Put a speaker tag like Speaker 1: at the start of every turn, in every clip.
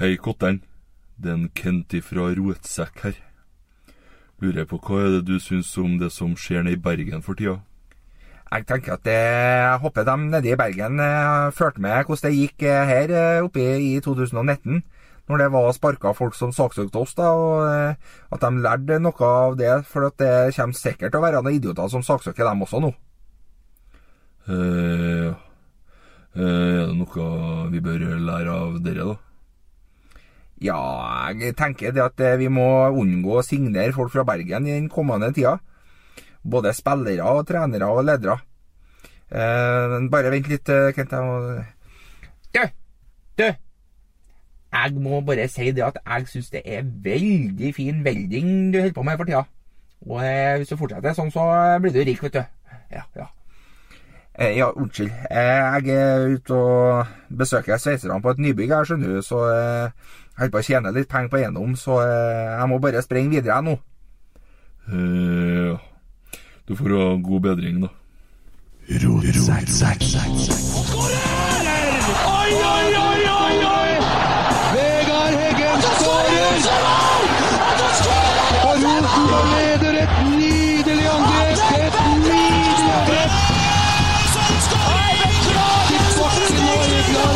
Speaker 1: Hei, Kotter'n. Det er en Kent ifra Rotsekk her. Lurer på hva er det du syns om det som skjer nede i Bergen for tida?
Speaker 2: Jeg tenker at eh, jeg håper de nede i Bergen eh, fulgte med hvordan det gikk eh, her eh, oppe i 2019. Når det var sparka folk som saksøkte oss, da, og eh, at de lærte noe av det. For at det kommer sikkert til å være noen idioter som saksøker dem også nå.
Speaker 1: Eh, ja. Eh, er det noe vi bør lære av dere, da?
Speaker 2: Ja, jeg tenker det at eh, vi må unngå å signere folk fra Bergen i den kommende tida. Både spillere, og trenere og ledere. Eh, bare vent litt, eh, Kent. Jeg må
Speaker 3: Du, du. Jeg må bare si det at jeg syns det er veldig fin velding du holder på med for tida. Og eh, hvis du fortsetter sånn, så blir du rik, vet du. Ja, ja.
Speaker 2: Eh, ja, unnskyld. Eh, jeg er ute og besøker sveiserne på et nybygg her, skjønner du, så eh, jeg holder på å tjene litt penger på eiendom, så eh, jeg må bare springe videre jeg nå.
Speaker 1: Eh, ja. Du får ha god bedring, da.
Speaker 4: Oi, oi, oi, oi, oi! Vegard Heggen skårer! Og Rosenborg leder et nydelig angrep! Et nydelig angrep! Til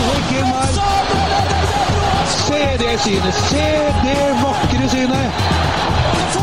Speaker 4: bakken og Vegard Heggen her. Se det synet! Se det vakre synet!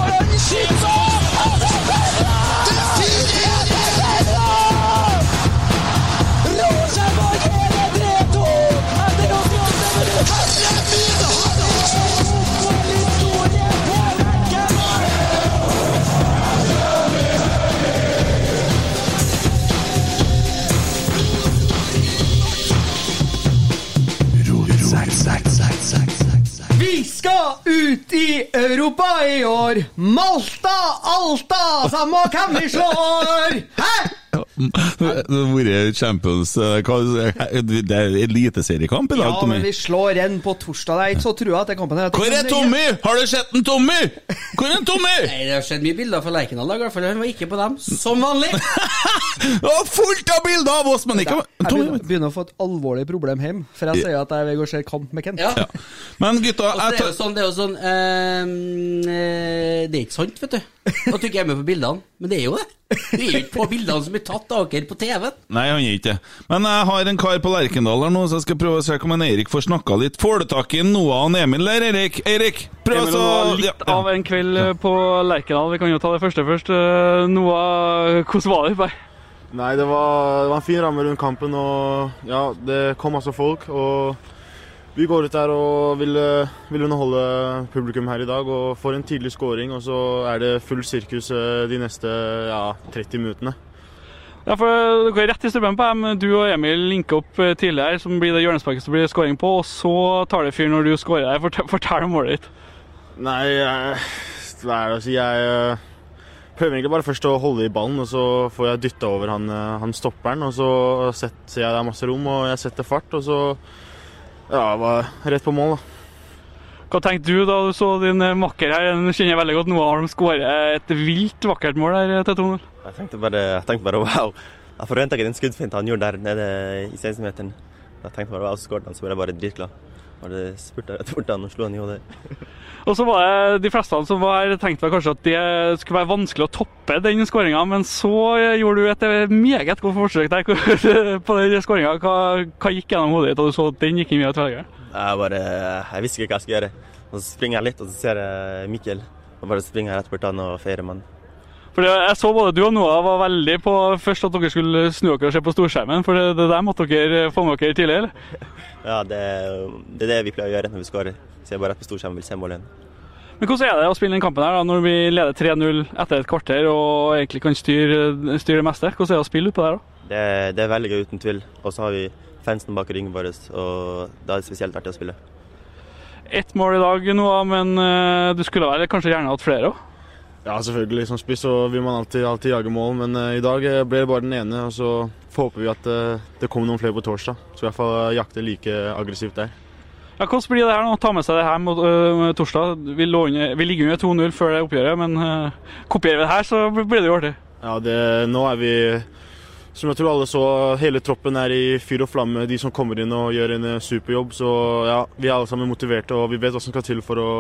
Speaker 5: Vi skal ut i Europa i år. Malta, Alta, samme hvem vi slår. Hæ?
Speaker 6: Det har vært Champions eh, hva- Det er eliteseriekamp i dag,
Speaker 5: Ja,
Speaker 6: Tommy.
Speaker 5: men vi slår en på torsdag. Det er ikke så trua etter kampen. her.
Speaker 7: eh,
Speaker 6: Hvor er Tommy? Har du sett en Tommy? Hvor er en Tommy?
Speaker 7: Nei, Det har skjedd mye bilder fra Lerkendal, i dag, i hvert fall. Han var ikke på dem, som vanlig.
Speaker 6: Det var fullt av bilder av oss, men ikke
Speaker 5: Jeg
Speaker 6: Tommy.
Speaker 5: begynner, begynner å få et alvorlig problem hjem, for jeg sier at jeg vil gå og se kamp med Kent.
Speaker 7: Ja.
Speaker 6: Ja. Men gutta,
Speaker 7: Altså,
Speaker 6: jeg
Speaker 7: det er jo
Speaker 6: tar
Speaker 7: sånn, det er jo sånn ehm, eh, Det er ikke sant, vet du. At du ikke er med på bildene. Men det er jo det. Du er jo ikke på bildene som blir tatt av dere på TV-en.
Speaker 6: Nei, han er ikke det. Men jeg har en kar på Lerkendal her nå, så jeg skal prøve å se om en Eirik får snakka litt. Får du tak i Noah og Emil der, Eirik? Eirik, prøv
Speaker 8: Emil
Speaker 6: så
Speaker 8: Noah, litt
Speaker 6: ja, ja.
Speaker 8: av en kveld eh, på Lerkendal. Vi kan jo ta det første først. Eh, Noah, hvordan var det? Bare?
Speaker 9: Nei, det var, det var en fin ramme rundt kampen, og ja, det kom masse folk. Og vi går ut der og vil, eh, vil underholde publikum her i dag, og får en tidlig scoring. Og så er det full sirkus eh, de neste ja, 30 minuttene.
Speaker 8: Ja, for eh, Dere er rett i strømmen på dem. Du og Emil linker opp eh, tidligere, som blir det hjørnesparket som blir scoring på, og så tar det fyr når du scorer. her. Fortell, fortell om målet ditt.
Speaker 9: Nei, jeg, hva er det å si? Jeg eh, prøver egentlig bare først å holde i ballen, og så får jeg dytta over han, eh, han stopperen. Og så set- ser jeg det er masse rom, og jeg setter fart, og så ja, var rett på mål, da.
Speaker 8: Hva tenkte du da du så din eh, makker her? Den kjenner jeg veldig godt. Noah Holm skårer et vilt vakkert mål her eh, til 2-0.
Speaker 10: Jeg tenkte bare, jeg tenkte bare wow. Jeg forventa ikke den skuddfinta han gjorde der nede i 16-meteren. Jeg tenkte bare wow, så skåret han, så ble jeg bare dritglad. Bare spurte rett bort til han og slo han i hodet.
Speaker 8: Og så var det De fleste som var her, tenkte vel kanskje at det skulle være vanskelig å toppe den skåringa, men så eh, gjorde du et eh, meget godt forsøk der hvor- på den skåringa. Hva, hva gikk gjennom hodet ditt da du så at den gikk inn via tverrleggeren?
Speaker 10: Jeg bare, jeg visste ikke hva jeg skulle gjøre. Og så springer jeg litt, og så ser jeg Mikkel. Og bare springer jeg rett bort til han og feirer med han.
Speaker 8: For det- jeg så både du og Noah var veldig på først at dere skulle snu dere og se på storskjermen, for det, det der måtte dere få med dere tidlig, eller?
Speaker 10: Ja, det, det er det vi pleier å gjøre når vi skårer. Så jeg bare rett på storskjerm og vil se målet igjen.
Speaker 8: Men hvordan er det å spille den kampen her da, når vi leder 3-0 etter et kvarter og egentlig kan styre, styre det meste? Hvordan er det å spille utpå der, da?
Speaker 10: Det, Eh, det er veldig gøy, uten tvil. Og så har vi fansen bak ryggen vår, og da er det spesielt artig å spille.
Speaker 8: Ett mål i dag, Noah, men eh, du skulle vel kanskje gjerne hatt flere òg?
Speaker 9: Ja, selvfølgelig. Som spiss så vil man alltid, alltid jage mål, men eh, i dag eh, ble det bare den ene. Og så håper vi at eh, det kommer noen flere på torsdag. Så i hvert fall eh, jakte like aggressivt der.
Speaker 8: Ja, hvordan blir det her nå? Ta med seg det her mot øh, torsdag. Vi, lå under, vi ligger under 2-0 før eh, det oppgjøret, men øh, kopierer vi det her, så blir det jo artig.
Speaker 9: Ja, det, nå er Eh, vi Som jeg tror alle så, hele troppen er i fyr og flamme, de som kommer inn og gjør en eh, superjobb. Så ja, vi er alle sammen motiverte, og vi vet hva som skal til for å,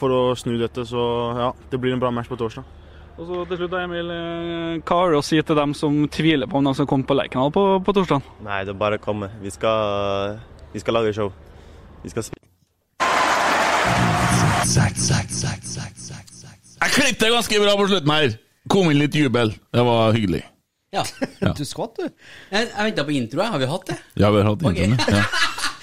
Speaker 9: for å snu dette. Så ja, det blir en bra match på torsdag.
Speaker 8: Og så til slutt, Emil, eh, hva har du å si til dem som tviler på om de skal komme på Lerkendal på, på torsdag?
Speaker 10: Nei, det er bare å komme. Vi skal, vi skal lage show. Vi skal spille.
Speaker 6: Jeg klippte ganske bra på slutten her. Kom inn litt jubel. Det var hyggelig.
Speaker 7: Ja.
Speaker 5: Du skvatt, du.
Speaker 7: Jeg, jeg venta på intro, jeg. Har vi hatt det?
Speaker 6: Ja, vi har hatt introen, ja. ja.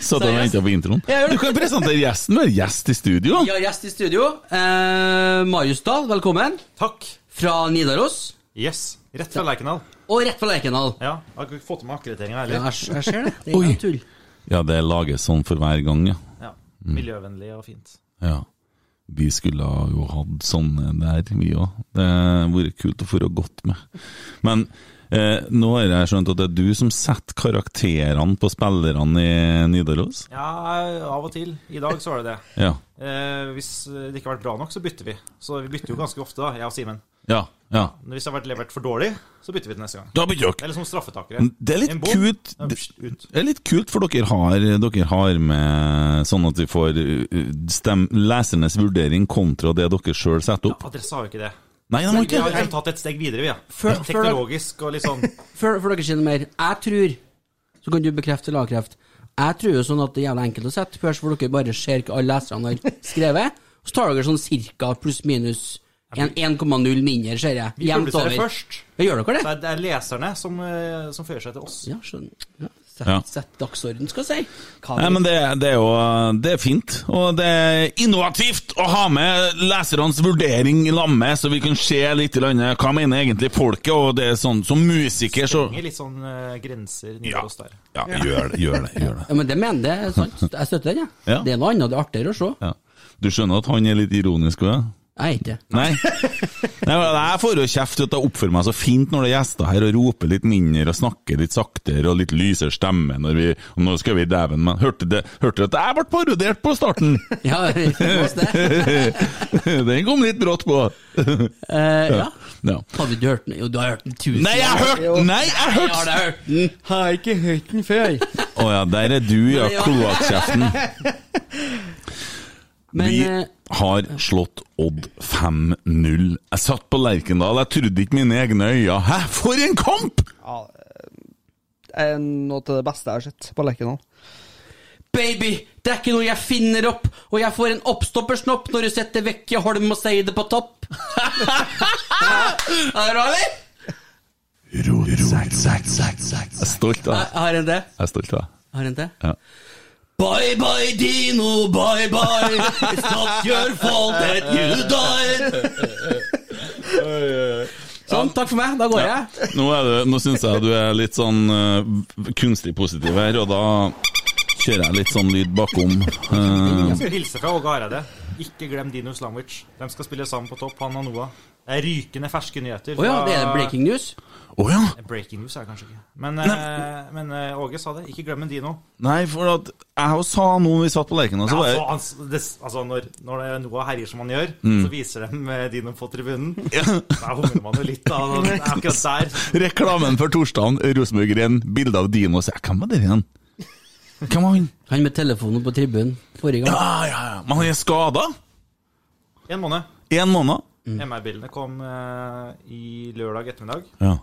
Speaker 6: Satt og venta på introen.
Speaker 7: Ja, gjør det.
Speaker 6: Du kan presentere gjesten. Du er gjest i studio.
Speaker 7: Vi har gjest i studio. Eh, Marius Dahl, velkommen.
Speaker 11: Takk.
Speaker 7: Fra Nidaros.
Speaker 11: Yes. Rett fra Lerkendal.
Speaker 7: Og rett fra Lerkendal.
Speaker 11: Ja. Jeg har ikke fått med akkrediteringa
Speaker 7: Ja,
Speaker 11: heller.
Speaker 7: jeg, jeg ser det. Det er ikke noe tull.
Speaker 6: Ja, det lages sånn for hver gang, ja.
Speaker 11: Ja. Miljøvennlig og fint.
Speaker 6: ja. Vi skulle ha jo hatt sånne der, vi òg. Det hadde vært kult å få det godt med. Men eh, nå har jeg skjønt at det er du som setter karakterene på spillerne i Nidaros?
Speaker 11: Ja, av og til. I dag så var det det.
Speaker 6: Ja.
Speaker 11: Eh, hvis det ikke har vært bra nok, så bytter vi. Så vi bytter jo ganske ofte, da, jeg og Simen.
Speaker 6: Ja. ja.
Speaker 11: Men Hvis det har vært levert for dårlig, så bytter vi til neste gang.
Speaker 6: Da begynner dere.
Speaker 11: Eller som straffetakere.
Speaker 6: Det er litt
Speaker 11: En bom.
Speaker 6: kult
Speaker 11: Ja, pst, ut.
Speaker 6: Det er litt kult, for dere har, dere har med sånn at vi får uh, stem, lesernes vurdering kontra det dere sjøl setter opp.
Speaker 11: Adressa har jo ikke det.
Speaker 6: Nei, de har
Speaker 11: Vi har
Speaker 6: ikke
Speaker 11: liksom tatt et steg videre, vi, ja.
Speaker 7: Før- før-
Speaker 11: Teknologisk og litt sånn
Speaker 7: Før, før dere sier noe mer, jeg tror Så kan du bekrefte eller avkrefte. Jeg tror jo sånn at det er jævlig enkelt å sette først, hvor dere bare ser hva alle leserne har skrevet. Og så tar dere sånn cirka pluss-minus 1,0 mindre, ser jeg.
Speaker 11: Vi
Speaker 7: Jevnt
Speaker 11: publiserer
Speaker 7: over.
Speaker 11: først.
Speaker 7: Ja, gjør dere
Speaker 11: Det
Speaker 7: det?
Speaker 11: er, det er leserne som, eh, som fører seg til oss.
Speaker 7: Ja, skjønner. Ja. Sett,
Speaker 6: Ja.
Speaker 7: sett dagsorden, skal jeg si. Hva
Speaker 6: Nei, men det, det er jo det er fint, og det er innovativt å ha med lesernes vurdering i lag med, så vi kan se litt i landet. Hva mener egentlig folket? Og det er sånn som musiker, så
Speaker 11: Henger litt sånn eh, grenser
Speaker 6: Ja,
Speaker 11: Nidaros der.
Speaker 6: ja gjør det. Gjør det, gjør det.
Speaker 7: Ja, men det mener det, er sant. Jeg støtter den, jeg.
Speaker 6: Ja.
Speaker 7: Det er noe annet, det er artigere å se.
Speaker 6: Ja. Du skjønner at han er litt ironisk òg?
Speaker 7: Jeg er ikke det.
Speaker 6: Nei. Nei, men Jeg får jo kjeft for at jeg oppfører meg så fint når det er gjester her, og roper litt mindre og snakker litt saktere og litt lysere stemme når vi og Nå skal vi dæven, men hørte det- hørte du at jeg ble parodiert på starten?
Speaker 7: Ja, det var det.
Speaker 6: Den kom litt brått på.
Speaker 7: Eh, ja.
Speaker 6: Ja.
Speaker 7: Hadde du hørt den? Jo, du har hørt den tusen
Speaker 6: Nei, jeg
Speaker 7: ganger.
Speaker 6: hørte Nei, jeg
Speaker 7: Ja, det
Speaker 6: hørte
Speaker 7: har jeg hørt den.
Speaker 5: Mm. Har ikke hørt den før.
Speaker 6: Å ja, der er du, ja,
Speaker 7: Ja.
Speaker 6: kloakkjeften.
Speaker 7: Men
Speaker 6: Vi
Speaker 7: eh,
Speaker 6: har slått Odd 5-0. Jeg satt på Lerkendal, jeg trodde ikke mine egne øyne. Hæ, for en kamp!
Speaker 5: eh, er noe av det beste jeg har sett på Lerkendal.
Speaker 7: Baby, det er ikke noe jeg finner opp, og jeg får en oppstoppersnopp når du setter vekk i Holm og sier det på topp. er det bra, eller?
Speaker 6: Jeg er stolt av
Speaker 7: Jeg jeg har en
Speaker 6: deg.
Speaker 7: til.
Speaker 6: Jeg er stolt av deg.
Speaker 7: Jeg Har en til.
Speaker 6: Ja.
Speaker 7: Bye bye Dino, bye bye, it's not your fault that you died. Sånn, takk for meg, da går jeg.
Speaker 6: Nå, er det- nå syns jeg du er litt sånn eh, kunstig positiv her, og da kjører jeg litt sånn lyd bakom.
Speaker 11: Jeg
Speaker 6: Eh,
Speaker 11: skal hilse fra Åge Hareide. Ikke glem Dino Slamwich. De skal spille sammen på topp, han og Noah. Det er rykende ferske nyheter.
Speaker 7: Å
Speaker 11: fra-
Speaker 7: ja, det er breaking news.
Speaker 6: eh. Å ja!
Speaker 11: Breaking news er det kanskje ikke. Men, eh, men eh, Åge sa det. Ikke glem en Dino.
Speaker 6: Nei, for at jeg og sa noe vi satt på Lerkendal, så
Speaker 11: Ja,
Speaker 6: var
Speaker 11: altså,
Speaker 6: jeg
Speaker 11: han, s- det, s- altså, når, når det er Noah herjer som han gjør,
Speaker 6: Mm.
Speaker 11: så viser de eh, Dino på tribunen. Da humrer man jo litt av det er akkurat der.
Speaker 6: Reklamen for torsdagen, Rosenborg renn, bilde av Dino. Så jeg, hvem var det igjen? Hvem var han?
Speaker 7: Han med telefonen på tribunen forrige gang.
Speaker 6: Ja, Ah, ja, ja. Men han er skada?
Speaker 11: En måned.
Speaker 6: Én måned?
Speaker 11: MR-bildene kom eh, i lørdag ettermiddag,
Speaker 6: Ja.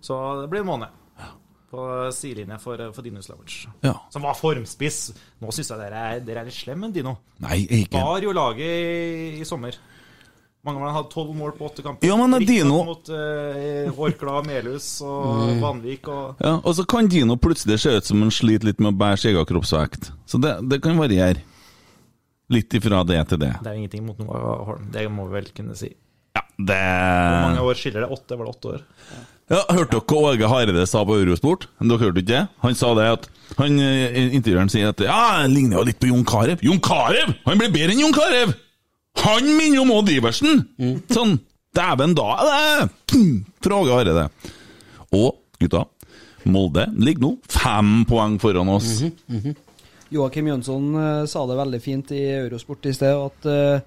Speaker 11: så det blir en måned. På sidelinja for, eh, for Dino Slamwich.
Speaker 6: ja.
Speaker 11: Som var formspiss. Nå syns jeg dere er, dere er litt slemme, Dino.
Speaker 6: Nei, jeg er ikke
Speaker 11: Bar jo laget i, i sommer. Mange av dem hadde tolv mål på åtte kamper.
Speaker 6: Ja, men det er
Speaker 11: Riktig
Speaker 6: Dino- Mm.
Speaker 11: Mot eh, Orkla, Melhus og Vanvik og
Speaker 6: ja, Og så kan Dino plutselig se ut som han sliter litt med å bære sin egen kroppsvekt. Så det, det kan variere. Litt ifra det til det.
Speaker 11: Det er jo ingenting mot Noah Holm, det må vi vel kunne si.
Speaker 6: Ja, det
Speaker 11: Hvor mange år skiller det? Åtte? Var det åtte år?
Speaker 6: Ja, Hørte dere hva Åge Hareide sa på Eurosport? Dere hørte ikke det? Han sa det at han, eh, Intervjueren sier at Ja, han ligner jo litt på Jon Carew. Jon Carew! Han blir bedre enn Jon Carew! Han minner om Odd Iversen! Sånn. Dæven, da er det Pum, Fra Åge Hareide. Og gutta, Molde ligger nå fem poeng foran oss.
Speaker 5: Mhm. Joakim Jønsson eh, sa det veldig fint i Eurosport i sted, at eh,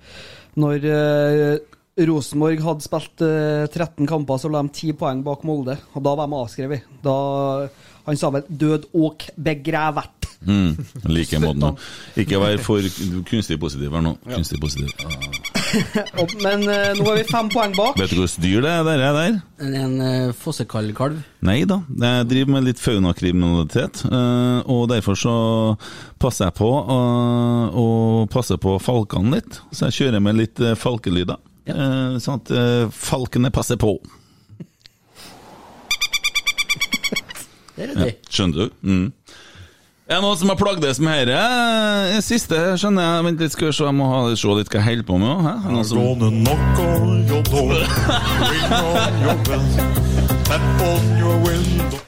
Speaker 5: når eh, Rosenborg hadde spilt eh, 13 kamper, så lå de 10 poeng bak Molde. Og da var de avskrevet. Da, han sa vel 'død og begrevet'.
Speaker 6: Mm, like måten. Ikke vær for kunstig positiv her nå. Kunstig positiv.
Speaker 5: Og, men eh, nå er vi fem poeng bak.
Speaker 6: Vet du hvordan dyr det er der? er der?
Speaker 7: En, en eh, fossekallkalv.
Speaker 6: Nei da, jeg driver med litt faunakriminalitet, eh, og derfor så passer jeg på eh, å passe på falkene litt. Så jeg kjører med litt eh, falkelyder, eh, sånn at eh, falkene passer på.
Speaker 7: Der er
Speaker 6: Ja,
Speaker 7: de.
Speaker 6: skjønner du? Mm. Er det noen som har plagdes med dette? Eh, Siste, skjønner jeg. Vent litt, skal vi se, jeg må ha, se litt hva jeg holder på med. også, Hæ? Er det Noen som...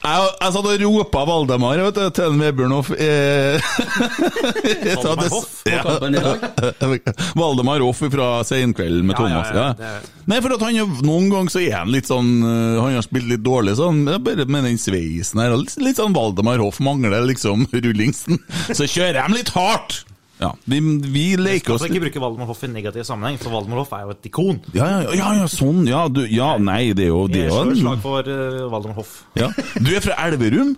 Speaker 6: Jeg, jeg satt og ropa Valdemar vet du, til en Vebjørn eh, Hoff eh, jeg sa det-
Speaker 11: Hoff?
Speaker 6: Ja.
Speaker 7: Kampen i dag.
Speaker 6: Valdemar Hoff fra Seinkvelden med
Speaker 11: Ja, ja, ja,
Speaker 6: Thomas. Ja,
Speaker 11: det er-
Speaker 6: Nei, for at han jo- noen ganger så er han litt sånn eh, Han har spilt litt dårlig, sånn, men bare med den sveisen her. og Litt, litt sånn Valdemar Hoff mangler liksom rullingsen. Så kjører de litt hardt! Ja, vi, vi leker oss
Speaker 11: Altså, ikke bruke Valdemar Hoff i negativ sammenheng, for Valdemar Hoff er jo et ikon.
Speaker 6: ja, ja, ja, ja, sånn, ja, du, ja, nei, det er jo det er
Speaker 11: Jeg
Speaker 6: jo
Speaker 11: slår et slag
Speaker 6: en-
Speaker 11: for eh, Valdemar Hoff.
Speaker 6: ja. Du er fra Elverum?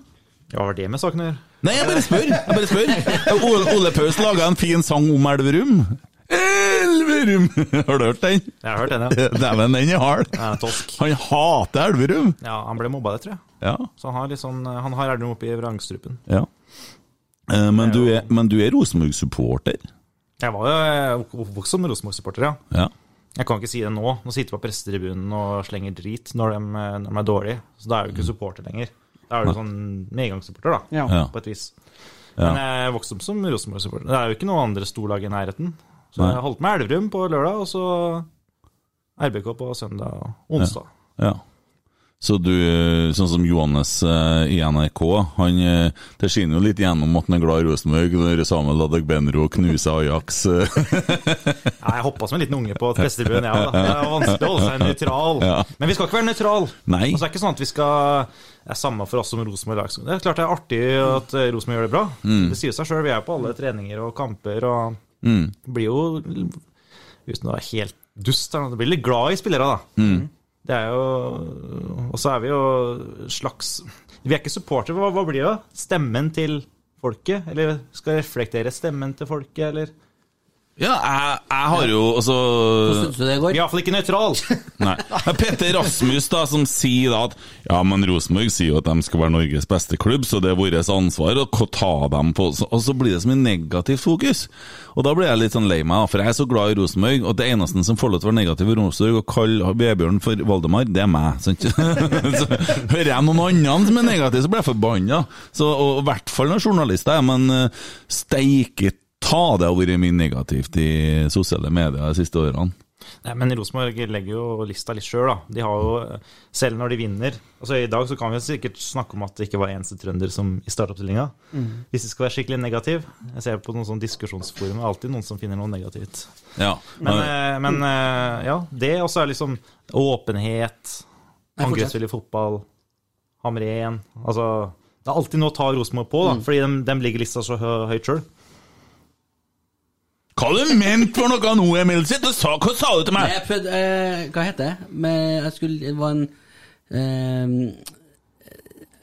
Speaker 11: Ja, Hva har det med saken å gjøre?
Speaker 6: Nei, jeg bare spør. Jeg bare spør. Ole, Ole Paus laga en fin sang om Elverum. Elverum! Har du hørt den?
Speaker 11: Jeg har hørt den, ja.
Speaker 6: Dæven, den er hard.
Speaker 11: Den er tosk.
Speaker 6: Han hater Elverum.
Speaker 11: Ja, han ble mobba det, tror jeg.
Speaker 6: Ja.
Speaker 11: Så han har litt sånn, eh, han har Elverum oppi vrangstrupen.
Speaker 6: ja. Eh, Men du er, men du er Rosenborg-supporter.
Speaker 11: Jeg var jo jeg er oppvokst som Rosenborg-supporter, ja.
Speaker 6: Ja.
Speaker 11: Jeg kan ikke si det nå. Nå sitter vi på prestetribunen og slenger drit når de, eh, når de er dårlige. Så da er du ikke supporter lenger. Da er du sånn medgangssupporter, da.
Speaker 5: Ja.
Speaker 6: Mm. Ja.
Speaker 11: På et vis.
Speaker 6: Ja.
Speaker 11: Men jeg vokste opp som Rosenborg-supporter. Det er jo ikke noe andre storlag i nærheten. Så
Speaker 6: Nei.
Speaker 11: jeg holdt med Elverum på lørdag, og så RBK på søndag og onsdag.
Speaker 6: ja. Så du, eh, sånn som Johannes eh, i NRK, han, eh, det skinner jo litt gjennom at han er glad i Rosenborg. når Samuel Adegbenro knuser Ajax. eh,
Speaker 11: Nei, jeg hoppa som en liten unge på prestetribunen, jeg òg. Det er vanskelig å holde seg nøytral.
Speaker 6: Ja.
Speaker 11: Men vi skal ikke være nøytral.
Speaker 6: Nei.
Speaker 11: Altså, det er ikke sånn at vi skal Det er samme for oss som Rosenborg lag. Det er klart det er artig at eh, Rosenborg gjør det bra.
Speaker 6: Mm.
Speaker 11: Det sier seg sjøl. Vi er jo på alle treninger og kamper og blir jo Uten å være helt dust, her nå, det blir litt glad i spillere, da. Det er jo Og så er vi jo slags Vi er ikke supportere. Hva, hva blir det? da? Stemmen til folket? Eller skal reflektere stemmen til folket, eller
Speaker 6: Ja, jeg, jeg har jo altså
Speaker 7: Hvordan syns du det
Speaker 11: Vi
Speaker 7: går?
Speaker 11: er iallfall ikke nøytral.
Speaker 6: Nei. Men Petter Rasmus, da, som sier da at Ja, men Rosenborg sier jo at de skal være Norges beste klubb, så det er vårt ansvar å k- ta dem på så- Og så blir det så mye negativt fokus. Og da blir jeg litt sånn lei meg, da, for jeg er så glad i Rosenborg, og det eneste som får lov til å være negativ i Rosenborg, og kalle Vebjørn for Valdemar, det er meg. Sant? så hører jeg noen andre som er negative, så blir jeg forbanna. Så, og I hvert fall når journalister er, men eh, steike ta, det har vært mye negativt i sosiale medier de siste årene.
Speaker 11: Nei, men Rosenborg legger jo lista litt sjøl, da. De har jo, selv når de vinner Altså I dag så kan vi jo sikkert snakke om at det ikke var eneste trønder som i startoppstillinga. Hvis det skal være skikkelig negativ Jeg ser på noen sånn diskusjonsforum, det er alltid noen som finner noe negativt.
Speaker 6: Ja.
Speaker 11: Men, eh, men eh, ja, det også er liksom åpenhet, angrepsspill i fotball, hamre igjen Altså Det er alltid noe å ta Rosenborg på, da, fordi de, de ligger lista så hø- høyt sjøl.
Speaker 6: Hva har du ment for noe nå, Emil? Sitt og sa, hva sa du til meg?
Speaker 7: Jeg prøvde, eh, hva heter det? Men jeg skulle, det var en eh,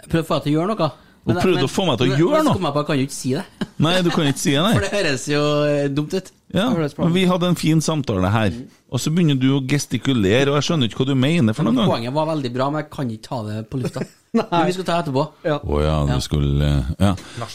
Speaker 7: jeg Prøvde å få deg til å gjøre noe.
Speaker 6: Hun prøvde å få meg til å gjøre
Speaker 7: men så
Speaker 6: noe?
Speaker 7: kom jeg på at jeg kan jo ikke si det.
Speaker 6: Nei, du kan ikke si det,
Speaker 7: For
Speaker 6: nei.
Speaker 7: det høres jo eh, dumt ut. Mm.
Speaker 6: Ja, men vi hadde en fin samtale her, og så begynner du å gestikulere, og jeg skjønner ikke hva du mener for noe.
Speaker 7: Poenget var veldig bra, men jeg kan ikke ta det på lufta. Men vi skal ta det etterpå.
Speaker 6: Å ja, du skulle ja.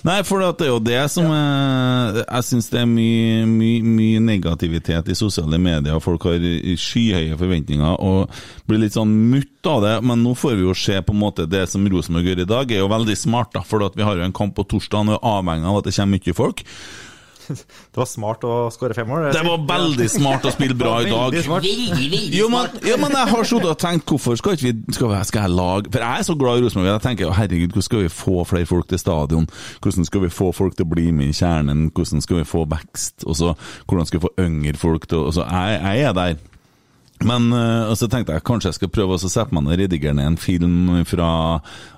Speaker 6: Nei, for at det er jo det som eh, Jeg syns det er mye, mye, mye negativitet i sosiale medier. Folk har skyhøye forventninger og blir litt sånn mutt av det. Men nå får vi jo se på en måte det som Rosenborg gjør i dag, er jo veldig smart. da, For at vi har jo en kamp på torsdag og er avhengig av at det kommer mye folk.
Speaker 11: Det var smart å skåre fem mål.
Speaker 6: Det var veldig smart å spille bra i dag.
Speaker 11: Veldig smart.
Speaker 7: Veldig, veldig
Speaker 6: Jo, men,
Speaker 7: smart.
Speaker 6: jo, men jeg har sittet og tenkt hvorfor skal ikke vi skal, vi- skal jeg lage For jeg er så glad i Rosenborg. Jeg tenker herregud, hvordan skal vi få flere folk til stadion? Hvordan skal vi få folk til å bli med i kjernen? Hvordan skal vi få vekst? Og så hvordan skal vi få yngre folk til å og så, jeg, jeg er der. Men eh, og så tenkte jeg kanskje jeg skal prøve også å sette meg ned og redigere ned en film fra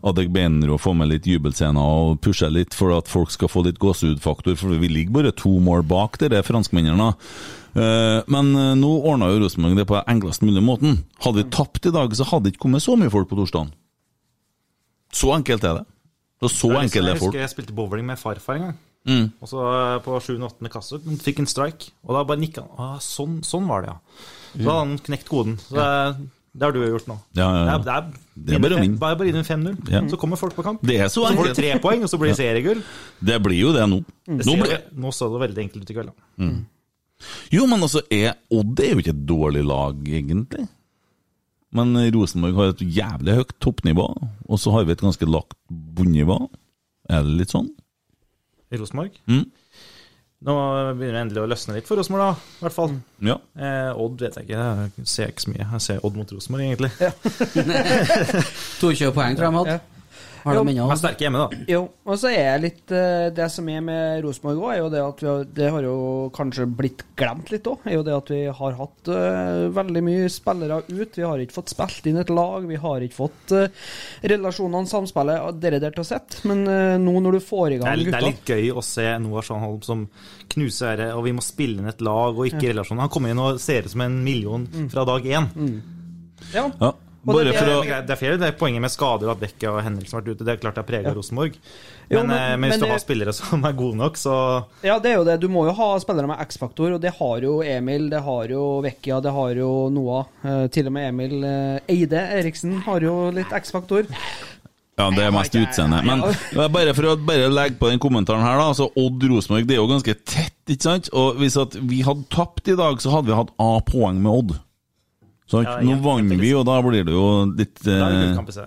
Speaker 6: Adegbenro og få med litt jubelscener og pushe litt for at folk skal få litt gåsehudfaktor, for vi ligger bare to mål bak det, det er franskmennene. Eh, Men eh, nå ordna jo Rosenborg det på enklest mulig måten. Hadde vi tapt i dag, så hadde det ikke kommet så mye folk på torsdagen. Så enkelt er det. Det er så
Speaker 11: Jeg
Speaker 6: enkelt det er
Speaker 11: husker
Speaker 6: folk.
Speaker 11: jeg spilte bowling med farfar en gang.
Speaker 6: Mm.
Speaker 11: Og så eh, På 7.-8. kasse han fikk en strike, og da bare nikka han. Ah, sånn, sånn var det, ja. Så hadde han knekt koden. Så det, er- det har du gjort nå.
Speaker 6: Ja, ja, ja.
Speaker 11: Det er,
Speaker 6: Det er bare min.
Speaker 11: Bare, bare inn 5-0.
Speaker 6: Ja.
Speaker 11: Så kommer folk på kamp.
Speaker 6: Det er så
Speaker 11: Så får
Speaker 6: enkelt.
Speaker 11: du tre poeng, og så blir det seriegull.
Speaker 6: Det blir jo det nå.
Speaker 11: Det
Speaker 6: Nå
Speaker 11: ser-
Speaker 6: blir
Speaker 11: Nå så det veldig enkelt ut i kveld. da.
Speaker 6: Mm. Jo, men altså, er Odd er jo ikke et dårlig lag, egentlig. Men Rosenborg har et jævlig høyt toppnivå, og så har vi et ganske lagt bunnivå. Er det litt sånn?
Speaker 11: I Rosenborg.
Speaker 6: Mm.
Speaker 11: Nå begynner det endelig å løsne litt for Rosenborg, da. I hvert fall.
Speaker 6: Mm. Ja.
Speaker 11: Eh, Odd vet jeg ikke, jeg ser ikke så mye. Jeg ser Odd mot Rosenborg, egentlig.
Speaker 7: 22 poeng tror jeg de hadde. Har de
Speaker 11: De
Speaker 7: ennå?
Speaker 11: er sterke hjemme, da.
Speaker 5: Jo, og så er jeg litt eh, Det som er med Rosenborg òg, er jo det at vi har, det har jo kanskje blitt glemt litt òg. Er jo det at vi har hatt eh, veldig mye spillere ut. Vi har ikke fått spilt inn et lag. Vi har ikke fått eh, relasjonene, samspillet, og dere der til å sitte. Men eh, nå når du får
Speaker 11: Det
Speaker 5: i
Speaker 11: er, det
Speaker 5: gang
Speaker 11: er
Speaker 5: gutta
Speaker 11: litt gøy å se Noah Sjanholm som knuser ære, og vi må spille inn et lag og ikke relasjoner. Han kommer inn og ser ut som en million
Speaker 5: Mm.
Speaker 11: fra dag én.
Speaker 5: ja.
Speaker 6: ja. Bare
Speaker 5: det-
Speaker 6: for å
Speaker 11: Men greit, Det er flere det er poenget med skader og at Bekke og Henriksen har vært ute. Det er klart det er prega Rosenborg. Men,
Speaker 5: Jo, men-
Speaker 11: eh, men hvis
Speaker 5: men
Speaker 11: du har
Speaker 5: det-
Speaker 11: spillere som er gode nok, så
Speaker 5: ja, det er jo det. Du må jo ha spillere med X-faktor, og det har jo Emil, det har jo Vekkia, det har jo Noah. Eh, til og med Emil eh, Eide Eriksen har jo litt X-faktor.
Speaker 6: Ja, det er mest utseende. Men det er bare for å bare legge på den kommentaren her, da. Altså, Odd Rosenborg, det er jo ganske tett, ikke sant? Og hvis at vi hadde tapt i dag, så hadde vi hatt A-poeng med Odd. Sant?
Speaker 11: Ja,
Speaker 6: Nå
Speaker 11: ja,
Speaker 6: vant vi, og da blir det jo litt
Speaker 11: da er det
Speaker 6: eh,
Speaker 11: gullkamp i CD.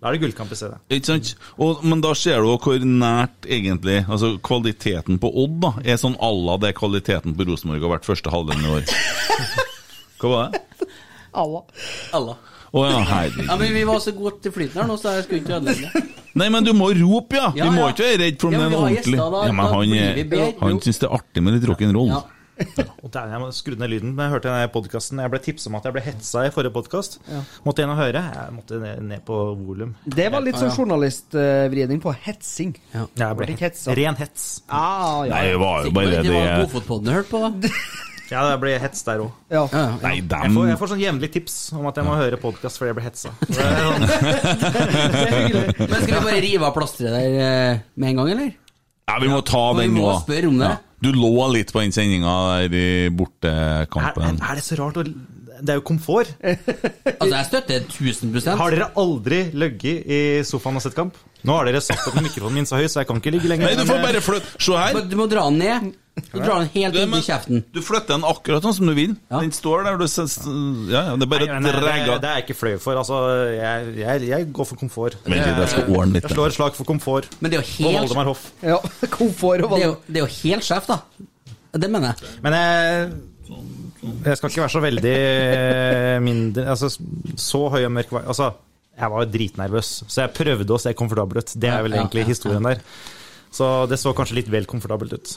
Speaker 11: Da er det gullkamp i CD.
Speaker 6: Ikke sant? Og, men da ser du jo hvor nært egentlig Altså kvaliteten på Odd da er sånn à la det kvaliteten på Rosenborg har vært første halvdelen i år. Hva var det?
Speaker 5: Alla.
Speaker 7: Alle.
Speaker 6: Å ja,
Speaker 7: Ja,
Speaker 6: herregud.
Speaker 7: men vi var så godt til flyten her nå, så jeg skulle ikke ødelegge det.
Speaker 6: Nei, men du må rope, ja!
Speaker 7: Ja,
Speaker 6: Vi må
Speaker 7: ja.
Speaker 6: ikke være redd for om
Speaker 7: Ja,
Speaker 6: det
Speaker 7: men
Speaker 6: er en
Speaker 7: vi har
Speaker 6: ordentlig
Speaker 7: gjester, da-
Speaker 6: Ja, men
Speaker 7: da
Speaker 6: han,
Speaker 7: blir vi
Speaker 6: er-
Speaker 7: bedre.
Speaker 6: han syns det er artig med litt rock'n'roll.
Speaker 7: Ja.
Speaker 11: Og der, jeg må skru ned lyden. Men jeg hørte denne podcasten, jeg ble tipset om at jeg ble hetsa i forrige podkast. Måtte inn og høre. Jeg måtte ned, ned på volum.
Speaker 5: Det var litt sånn journalistvridning på hetsing.
Speaker 11: Jeg
Speaker 5: Ble
Speaker 11: ble
Speaker 5: ikke hetsa.
Speaker 11: Ren hets.
Speaker 5: Ah, ja.
Speaker 6: Nei, det var jo bare
Speaker 7: Det var
Speaker 6: det
Speaker 7: Godfotpodden jeg hørte på, da.
Speaker 11: Ja, jeg ble hets der òg.
Speaker 5: ja.
Speaker 7: Ja, ja.
Speaker 6: Nei,
Speaker 11: Jeg,
Speaker 6: dem
Speaker 11: får- jeg får sånn jevnlig tips om at jeg må høre podkast fordi jeg ble hetsa. Det er sånn-
Speaker 7: Men skal vi bare rive av plasteret der eh, med en gang, eller?
Speaker 6: Ja, vi må ta
Speaker 7: Og vi
Speaker 6: den nå.
Speaker 7: må spørre om det.
Speaker 6: Ja. Du lå litt på den sendinga der i
Speaker 11: Er,
Speaker 6: bortekampen.
Speaker 11: er det så rart å Det er jo komfort.
Speaker 7: Altså, jeg støtter 1000
Speaker 11: Har dere aldri ligget i sofaen og sett kamp? Nå har dere satt opp mikrofonen min så høy, så jeg kan ikke ligge lenger.
Speaker 6: Nei, du
Speaker 11: men,
Speaker 6: får
Speaker 11: eh,
Speaker 6: bare flytte Se her!
Speaker 7: Men Du må dra den ned. Du drar den helt
Speaker 6: Ja,
Speaker 7: inn
Speaker 6: men-
Speaker 7: i kjeften.
Speaker 6: Du flytter den akkurat sånn som du vil.
Speaker 7: Ja.
Speaker 6: Den står der. Du ses, ja, ja, det er bare
Speaker 11: Nei,
Speaker 6: å
Speaker 11: men det,
Speaker 6: dregge
Speaker 11: det, det er jeg ikke flau for. Altså, jeg, jeg, jeg går for komfort.
Speaker 6: Vent litt, jeg skal ordne litt.
Speaker 11: Jeg slår et slag for komfort.
Speaker 7: Men det er jo
Speaker 11: Og
Speaker 7: helt
Speaker 11: Valdemar Hoff.
Speaker 5: ja. Komfort og
Speaker 7: Det er
Speaker 5: valg.
Speaker 7: jo, det er jo helt sjef, da. Det mener jeg.
Speaker 11: Men jeg, jeg skal ikke være så veldig mindre Altså, så høy og mørk var Altså, jeg var jo dritnervøs, så jeg prøvde å se komfortabel ut. Det er vel
Speaker 7: Ja,
Speaker 11: egentlig
Speaker 7: ja,
Speaker 11: historien der. Så det så kanskje litt vel komfortabelt ut.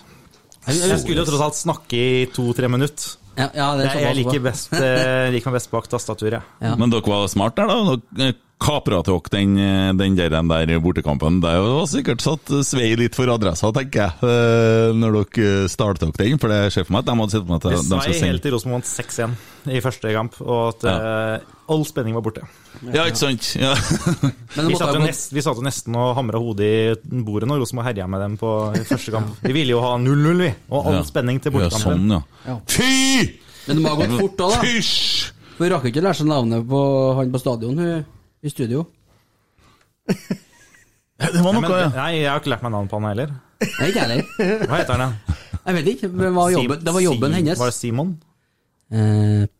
Speaker 11: Jeg skulle jo tross alt snakke i to-tre minutter.
Speaker 7: Ja, ja, det er
Speaker 11: Jeg, jeg
Speaker 7: såpass
Speaker 11: liker,
Speaker 7: bra.
Speaker 11: best, eh, liker meg best bak tastaturet.
Speaker 7: Ja.
Speaker 6: Men dere var smart der, da. Dere eh, kapra til dere den, eh, den der, den der bortekampen. Det var sikkert satt svei litt for adressa, tenker jeg, eh, når dere starta dere den. For det ser for meg at de hadde sett for meg at
Speaker 11: Det
Speaker 6: eh, de
Speaker 11: svei
Speaker 6: skal
Speaker 11: helt
Speaker 6: sende.
Speaker 11: til Rosenborg vant 6-1 i første kamp, og at eh, all spenning var borte.
Speaker 6: Ja, ikke sant? Ja.
Speaker 7: Men det
Speaker 11: Vi
Speaker 7: måtte
Speaker 11: satt,
Speaker 7: ha
Speaker 11: jo
Speaker 7: gått
Speaker 11: nest, vi satt jo nesten og hamra hodet i bordet når Rosenborg herja med dem på i første kamp. Vi ville jo ha 0-0, vi, og all
Speaker 6: Ja.
Speaker 11: spenning til
Speaker 6: Ja,
Speaker 11: bortekampen.
Speaker 6: sånn, ja. Fy!
Speaker 7: Men det må ha gått fort òg, da.
Speaker 6: Fysj!
Speaker 7: For Hun rakk jo ikke å lære seg navnet på han på stadion, hun i studio.
Speaker 6: Det var
Speaker 11: Men,
Speaker 6: noe, ja.
Speaker 11: nei, jeg har ikke lært meg navnet på han heller.
Speaker 7: Nei, ikke jeg heller.
Speaker 11: Hva heter han igjen?
Speaker 7: Jeg vet ikke. Men hva var jobben, det var jobben
Speaker 11: Sim-
Speaker 7: hennes.
Speaker 11: Var det Simon?
Speaker 7: Eh, vet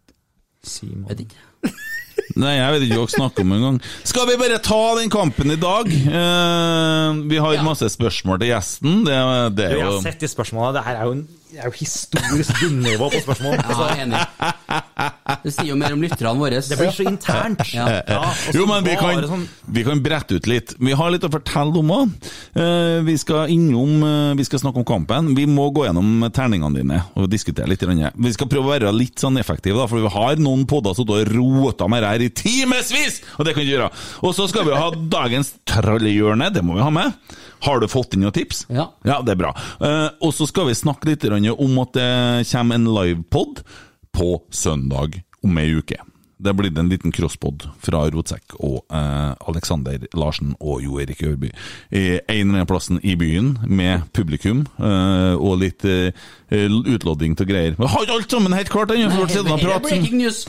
Speaker 11: Simon.
Speaker 7: ikke.
Speaker 6: Nei, jeg vet ikke hva dere snakker om engang. Skal vi bare ta den kampen i dag? Eh, vi har masse spørsmål til gjesten. Det, det
Speaker 11: Du,
Speaker 6: er
Speaker 11: jeg
Speaker 6: jo
Speaker 11: har sett de spørsmålene. Det her er jo, en, det er jo historisk bunnivå på spørsmål.
Speaker 7: Ja, jeg er enig. Det sier jo mer om lytterne våre.
Speaker 11: Det blir så internt.
Speaker 7: Ja.
Speaker 11: Ja, og så
Speaker 6: Eh, Jo, men vi
Speaker 11: bare
Speaker 6: kan,
Speaker 11: sånn-
Speaker 6: vi kan brette ut litt. Vi har litt å fortelle om òg. Eh, Vi skal innom eh, Vi skal snakke om kampen. Vi må gå gjennom terningene dine og diskutere litt. grann. Vi skal prøve å være litt sånn effektive, da, for vi har noen podder som har rota med det her i timevis! Og det kan vi ikke gjøre. Og så skal vi ha dagens trollehjørne. Det må vi ha med. Har du fått inn noen tips?
Speaker 7: Ja.
Speaker 6: Ja, det er bra. Eh, Og så skal vi snakke litt grann om at det kommer en livepod på søndag om ei uke. Det blir det en liten crosspod fra Rotsekk og eh, Alexander Larsen og Jo Erik Ørby. Eh, en eller annen plassen i byen, med publikum eh, og litt eh, utlodding til greier. Men har ikke alt sammen helt klart ennå! for siden av
Speaker 7: Det blir
Speaker 6: praten.
Speaker 7: ikke news.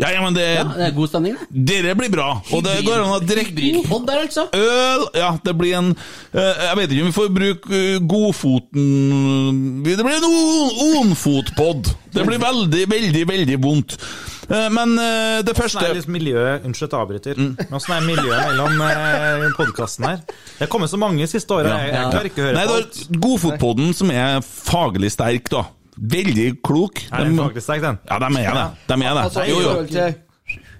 Speaker 6: Ja, ja, men det,
Speaker 7: Ja, det er god stemning, det.
Speaker 6: dere blir bra! Og det går an å drikke
Speaker 7: Hybridpod der, altså.
Speaker 6: øl Ja, det blir en eh, Jeg vet ikke om vi får bruke eh, godfoten Det blir en on- onfotpodd. Det blir veldig, veldig, veldig vondt. Eh, Men eh, det
Speaker 11: Åssen er
Speaker 6: første Mm.
Speaker 11: liksom miljøet Unnskyld at jeg avbryter. Men Åssen er miljøet mellom eh, podkasten her? Det er kommet så mange de siste åra. Jeg, jeg klarer ikke å høre
Speaker 6: Nei,
Speaker 11: på
Speaker 6: det
Speaker 11: alt.
Speaker 6: er Godfotpodden, som er faglig sterk, da. Veldig klok.
Speaker 11: Er den
Speaker 6: Dem-
Speaker 11: faglig sterk, den?
Speaker 6: ja, de er det. De er det.
Speaker 5: Altså,
Speaker 6: Jo,
Speaker 5: i
Speaker 6: jo.
Speaker 5: forhold til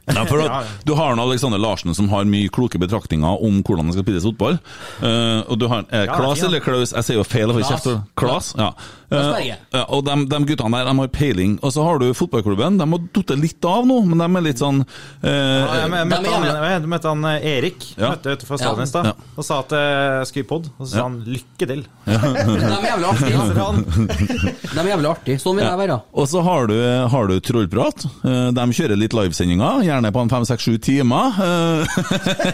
Speaker 6: Ja, for at, du har nå Alexander Larsen, som har mye kloke betraktninger om hvordan det skal spilles fotball. Eh, og du har eh,
Speaker 11: Ja,
Speaker 6: Klas
Speaker 11: ja.
Speaker 6: eller Klaus? Jeg sier jo feil. Jeg får kjeft. for- Klas. Ja.
Speaker 7: Klas
Speaker 6: Eh,
Speaker 7: Berge.
Speaker 6: ja, og de, de guttene der de har peiling. Og så har du fotballklubben. De har datt litt av nå, men de er litt sånn eh,
Speaker 11: Ja, jeg mø-
Speaker 7: De
Speaker 11: møtte,
Speaker 7: er
Speaker 11: han,
Speaker 7: jævla- altså.
Speaker 11: jeg møtte han eh, Erik
Speaker 6: Ja.
Speaker 11: møtte jeg utenfor
Speaker 7: Ja.
Speaker 11: stadion i stad.
Speaker 6: Ja.
Speaker 11: Og sa at eh, jeg skulle i pod. Og så sa
Speaker 6: Ja.
Speaker 11: han lykke til.
Speaker 7: De er jævlig artige.
Speaker 11: Så
Speaker 7: da.
Speaker 11: han,
Speaker 7: De er jævlig artige. Sånn vil jeg være.
Speaker 6: Og så har du, har du Trollprat. Eh, De kjører litt livesendinger, gjerne på en fem-seks-sju timer. Eh,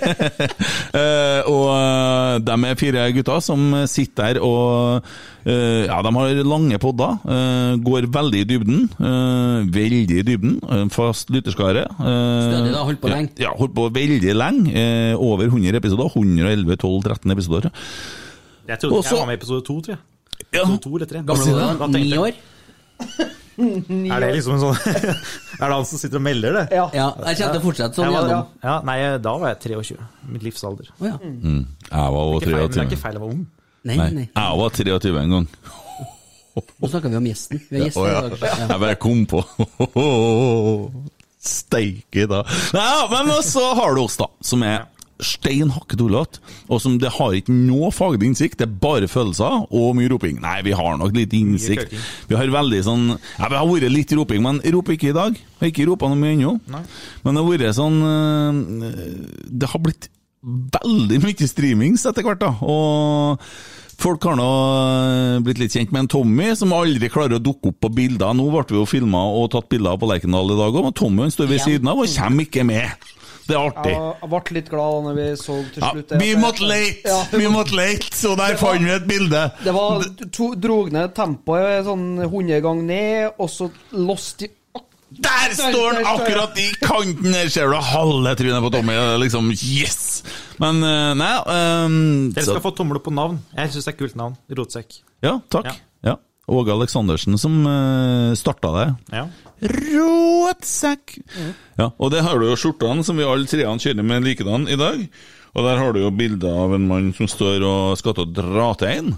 Speaker 6: eh, og eh, de er fire gutter som sitter der og eh, Ja, de har lange podder. eh, Går veldig i dybden. eh, Veldig i dybden. eh, Fast lytterskare. eh,
Speaker 7: Stødig, da. Holdt på lenge.
Speaker 6: Ja, ja, holdt på veldig lenge. eh, Over 100 episoder. 111, 12, 13 episoder.
Speaker 11: jeg trodde
Speaker 6: Og så-
Speaker 11: jeg var med i episode to, tror jeg.
Speaker 6: Ja.
Speaker 11: Episode to eller tre.
Speaker 7: Gamle
Speaker 11: Da
Speaker 7: Oda,
Speaker 11: tenkte jeg,
Speaker 7: ni år.
Speaker 11: Er det liksom en sånn Er det han som sitter og melder det?
Speaker 5: Ja.
Speaker 7: Ja, jeg kommer til å fortsette sånn
Speaker 11: Jeg var,
Speaker 7: gjennom.
Speaker 11: ja, nei, eh, da var jeg 23. Mitt livs alder.
Speaker 7: Å, ja.
Speaker 11: Mm.
Speaker 6: Mm. Jeg var
Speaker 11: Ikke feil, men det er
Speaker 6: 23.
Speaker 11: ikke feil, jeg var ung.
Speaker 7: Nei,
Speaker 6: Nei,
Speaker 7: nei.
Speaker 6: jeg var 23 en gang.
Speaker 7: Nå snakker vi om gjesten. Vi har
Speaker 6: Å,
Speaker 7: gjester i dag.
Speaker 6: Jeg bare kom på Steike, da. Nei, ja, men så har du oss, da, som er stein hakket ullete, og som det har ikke noe faglig innsikt, det er bare følelser og mye roping. Nei, vi har nok litt innsikt.
Speaker 11: kauking.
Speaker 6: Vi har veldig sånn Ja, vi har vært litt roping, men roper ikke i dag. Har ikke ropa noe mye ennå. Men det har vært sånn eh, Det har blitt veldig mye streamings etter hvert, da. Og Folk har nå eh, blitt litt kjent med en Tommy som aldri klarer å dukke opp på bilder. Nå ble vi jo filma og tatt bilder på Lerkendal i dag òg, men Tommy han står ved siden av og kommer ikke med. Det er artig.
Speaker 5: Jeg jeg ble litt glad når vi så til
Speaker 6: Ja,
Speaker 5: slutt det
Speaker 6: vi
Speaker 5: at jeg-
Speaker 6: måtte late!
Speaker 5: Ja,
Speaker 6: Vi måtte late, så der fant vi et bilde!
Speaker 5: Det var to, drog ned tempoet sånn 100 ganger ned, og så lost i
Speaker 6: Der står han akkurat i kanten! Der ser du halve trynet på Tommy. Det er Liksom, yes! Men eh, nei ehm,
Speaker 11: Dere
Speaker 6: så-
Speaker 11: skal få tommel opp på navn. Jeg syns det er kult navn. Rotsekk.
Speaker 6: Ja, takk.
Speaker 11: Ja.
Speaker 6: Ja. Åge Aleksandersen som uh, starta det.
Speaker 11: Ja.
Speaker 6: Råtsekk! Ja, og der har du jo skjortene som vi alle treene kjører med likedan i dag. Og der har du jo bilder av en mann som står og skal til å dra til en.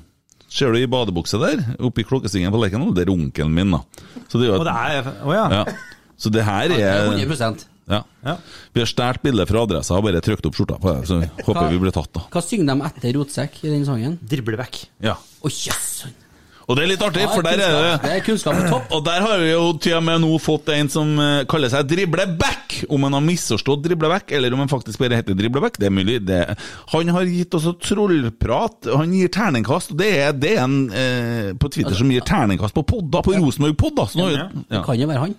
Speaker 6: Ser du i badebukse der, oppe i klokkestingen på Lerkendal? Det er onkelen min, da. Så det, er jo
Speaker 11: Og det
Speaker 6: et-
Speaker 11: er Å ja.
Speaker 6: ja. Så det her er
Speaker 7: 100
Speaker 6: ja.
Speaker 11: Ja.
Speaker 6: Vi har stjålet bildet fra adressa og bare trykt opp skjorta på det, så håper vi blir tatt, da.
Speaker 7: Hva synger de etter Rotsekk i den sangen?
Speaker 11: Drible vekk.
Speaker 6: Ja.
Speaker 7: Å, jøss!
Speaker 6: Og det er litt artig, for der er det
Speaker 7: kunnskap- det er kunnskap på topp.
Speaker 6: Og der har vi jo til og med nå fått en som eh, kaller seg Dribleback. Om han har misforstått Dribleback, eller om han faktisk bare heter Dribleback, det er mulig. Det. Han har gitt oss et trollprat, og han gir terningkast. og Det er, det er en eh, på Twitter som gir terningkast på podda, på Rosenborg-podda. Så nå,
Speaker 11: Ja.
Speaker 6: ja.
Speaker 7: Kan jo være han.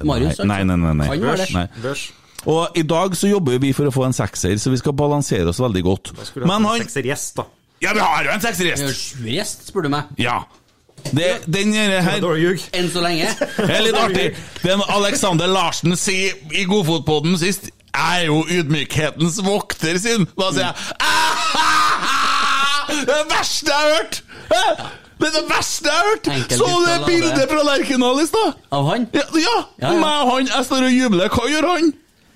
Speaker 7: Marius, altså.
Speaker 6: Nei, nei, nei. nei.
Speaker 7: Kan være det.
Speaker 6: Nei.
Speaker 11: Børs.
Speaker 6: Og i dag så jobber vi for å få en sekser, så vi skal balansere oss veldig godt.
Speaker 11: Skulle
Speaker 6: Men
Speaker 11: hatt en
Speaker 6: han
Speaker 11: sekser gjest, da.
Speaker 6: Ja, vi har
Speaker 7: Jeg
Speaker 6: jo en
Speaker 7: er jo
Speaker 6: seksergjest!
Speaker 7: sju gjest, spør du meg.
Speaker 6: Ja. Det, den her
Speaker 11: Dårlig ljug.
Speaker 7: Enn så lenge.
Speaker 6: Det er litt artig. Det er noe Alexander Larsen sier i Godfotpodden sist Jeg er jo ydmykhetens vokter sin. Da sier jeg «Ah, Det er det verste jeg har hørt! Hæ? Det er det verste jeg har hørt!
Speaker 7: Enkeltvis
Speaker 6: Så du det
Speaker 7: skal la
Speaker 6: bildet
Speaker 7: det.
Speaker 6: fra Lerkendal i stad?
Speaker 7: Av han?
Speaker 6: Ja, ja.
Speaker 7: Ja, ja.
Speaker 6: meg og han. Jeg står og jubler. Hva gjør han?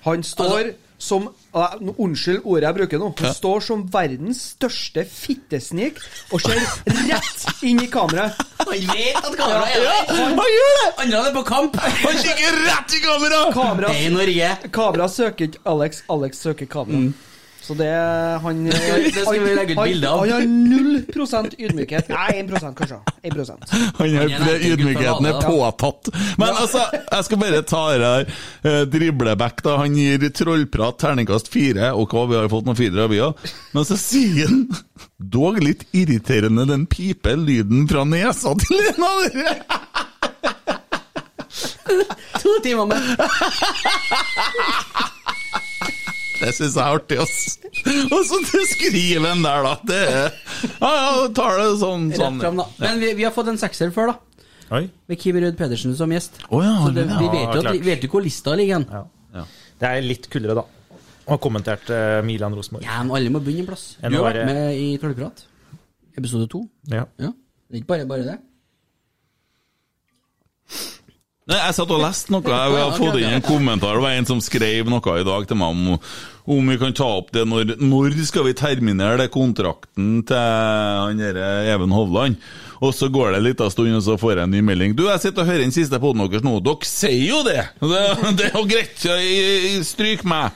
Speaker 5: Han står
Speaker 7: Altså-
Speaker 5: som Nei, nå- Unnskyld ordet jeg bruker nå. Han står som verdens største fittesnik og ser rett inn i kameraet.
Speaker 7: Han vet at kameraet er
Speaker 6: Ja,
Speaker 7: der!
Speaker 6: han gjør det!
Speaker 7: Andre er på kamp!
Speaker 6: Han kikker rett i kamera!
Speaker 5: Kamera,
Speaker 7: Det er i Norge. Mm.
Speaker 5: kamera søker ikke Alex, Alex søker kamera. Så det han
Speaker 7: Det skal vi legge ut
Speaker 5: han-
Speaker 7: bilde av.
Speaker 5: Han har null prosent ydmykhet. Nei, 1 kanskje. 1
Speaker 6: Han
Speaker 7: Han er
Speaker 6: er,
Speaker 7: en
Speaker 6: det,
Speaker 7: enkel gutt
Speaker 6: ydmykheten er
Speaker 7: fra
Speaker 6: påtatt. Men altså, jeg skal bare ta det her. Eh, Driblebekk, da. Han gir trollprat terningkast fire, og hva, vi har fått noen firere, vi òg. Men så sier han Dog litt irriterende den pipe lyden fra nesa til en av dere!
Speaker 7: To timer med
Speaker 6: Det syns jeg er artig, ass. Og så beskriver han der, da. Det er Ja, ja, tar det sånn,
Speaker 7: rett
Speaker 6: sånn.
Speaker 7: fram, da. Men vi, vi har fått en sekser før, da.
Speaker 11: Oi.
Speaker 7: Med Kim Rød Pedersen som gjest.
Speaker 6: Å ja,
Speaker 7: Så det, vi
Speaker 11: ja,
Speaker 7: vet jo, at,
Speaker 11: klart.
Speaker 7: vi vet jo hvor lista ligger hen.
Speaker 11: Det er litt kuldere, da. Og kommentert eh, Milan Rosenborg.
Speaker 7: Ja, men alle må begynne en plass.
Speaker 11: Enn
Speaker 7: Du
Speaker 11: å
Speaker 7: har vært
Speaker 11: være-
Speaker 7: med i Trollprat. Episode to.
Speaker 11: Ja.
Speaker 7: Ja. Det er ikke bare bare det.
Speaker 6: Nei, Jeg satt og leste noe. Jeg har fått inn en kommentar. Det var en som skrev noe i dag til meg om, om vi kan ta opp det når Når skal vi terminere det kontrakten til han derre Even Hovland? Og så går det en liten stund, og så får jeg en ny melding. Du, jeg sitter og hører den siste poden deres nå. Dere sier jo det! Det, det er jo greit. Jeg- jeg- Stryk meg.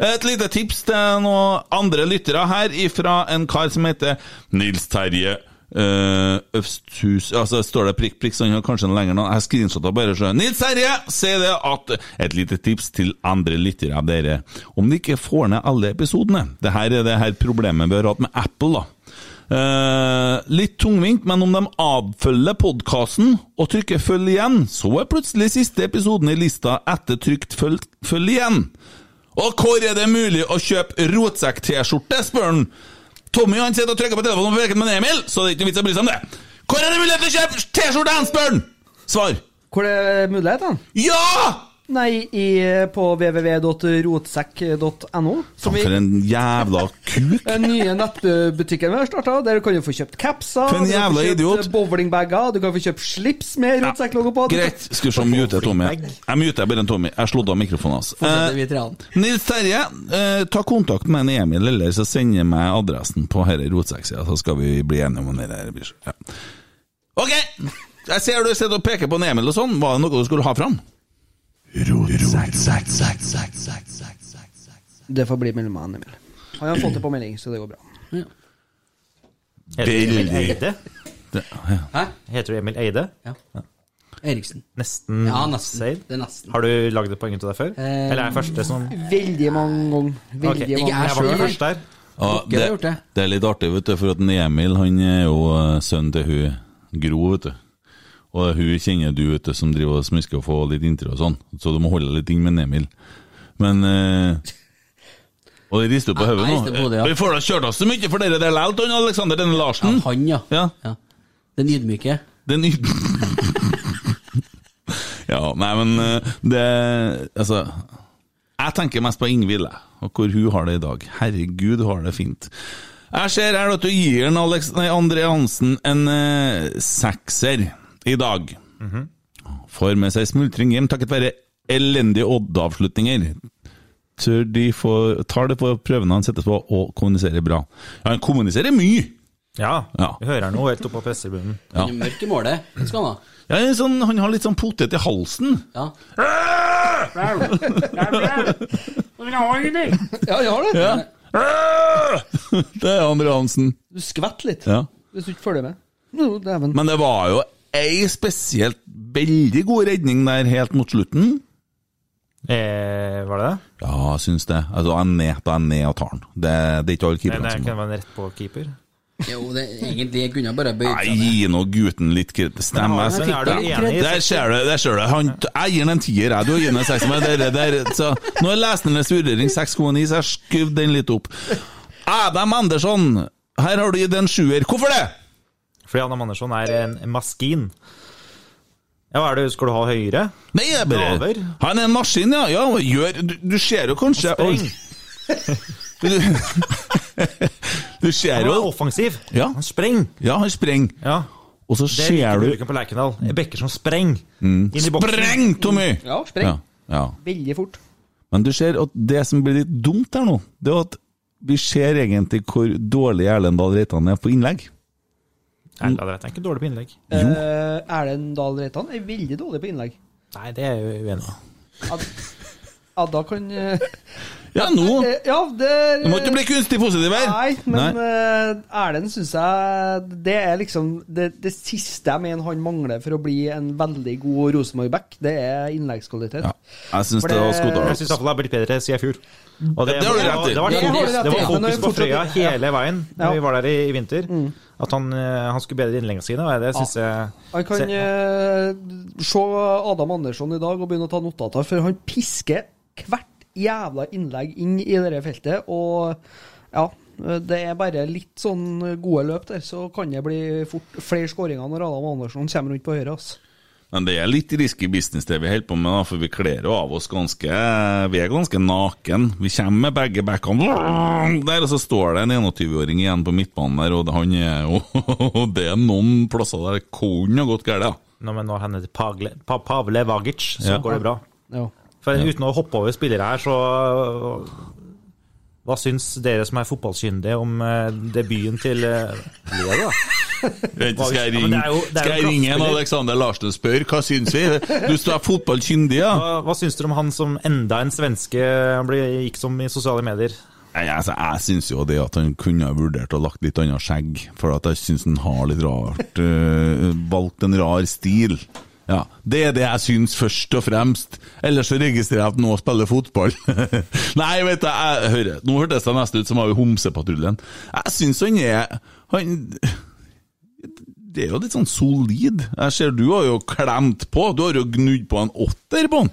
Speaker 6: Et lite tips til noen andre lyttere her ifra en kar som heter Nils Terje eh, Øvsthus Altså står det prikk, prikk, så han har kanskje en lengre navn. Jeg screenshotta bare sjøl. Nils Terje sier det at Et lite tips til andre lyttere av dere. Om de ikke får ned alle episodene Det her er det her problemet vi har hatt med Apple, da. Eh, litt tungvint, men om de avfølger podkasten og trykker 'følg' igjen, så er plutselig siste episoden i lista etter trykt 'følg, følg igjen'. Og hvor er det mulig å kjøpe rotsekk-T-skjorte, spør han. Tommy han sitter og trykker på telefonen på veken med Emil, så det er ikke noe vits i å bry seg om det. Hvor er det mulig å kjøpe T-skjorte, han spør han! Svar.
Speaker 5: Hvor er mulighetene?
Speaker 6: Ja!
Speaker 5: Eh, Nei, i, eh, på www.rotsekk.no. Som vi
Speaker 6: For en jævla kuk.
Speaker 5: den nye nettbutikken vi har starta, der du kan jo få kjøpt capser,
Speaker 6: For en
Speaker 5: du kan få
Speaker 6: jævla
Speaker 5: kjøpt
Speaker 6: idiot.
Speaker 5: bowlingbager, du kan få kjøpt slips med rotsekklogo på. Du kan-
Speaker 6: Greit, skal vi se om jeg muter Tommy. Jeg muter bare en Tommy. Jeg slått av mikrofonen hans.
Speaker 7: Fortsetter
Speaker 6: Eh,
Speaker 7: vi til han.
Speaker 6: Nils Terje, eh, ta kontakt med en Emil, eller så sender jeg meg adressen på herre rotsekksida, så skal vi bli enige om det der. blir. Ja. Ok! Jeg ser du sitter og peker på en Emil og sånn. Var det noe du skulle ha fram?
Speaker 5: Det får bli mellom meg og Emil. Han har fått det på melding, så det går bra.
Speaker 11: Heter du Emil Eide?
Speaker 7: Hæ?
Speaker 11: Heter du Emil Eide?
Speaker 7: Eriksen.
Speaker 11: Nesten.
Speaker 7: Ja, nesten.
Speaker 11: Seid?
Speaker 7: Det er nesten. Eh,
Speaker 11: Har du lagd et poeng ut av deg før? Eller er jeg første som
Speaker 5: Veldig mange ganger. Veldig
Speaker 11: Ok.
Speaker 5: mange
Speaker 7: Ikke
Speaker 5: ganger.
Speaker 11: Jeg var
Speaker 7: Selv?
Speaker 11: ikke først der.
Speaker 6: Ja,
Speaker 7: Ikke har gjort det.
Speaker 6: det er litt artig, vet du, for at den Emil han er jo eh, sønnen til hun Gro, vet du. Og hun kjenner du, vet du, som driver og smisker og får litt intro og sånn. Så du må holde litt inn med en Emil. Men eh, Og det rister jo på
Speaker 7: Jeg-
Speaker 6: hodet
Speaker 7: jeg rister på
Speaker 6: nå.
Speaker 7: hodet, ja.
Speaker 6: Vi får da kjørt oss så mye for dere der likevel, han Alexander Denne Larsen.
Speaker 7: Han, ja.
Speaker 6: Ja.
Speaker 7: ja. Den ydmyke.
Speaker 6: Den y- Ja, nei, men eh, det Altså Jeg tenker mest på Ingvild, jeg, og hvor hun har det i dag. Herregud, hun har det fint. Jeg ser her at du gir en Alex, nei, André Hansen en eh, sekser i dag.
Speaker 11: Mhm.
Speaker 6: Får med seg smultring hjem takket være elendige Odd-avslutninger. Tør de få, tar det på prøvene han settes på, og kommuniserer bra. Ja, han kommuniserer mye!
Speaker 11: Ja.
Speaker 6: Ja.
Speaker 11: Vi hører noe helt oppe på pressetribunen.
Speaker 6: Ja.
Speaker 7: Den mørke målet. Det skal han ha.
Speaker 6: Ja, en sånn, han har litt sånn potet i halsen.
Speaker 7: Ja.
Speaker 5: Ja, jeg har det.
Speaker 6: Det er Andre Hansen.
Speaker 5: Du skvetter litt
Speaker 6: Ja.
Speaker 5: hvis du ikke følger med. No, dæven.
Speaker 6: Men det var jo ei spesielt veldig god redning der helt mot slutten.
Speaker 11: Eh, var det det?
Speaker 6: Ja, jeg syns det. Altså, jeg er ned, da er jeg ned og tar den. Det, det er ikke alle
Speaker 11: Nei,
Speaker 6: keeperne
Speaker 11: det
Speaker 6: som
Speaker 11: kunne være en rett på keeper.
Speaker 7: Jo, det egentlig jeg kunne bare bøyd
Speaker 6: Nei,
Speaker 7: seg ned.
Speaker 6: gi nå gutten litt kred- Stem,
Speaker 11: Men
Speaker 6: jeg
Speaker 11: er du
Speaker 6: sitter-
Speaker 11: enig i-
Speaker 6: Der ser du, der ser du. Han, jeg gir den en tier, jeg. Du gir den en sekser. Men det der, så, nå er lesernes vurdering 6,9, så jeg skrev den litt opp. Adam Andersson, her har du gitt en sjuer. Hvorfor det?
Speaker 11: Fordi Adam Andersson er en maskin. Ja, hva er det, Skal du ha høyere?
Speaker 6: Nei, jeg bare
Speaker 11: Laver.
Speaker 6: Han er en maskin, ja. ja og gjør, du, du ser jo kanskje
Speaker 11: Spreng!
Speaker 6: Du, du ser
Speaker 11: Han er
Speaker 6: jo
Speaker 11: offensiv.
Speaker 6: Ja.
Speaker 11: Han spreng!
Speaker 6: Ja, han sprenger.
Speaker 11: Ja.
Speaker 6: Og så
Speaker 11: Det liker
Speaker 6: ser du
Speaker 11: publikum på Lerkendal. Bekker som spreng. Inn i boksen.
Speaker 6: Mm. Spreng, Tommy!
Speaker 5: Ja, spreng.
Speaker 6: Ja, ja.
Speaker 5: Veldig fort.
Speaker 6: Men du ser at det som blir litt dumt her nå, det er at vi ser egentlig hvor dårlig Erlend Dahl Reitan er på innlegg.
Speaker 11: Nei, det er ikke dårlig på innlegg.
Speaker 5: Eh, Erlend Dahl Reitan er veldig dårlig på innlegg.
Speaker 11: Nei, det er jeg uenig i.
Speaker 5: Ad, Adda kan eh,
Speaker 6: Ja, nå
Speaker 5: Eh, Ja, det
Speaker 6: Du må ikke bli kunstig positiv her!
Speaker 5: Nei, men eh, Erlend syns jeg Det er liksom det, det siste jeg mener han mangler for å bli en veldig god Rosenborg-back, det er innleggskvalitet.
Speaker 6: Ja, jeg syns
Speaker 5: For
Speaker 6: det var
Speaker 5: det-
Speaker 11: Jeg
Speaker 6: skotalt.
Speaker 11: syns iallfall det har blitt bedre siden i fjor. Og det,
Speaker 6: Ja, det har du rett i.
Speaker 11: det, var,
Speaker 5: Det har du rett i.
Speaker 11: det var
Speaker 5: Men det
Speaker 11: fokus
Speaker 5: er
Speaker 11: på
Speaker 5: fortsatt-
Speaker 11: Frøya hele veien da
Speaker 5: Ja. Mm.
Speaker 11: vi var der i, i vinter. At han, eh, han skulle bedre innleggene sine. og Det syns jeg
Speaker 5: Han kan
Speaker 11: Se-
Speaker 5: eh, se Adam Andersson i dag og begynne å ta notater, for han pisker hvert jævla innlegg inn i dette feltet. Og ja, det er bare litt sånn gode løp der, så kan det bli fort flere skåringer når Adam Andersson kommer rundt på høyre. ass.
Speaker 6: Men det er litt risky business det vi holder på med, da, for vi kler jo av oss ganske Vi er ganske naken. Vi kommer med begge backene der, og så står det en 21-åring igjen på midtbanen der, og han er jo Det er noen plasser der det kunne ha gått galt, ja.
Speaker 11: Nå, men når han heter Pagle, pa, Pavle Vagic, så
Speaker 6: Ja.
Speaker 11: går det bra.
Speaker 5: Ja.
Speaker 11: For Uten å hoppe over spillere her, så Hva syns dere som er fotballkyndige om eh, debuten til eh, Leo, da?
Speaker 6: Vent, skal jeg
Speaker 11: Ja, men det
Speaker 6: ringe,
Speaker 11: er jo- det er jo
Speaker 6: skal jeg ringe en
Speaker 11: kraftspiller.
Speaker 6: Alexander Larsen og spørre hva syns vi? Du står er fotballkyndig, ja?
Speaker 11: Hva, hva syns dere om han som enda en svenske han ble, gikk som i sosiale medier?
Speaker 6: Nei, altså, jeg syns jo det at han kunne ha vurdert å lagt litt annet skjegg, for at jeg syns han har litt rart øh, Valgt en rar stil. Ja, Det er det jeg syns, først og fremst. Ellers så registrerer jeg at nå spiller fotball. Nei, vet du, jeg hører Nå hørtes det nesten ut som av i Homsepatruljen. Jeg syns han er Han Det er jo litt sånn solid. Jeg ser du har jo klemt på. Du har jo gnudd på en åtter på han.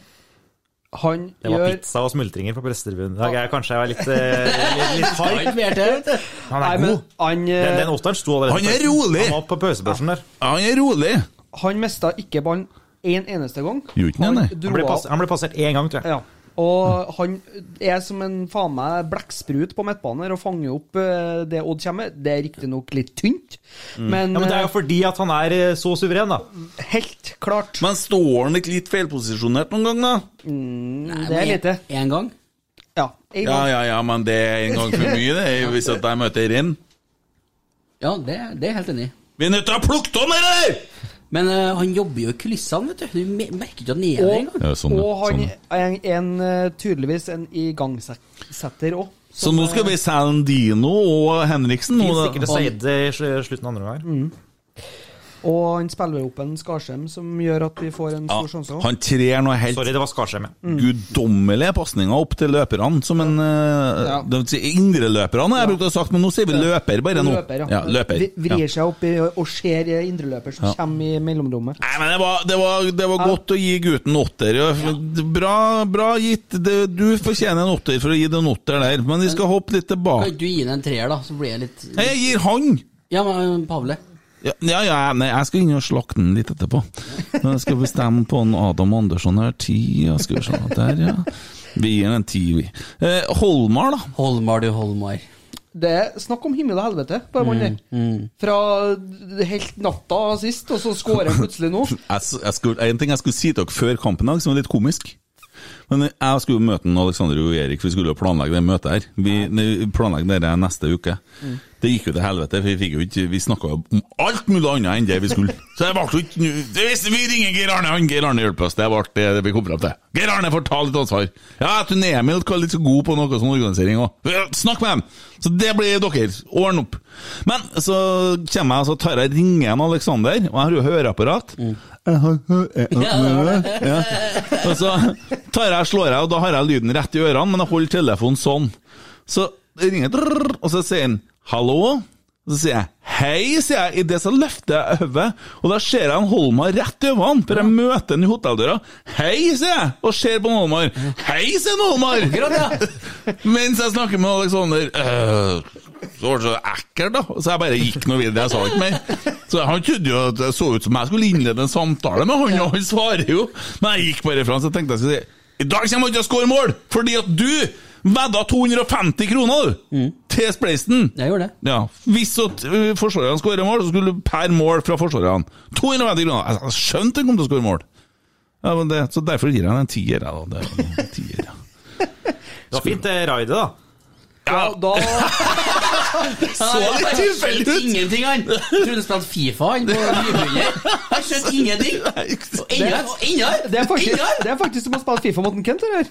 Speaker 5: Han
Speaker 11: Det var
Speaker 5: gjør
Speaker 11: pizza og smultringer på prestetribunen i dag. Jeg kanskje er litt, eh, litt, litt hard. Han
Speaker 5: Nei,
Speaker 11: er
Speaker 5: men
Speaker 11: god.
Speaker 5: han,
Speaker 11: Den,
Speaker 5: eh,
Speaker 11: den åtteren sto allerede
Speaker 6: Han er
Speaker 11: på pausen.
Speaker 6: rolig.
Speaker 11: Han var på pausebørsen der.
Speaker 6: Han er rolig.
Speaker 5: han mista ikke ballen én eneste gang.
Speaker 6: Gjorde ikke det, nei. Han
Speaker 5: dro
Speaker 11: Han ble,
Speaker 5: av-
Speaker 11: pass, han ble passert én gang, tror jeg.
Speaker 5: Ja. Og han er som en faen meg blekksprut på midtbanen her og fanger opp eh, det Odd kommer med. Det er riktignok litt tynt, men,
Speaker 11: Mm. Ja, men Det er jo fordi at han er eh, så suveren, da.
Speaker 5: eh, helt klart.
Speaker 6: Men står han ikke litt feilposisjonert noen gang, da?
Speaker 5: Mm, det er lite.
Speaker 7: Én gang.
Speaker 5: Ja. en
Speaker 6: Ja,
Speaker 5: gang.
Speaker 6: ja, ja, men det er en gang for mye, det. Hvis at jeg møter Rinn.
Speaker 7: Ja, det, det er jeg helt enig i.
Speaker 6: Vi er nødt til å plukke av den der!
Speaker 7: Men eh, han jobber jo i kulissene, vet du. Du me- merker ikke at han er der engang.
Speaker 6: Ja, sånn, ja,
Speaker 5: og han
Speaker 6: sånn,
Speaker 5: er en, en, eh, tydeligvis en igangsetter eh, òg.
Speaker 6: Så nå skal vi selge Dino og Henriksen?
Speaker 11: Fins
Speaker 6: Og,
Speaker 11: sikkert å si det i sl- slutten av andre omgang.
Speaker 5: Mm. Og han spiller opp en Skarsheim som gjør at vi får en
Speaker 6: ja,
Speaker 5: stor sjanse òg.
Speaker 6: han trer noe helt Mm.
Speaker 11: Sorry, det var Skarsheim. ja.
Speaker 6: guddommelige pasninger opp til løperne, som en eh, ja.
Speaker 5: Ja.
Speaker 6: Indreløperne, har jeg brukt å sagt, men nå sier vi løper bare nå.
Speaker 5: Løper, ja.
Speaker 6: Ja, løper.
Speaker 5: Vri- Vrir
Speaker 6: Ja.
Speaker 5: seg opp i, og ser eh, indreløper som
Speaker 6: Ja.
Speaker 5: kommer i mellomrommet.
Speaker 6: Nei, men det var, det var, det var godt å gi gutten åtter. ja. Bra, bra gitt. Det- Du fortjener en åtter for å gi det en åtter der, men vi skal hoppe litt
Speaker 7: Kan
Speaker 6: tilbake.
Speaker 7: ikke du gi ham en treer, da? Så blir jeg litt
Speaker 6: Nei, Jeg gir han!
Speaker 7: Ja, men eh, Pavle.
Speaker 6: Ja, ja, ja nei, jeg skal inn og slakte den litt etterpå. Men jeg skal bestemme på en Adam Andersson her. Ti, ja, skal vi se. Der, ja. Vi gir den en ti, vi. Eh, Holmar, da.
Speaker 7: Holmar, du Holmar. Mm,
Speaker 5: Det er snakk om himmel og helvete på den
Speaker 6: Mm.
Speaker 5: mannen der. Fra helt natta sist, og så skårer han plutselig nå.
Speaker 6: Jeg, s- jeg skulle, en ting jeg skulle si til dere før kampen i dag, som var litt komisk. Men jeg skulle jo møte en Alexander og Erik, for vi skulle jo planlegge det møtet her. Vi ne- planlegger det neste uke. Det gikk jo til helvete, for vi, fikk jo ikke- vi snakka jo om alt mulig annet enn det vi skulle. Så det ble jo ikke nu- Det visste Vi ringer Geir Arne, han Geir Arne hjelper oss. Det ble det, det vi kom fram til. Geir Arne får ta litt ansvar. Ja, jeg tror Emil var litt så god på noe sånn organisering òg. Snakk med dem! Så det blir dere. Ordne opp. Men så kommer jeg, og så tar jeg ringer en Alexander, og jeg har jo høreapparat. Jeg har høreapparat. Ja. Og så tar jeg, slår jeg, og da har jeg lyden rett i ørene, men jeg holder telefonen sånn. Så det ringer drrrr, og så sier han 'hallo'. Og så sier jeg 'hei', sier jeg. I det så løfter jeg hodet, og da ser jeg han Holmar rett i øynene, for jeg møter han i hotelldøra. 'Hei', sier jeg, og ser på han Holmar. 'Hei', sier han Holmar. Mens jeg snakker med Alexander «Øh, Så var det så ekkelt, da. Så jeg bare gikk noe videre. Jeg sa ikke mer. Så han trodde jo at det så ut som jeg skulle innlede en samtale med han, og han svarer jo. Men jeg gikk bare fra han, så tenkte jeg skulle si I dag kommer han ikke til å skåre mål, fordi at du vedda 250 kroner du, til Spleisen.
Speaker 7: Mm. Jeg gjorde det.
Speaker 6: Ja. Hvis så t- øh, forsvarerne skårer mål, så skulle du per mål fra forsvarerne 250 kroner. Jeg- Jeg skjønte han kom til å skåre mål. Ja, men det, så derfor gir jeg han en tier, jeg, da. Det er jo en tier, ja.
Speaker 11: Det var fint det raidet, da.
Speaker 5: Ja, da
Speaker 6: Så litt tilfeldig ut!
Speaker 7: Ingenting, han! Trodde han spilte Fifa, han, på Nybuller. Han skjønte ingenting. Og enda, og enda,
Speaker 5: det er, faktisk,
Speaker 7: enda.
Speaker 5: det er faktisk som å spille Fifa mot en Kent, eller?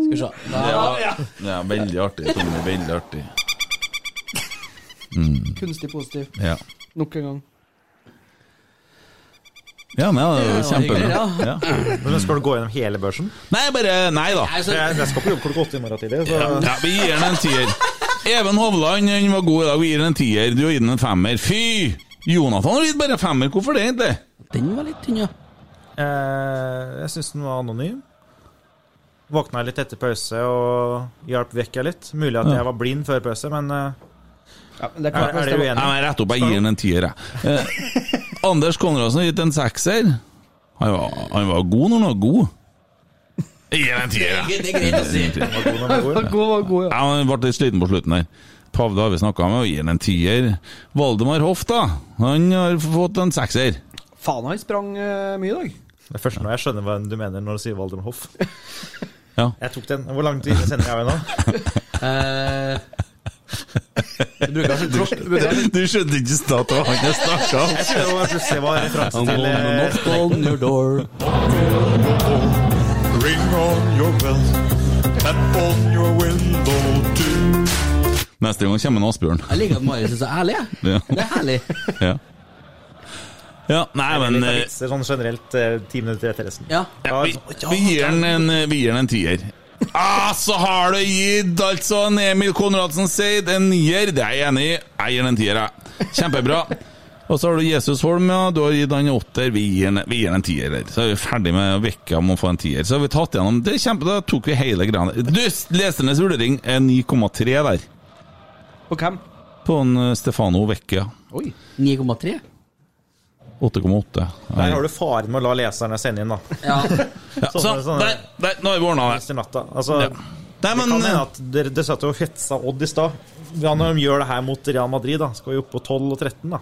Speaker 7: Skal vi se. Da
Speaker 6: Det var, ja, veldig artig, Tommy. Veldig artig.
Speaker 5: Kunstig positiv.
Speaker 6: Ja.
Speaker 5: Nok en gang.
Speaker 6: Ja, nei, det var kjempebra.
Speaker 7: hyggelig,
Speaker 6: Ja.
Speaker 11: Men skal du gå gjennom hele børsen?
Speaker 6: Nei, bare Nei da.
Speaker 7: Nei, så,
Speaker 11: Jeg, jeg skal på jobb klokka åtte i morgen tidlig. Så.
Speaker 6: Ja, vi gir den en tier. Even Hovland han var god i dag. Vi gir den en tier. Du har gitt den en femmer. Fy! Jonathan har gitt bare femmer. Hvorfor det, egentlig?
Speaker 7: den var litt tynn, ja.
Speaker 11: Eh, jeg syns den var anonym. Våkna litt etter pause og hjalp vekk jeg litt. Mulig at jeg var blind før pause, men eh,
Speaker 5: Ja, men det er
Speaker 11: er,
Speaker 5: klart,
Speaker 11: er dere
Speaker 5: hvis det
Speaker 6: Nei,
Speaker 11: uenige?
Speaker 6: men rett opp, jeg gir den en tier, jeg. Eh, Anders Konradsen har gitt en sekser. Han var, han var god når han var god. Jeg gir den en tier, jeg.
Speaker 7: Det er greit å si.
Speaker 6: Jeg gir den en tier.
Speaker 11: God nummer god.
Speaker 5: var- god, var god, ja.
Speaker 6: Ja, men Jeg ble litt sliten på slutten der. Pavle har vi snakka med, og gir den en tier. Valdemar Hoff, da. Han har fått en sekser.
Speaker 5: Faen, han sprang eh, mye i dag.
Speaker 11: Det er først nå jeg skjønner hva du mener når du sier Valdemar Hoff.
Speaker 6: Ja.
Speaker 11: Jeg tok den. Hvor lang tid sender jeg meg nå?
Speaker 7: Eh, du bruker altså klokk... du bruker-
Speaker 6: Du skjønte ikke i stad at det var han jeg snakka om?
Speaker 11: Det var plutselig var referanse til eh,
Speaker 7: Knock on your door.
Speaker 6: Neste gang kommer en Asbjørn.
Speaker 7: Jeg liker at Marius er så ærlig. jeg.
Speaker 6: Ja.
Speaker 7: Det er herlig.
Speaker 6: ja. ja nei, men
Speaker 11: litt av
Speaker 6: eh,
Speaker 11: vitser, sånn generelt eh, ti minutter etter resten.
Speaker 7: Ja.
Speaker 6: ja, vi, vi gir den en, eh, vi gir den en tier. Ah, så har du gitt altså en Emil Konradsen Seid en nier. Det er jeg enig i. Jeg gir den en tier, jeg. Kjempebra. Og så har du Jesus Holm, ja. Du har gitt han en åtter. Vi gir den- vi gir den en tier. her. Så er vi ferdig med vekka om å få en tier. Så har vi tatt gjennom det. er Kjempe, da tok vi hele greia. der. Du, Lesernes vurdering er 9,3 der.
Speaker 5: På hvem?
Speaker 6: På en eh, Stefano Vecchia.
Speaker 7: 9,3.
Speaker 6: 8,8.
Speaker 11: Der har du faren med å la leserne sende inn, da.
Speaker 7: Ja.
Speaker 6: Ja,
Speaker 11: Sånne-
Speaker 6: sånn,
Speaker 11: sånne-
Speaker 6: der, der, nå har vi ordna det.
Speaker 11: Resten av natta. Altså,
Speaker 6: Ja. Nei,
Speaker 11: Det kan
Speaker 6: men eh,
Speaker 11: hende at dere, dere satt jo og fetsa Odd i stad. Ja, når de gjør det her mot Real Madrid, da, skal vi opp på 12 og 13, da.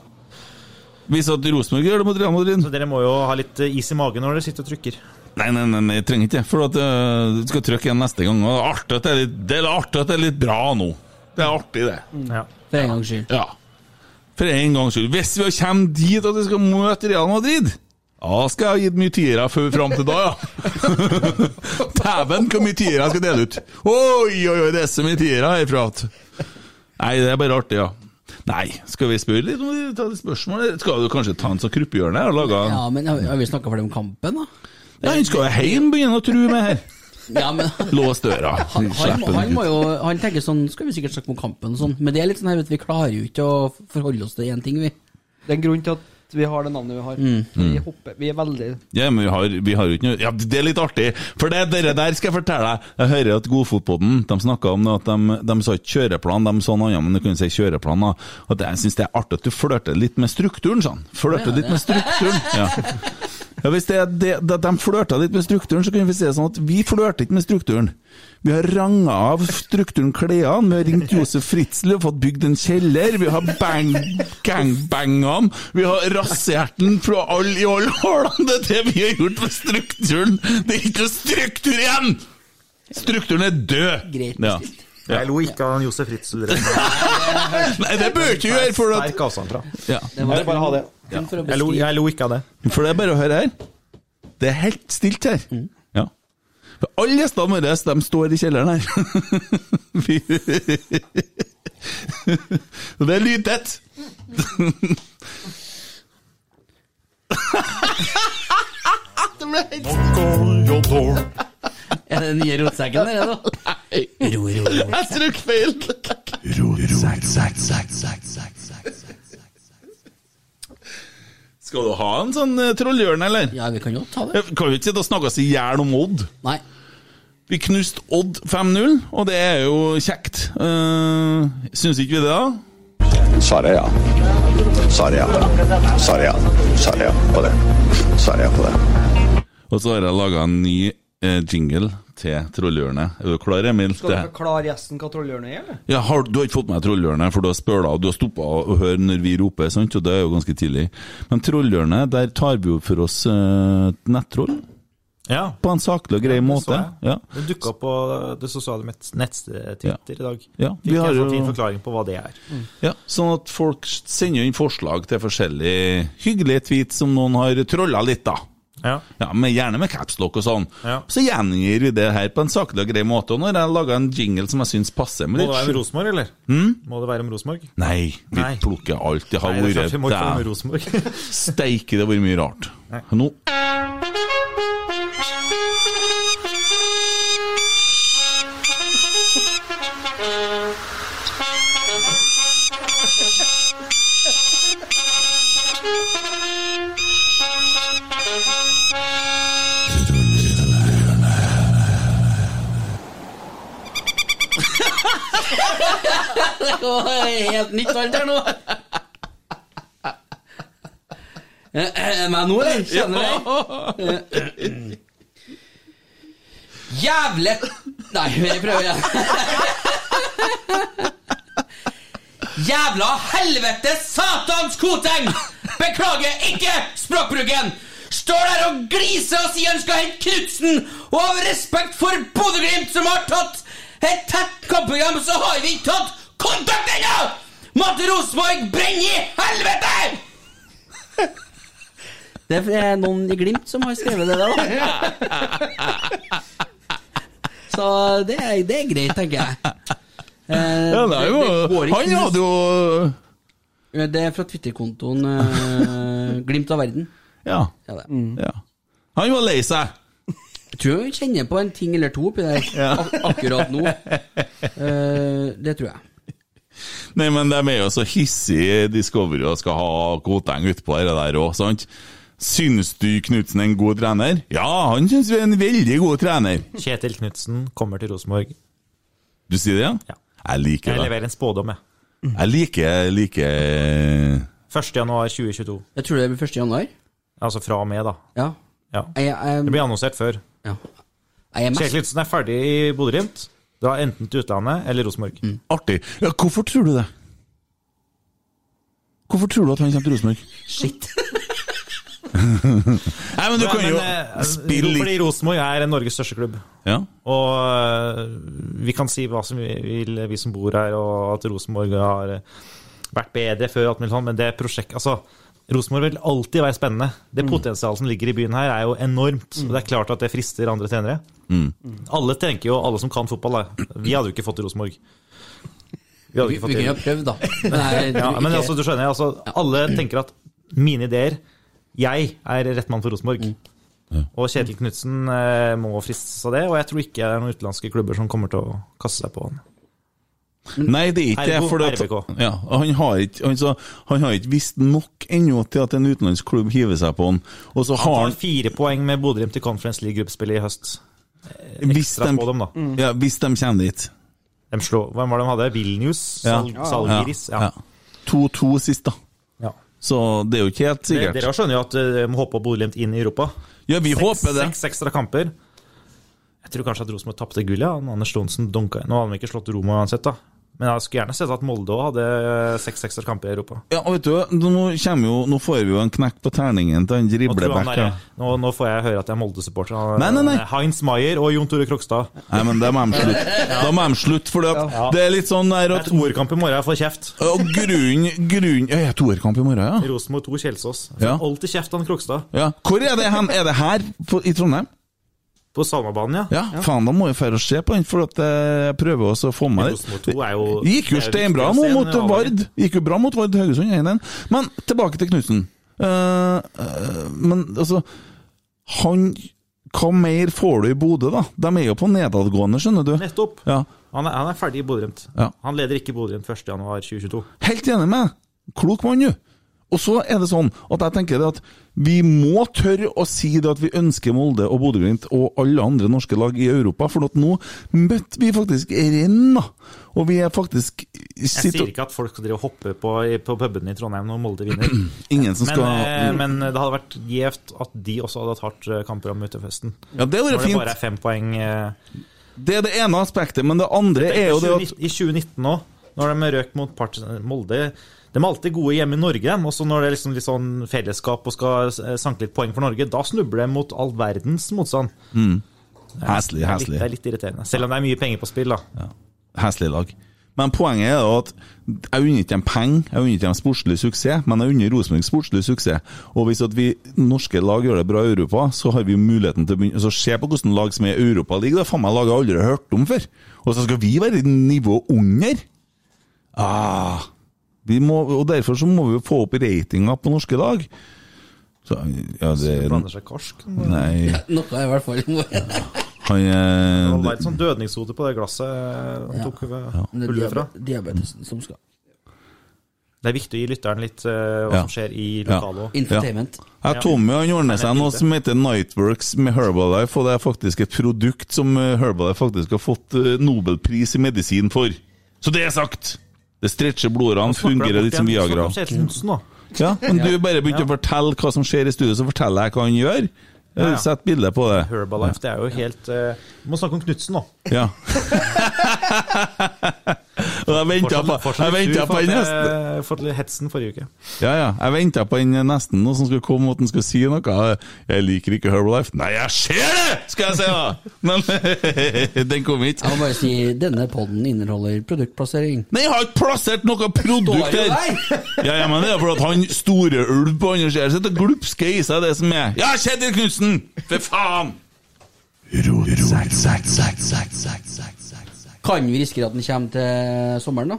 Speaker 6: hvis at Rosenborg gjør det mot Real Madrid
Speaker 11: Så dere må jo ha litt eh, is i magen når dere sitter og trykker.
Speaker 6: Nei, nei, nei, nei jeg trenger ikke For at øh, du skal trykke igjen neste gang. Og det er artig at det er litt, det er artig at det er litt bra nå. Det er artig, det.
Speaker 11: Ja.
Speaker 7: Mm. For en gangs skyld.
Speaker 6: Ja. For en gangs skyld. Hvis vi kommer dit at vi skal møte Real Madrid ja, skal jeg ha gitt mye tiere før fram til da, ja. Dæven, hvor mye tiere jeg skal dele ut. Oi, oi, oi, det er så mye tiere herfra. at- Nei, det er bare artig, ja. Nei, skal vi spørre litt om det? Ta litt spørsmål? Skal du kanskje ta en sånn kruppehjørne og lage en
Speaker 7: Ja, men har har vi snakka for det om kampen, da?
Speaker 6: Ja, han skal jo hjem, begynne å true med her.
Speaker 7: Ja, men han,
Speaker 6: Lås døra.
Speaker 7: han,
Speaker 6: Slipp
Speaker 7: må- han
Speaker 6: den
Speaker 7: må
Speaker 6: ut.
Speaker 7: jo Han tenker sånn Skal vi sikkert snakke om kampen og sånn, men det er litt sånn her, vet du, vi klarer jo ikke å forholde oss til én ting, vi. Mm.
Speaker 5: Det er en grunn til at vi har det navnet vi har.
Speaker 6: Mm.
Speaker 5: Vi, hopper, vi er veldig
Speaker 6: Ja, men vi har, vi har jo ikke noe Ja, det er litt artig, for det dere der skal jeg fortelle deg. Jeg hører at Godfotpodden de snakka om det at de, de sa ikke kjøreplan, de sa noe annet, men du kunne si kjøreplan. da. At jeg syns det er artig at du flørter litt med strukturen, sånn. Flørter litt med strukturen. Ja. Ja, hvis det, er det, det, de flørta litt med strukturen, så kunne vi si det sånn at vi flørter ikke med strukturen. Vi har ranga av strukturen klærne, vi har ringt Josef Fritzl og fått bygd en kjeller, vi har bang, gangbangene, vi har rassehjerten fra alle i alle hålene. Det er det vi har gjort med strukturen! Det er ikke noe struktur igjen! Strukturen er død!
Speaker 7: Greit.
Speaker 6: Ja. Ja.
Speaker 11: Jeg lo ikke av han Josef Ritzel.
Speaker 6: Nei, det bør ikke gjøre, for, at,
Speaker 11: Sterk avstand fra.
Speaker 6: ja.
Speaker 7: Det var
Speaker 11: Bare ha det.
Speaker 7: kun for å
Speaker 11: Jeg lo,
Speaker 7: beskrive
Speaker 11: jeg lo ikke av det.
Speaker 6: for det er bare å høre her. Det er helt stilt her.
Speaker 7: Mm.
Speaker 6: Ja. For alle gjestene våre de står i kjelleren her. Vi- Og det er lydtett!
Speaker 7: Er det den nye rotsekken der, er det da? Ro, ro, ro.
Speaker 6: Jeg tok feil! Skal du ha en sånn eh, trollhjørne, eller?
Speaker 7: Ja, vi kan jo ta det.
Speaker 6: Jeg Kan vi ikke sitte og snakke oss i hjel om Odd?
Speaker 7: Nei.
Speaker 6: Vi knuste Odd 5-0, og det er jo kjekt. Uh, Syns ikke vi det, da?
Speaker 12: Svaret er ja. Svaret er ja. Svaret er ja. Svaret er ja på det. Svaret er ja på det.
Speaker 6: Og så har jeg laga en ny eh, jingle til Trollhjørnet. Er du klar, Emil?
Speaker 5: Skal du
Speaker 6: Det-
Speaker 5: forklare gjesten hva trollhjørnet er, eller?
Speaker 6: Ja, har, du har ikke fått med Trollhjørnet, for du har spøla og du har stoppa å høre når vi roper, sant? og det er jo ganske tidlig. Men Trollhjørnet, der tar vi opp for oss eh, nettroll
Speaker 11: Ja.
Speaker 6: på en saklig og grei
Speaker 11: så
Speaker 6: måte.
Speaker 11: jeg.
Speaker 6: Ja.
Speaker 11: Det dukka opp på det sosiale met- nettsted
Speaker 6: Ja.
Speaker 11: Twitter i dag.
Speaker 6: Ja, vi
Speaker 11: Fikk
Speaker 6: har
Speaker 11: en
Speaker 6: jo-
Speaker 11: sånn fin forklaring på hva det er.
Speaker 7: Mm.
Speaker 6: Ja, sånn at folk sender inn forslag til forskjellige hyggelige tweets som noen har trolla litt, da.
Speaker 11: Ja.
Speaker 6: men Gjerne med capslock og sånn.
Speaker 11: Ja.
Speaker 6: Så gjengir vi det her på en saklig og grei måte. Og når jeg lager en jingle som jeg syns passer
Speaker 11: Må
Speaker 6: med
Speaker 11: det Hmm? være om
Speaker 6: litt
Speaker 11: Rosenborg, eller? Må det være om Rosenborg?
Speaker 6: Nei, vi
Speaker 11: Nei.
Speaker 6: plukker alt. Det har
Speaker 11: Nei, det er klart vi må ikke være om
Speaker 6: vært
Speaker 11: Rosenborg.
Speaker 6: Steike, det har vært mye rart. Nå
Speaker 7: Det var helt nytt alt her nå. Eh, eh, er Meg nå, eller? Kjenner du deg? Jævle Nei, vi prøver igjen. Jævla helvete satans koteng! Beklager ikke språkbruken! Står der og gliser og sier han skal hente Knutsen! Og av respekt for Bodø-Glimt, som har tatt et tett kampprogram, så har vi ikke tatt kontakt ennå! Matte Rosenborg brenner i helvete! Det er noen i Glimt som har skrevet det, da. Så det er, det er greit, tenker jeg. Eh,
Speaker 6: ja, det er jo,
Speaker 7: det går ikke
Speaker 6: Han hadde jo
Speaker 7: det er fra Twitter-kontoen eh, Glimt av verden.
Speaker 6: Ja.
Speaker 7: Ja, det.
Speaker 6: ja. Han var lei seg.
Speaker 7: Jeg tror vi kjenner på en ting eller to oppi der ak akkurat nå. Eh, det tror jeg.
Speaker 6: Nei, men de er jo så hissige, Discovery, og skal ha Koteng utpå det der òg, sant? Syns du Knutsen er en god trener? Ja, han syns vi er en veldig god trener.
Speaker 11: Kjetil Knutsen kommer til Rosenborg.
Speaker 6: Du sier det, ja?
Speaker 11: Ja.
Speaker 6: Jeg liker
Speaker 11: Jeg
Speaker 6: det.
Speaker 11: leverer en spådom, jeg.
Speaker 6: Jeg liker, eh, jeg liker
Speaker 11: 1. januar 2022.
Speaker 7: Jeg tror det blir 1. januar.
Speaker 11: Altså fra og med, da.
Speaker 7: Ja.
Speaker 11: Ja.
Speaker 7: Jeg, jeg,
Speaker 11: Det blir annonsert før.
Speaker 7: ja. jeg er mest
Speaker 11: Kjetil Knutsen er ferdig i Bodø-Glimt. Da enten til utlandet eller Rosenborg.
Speaker 7: Mm.
Speaker 6: Artig. Ja, hvorfor tror du det? Hvorfor tror du at han kommer til Rosenborg?
Speaker 7: Shit.
Speaker 6: Nei, men du
Speaker 11: Ja,
Speaker 6: kan
Speaker 11: men,
Speaker 6: jo
Speaker 11: eh,
Speaker 6: spille litt
Speaker 11: Fordi Rosenborg er Norges største klubb.
Speaker 6: Ja.
Speaker 11: Og eh, vi kan si hva som vi vil, vi som bor her, og at Rosenborg har eh, vært bedre før, og alt mulig sånt, men det prosjektet Altså, Rosenborg vil alltid være spennende. Det
Speaker 6: Mm.
Speaker 11: potensialet som ligger i byen her, er jo enormt. Og det er klart at det frister andre trenere. Mm. Alle tenker jo, alle som kan fotball, da. Vi hadde jo ikke fått til Rosenborg. Vi hadde
Speaker 7: Vi, vi
Speaker 11: ikke fått
Speaker 7: kunne
Speaker 11: til
Speaker 7: jo ha prøvd, da. Nei, jeg tror
Speaker 11: ja, men
Speaker 7: ikke-
Speaker 11: altså, du skjønner, altså, alle tenker at mine ideer Jeg er rett mann for Rosenborg.
Speaker 7: Mm.
Speaker 11: Og Kjetil Knutsen eh, må fristes av det, og jeg tror ikke det er noen utenlandske klubber som kommer til å kaste seg på han.
Speaker 6: Nei, det er ikke det.
Speaker 11: Ergo
Speaker 6: For at,
Speaker 11: RBK.
Speaker 6: ja, han, har ikke, han, så, han har ikke visst nok ennå til at en utenlandsk klubb hiver seg på han. Og så
Speaker 11: Han
Speaker 6: har
Speaker 11: tar
Speaker 6: han
Speaker 11: fire poeng med Bodø-Glimt i Conference League-gruppespillet i høst.
Speaker 6: Hvis
Speaker 11: Straff
Speaker 6: de,
Speaker 11: på dem, da.
Speaker 6: ja, hvis de kommer dit.
Speaker 11: De slår, hvem var det de hadde? Vilnius?
Speaker 6: Ja.
Speaker 11: Sal Salgiris? Ja.
Speaker 6: Ja. 2-2 sist, da.
Speaker 11: ja.
Speaker 6: Så det er jo ikke helt
Speaker 11: Dere,
Speaker 6: sikkert.
Speaker 11: dere skjønner jo at eh, de må håpe på Bodø-Glimt inn i Europa.
Speaker 6: Ja, vi håper det.
Speaker 11: Seks ekstra kamper. Jeg tror kanskje at Rosenborg tapte gullet. Ja. Anders Johnsen dunka inn. Nå hadde de ikke slått Roma uansett, da. Men jeg skulle gjerne sett at Molde òg hadde eh, seks ekstra kamper i Europa.
Speaker 6: Ja, og vet du, nå, kommer jo, nå får vi jo en knekk på terningen til han
Speaker 11: Nå, tror jeg han
Speaker 6: dribleback.
Speaker 11: er,
Speaker 6: her.
Speaker 11: nå, nå får jeg høre at jeg er Molde-supporter. Han-
Speaker 6: Nei, nei, nei.
Speaker 11: han er Heinz Maier og Jon Tore Krokstad.
Speaker 6: Nei, men da må de slutte. Da må de slutte, for det, at det er litt sånn der
Speaker 11: Det er
Speaker 6: at
Speaker 11: toerkamp i morgen, jeg får kjeft.
Speaker 6: Og grunnen grunn, Ja, jeg er toerkamp i morgen, ja.
Speaker 11: Rosenborg 2 Kjelsås. Jeg får
Speaker 6: Ja.
Speaker 11: Alltid kjeft av han Krokstad.
Speaker 6: ja. Hvor er det hen? Er det her på, i Trondheim?
Speaker 11: På Salmabanen, ja.
Speaker 6: Ja, faen, da må jeg dra og se på den, for at eh, jeg prøver også å få med
Speaker 11: Rosenborg
Speaker 6: det.
Speaker 11: 2 er jo-
Speaker 6: Det gikk jo
Speaker 11: det er jo
Speaker 6: steinbra
Speaker 11: viktigere
Speaker 6: nå
Speaker 11: scenen
Speaker 6: mot
Speaker 11: enn
Speaker 6: Vard.
Speaker 11: avgangen.
Speaker 6: Gikk jo bra mot Vard Haugesund 1-1. Men tilbake til Knutsen. Eh, eh, men altså Han Hva mer får du i Bodø, da? De er jo på nedadgående, skjønner du.
Speaker 11: Nettopp.
Speaker 6: Ja,
Speaker 11: Han er, han er ferdig i Bodø-Glimt.
Speaker 6: Ja.
Speaker 11: Han leder ikke Bodø-Glimt 1.1.2022.
Speaker 6: Helt enig med deg. Klok mann, du. Og så er det sånn at jeg tenker det at vi må tørre å si det at vi ønsker Molde og Bodø-Glimt og alle andre norske lag i Europa, for at nå møtte vi faktisk renn, da. Og vi er faktisk
Speaker 11: Jeg sier
Speaker 6: sitter,
Speaker 11: ikke at folk skal drive og hoppe på, på pubene i Trondheim når Molde vinner.
Speaker 6: Ingen som
Speaker 11: Men,
Speaker 6: skal
Speaker 11: eh, men det hadde vært gjevt at de også hadde hatt hardt eh, kampprogram ute i høsten.
Speaker 6: Ja, det hadde
Speaker 11: Når
Speaker 6: vært
Speaker 11: det bare
Speaker 6: fint.
Speaker 11: er fem poeng eh,
Speaker 6: Det er det ene aspektet, men det andre er jo det at
Speaker 11: 2019 I 2019 òg, når de røk mot Partisan Molde De er alltid gode hjemme i Norge, og så når det er liksom litt sånn fellesskap og skal eh, sanke litt poeng for Norge, da snubler de mot all verdens motstand. Det er litt, det
Speaker 6: Heslig, Mm. heslig.
Speaker 11: er litt irriterende. Selv om det er mye penger på spill, da.
Speaker 6: Heslig lag. Men poenget er da at jeg unner ikke dem penger, jeg unner ikke dem sportslig suksess, men jeg unner Rosenborg sportslig suksess. Og hvis at vi norske lag gjør det bra i Europa, så har vi muligheten til å begynne Så se på hvordan lag som er i Europaligaen, det er faen meg lag jeg aldri har hørt om før. Og så skal vi være i nivå under? Ah, vi må, og derfor så må vi jo få opp ratinga på norske lag. Så, ja, det
Speaker 11: Blander seg karsk.
Speaker 6: Nei.
Speaker 7: Noe er i hvert fall
Speaker 6: Han
Speaker 11: Det
Speaker 6: eh,
Speaker 11: var litt sånn dødningshote på det glasset han tok eh,
Speaker 7: Det er
Speaker 11: hullet fra.
Speaker 7: diabe- diabetesen som skal
Speaker 11: Det er viktig å gi lytteren litt eh, hva
Speaker 6: Ja.
Speaker 11: som skjer i
Speaker 6: Ja.
Speaker 11: lokalet òg.
Speaker 7: Infotainment.
Speaker 6: Ja, Tommy han ordner seg
Speaker 11: Nei,
Speaker 6: noe
Speaker 11: det er
Speaker 6: som heter Nightworks med Herbalife, og det er faktisk et produkt som eh, Herbalife faktisk har fått eh, Nobelpris i medisin for. Så det er sagt! Det stretcher blodårene, fungerer litt som Viagra. Ja, men du bare begynte å fortelle hva som skjer i studio, så forteller jeg hva han gjør.
Speaker 11: Ja, ja.
Speaker 6: Eh, Sett bilde på det.
Speaker 11: Herbalife, det er jo helt eh, Vi må snakke om Knutsen nå.
Speaker 6: Ja. Og jeg venta på, jeg
Speaker 11: sur
Speaker 6: ventet
Speaker 11: for
Speaker 6: på
Speaker 11: at
Speaker 6: den
Speaker 11: jeg
Speaker 6: nesten.
Speaker 11: har fått litt hetsen forrige uke.
Speaker 6: Ja, ja. Jeg venta på den nesten noe som skulle komme, at han skulle si noe. Jeg liker ikke Herbalife. Nei, jeg ser det, skal jeg si da! Men den kom ikke.
Speaker 7: Jeg må bare si denne podden inneholder produktplassering.
Speaker 6: Nei, jeg har ikke plassert noe
Speaker 7: Står
Speaker 6: produkt
Speaker 7: jo
Speaker 6: her!
Speaker 7: der!
Speaker 6: Ja, ja, men det er fordi han store ulv på andre sida sitter og glupsker i seg det som er Ja, Kjetil Knutsen! For faen!
Speaker 7: Kan vi risikere at den kommer til sommeren, da?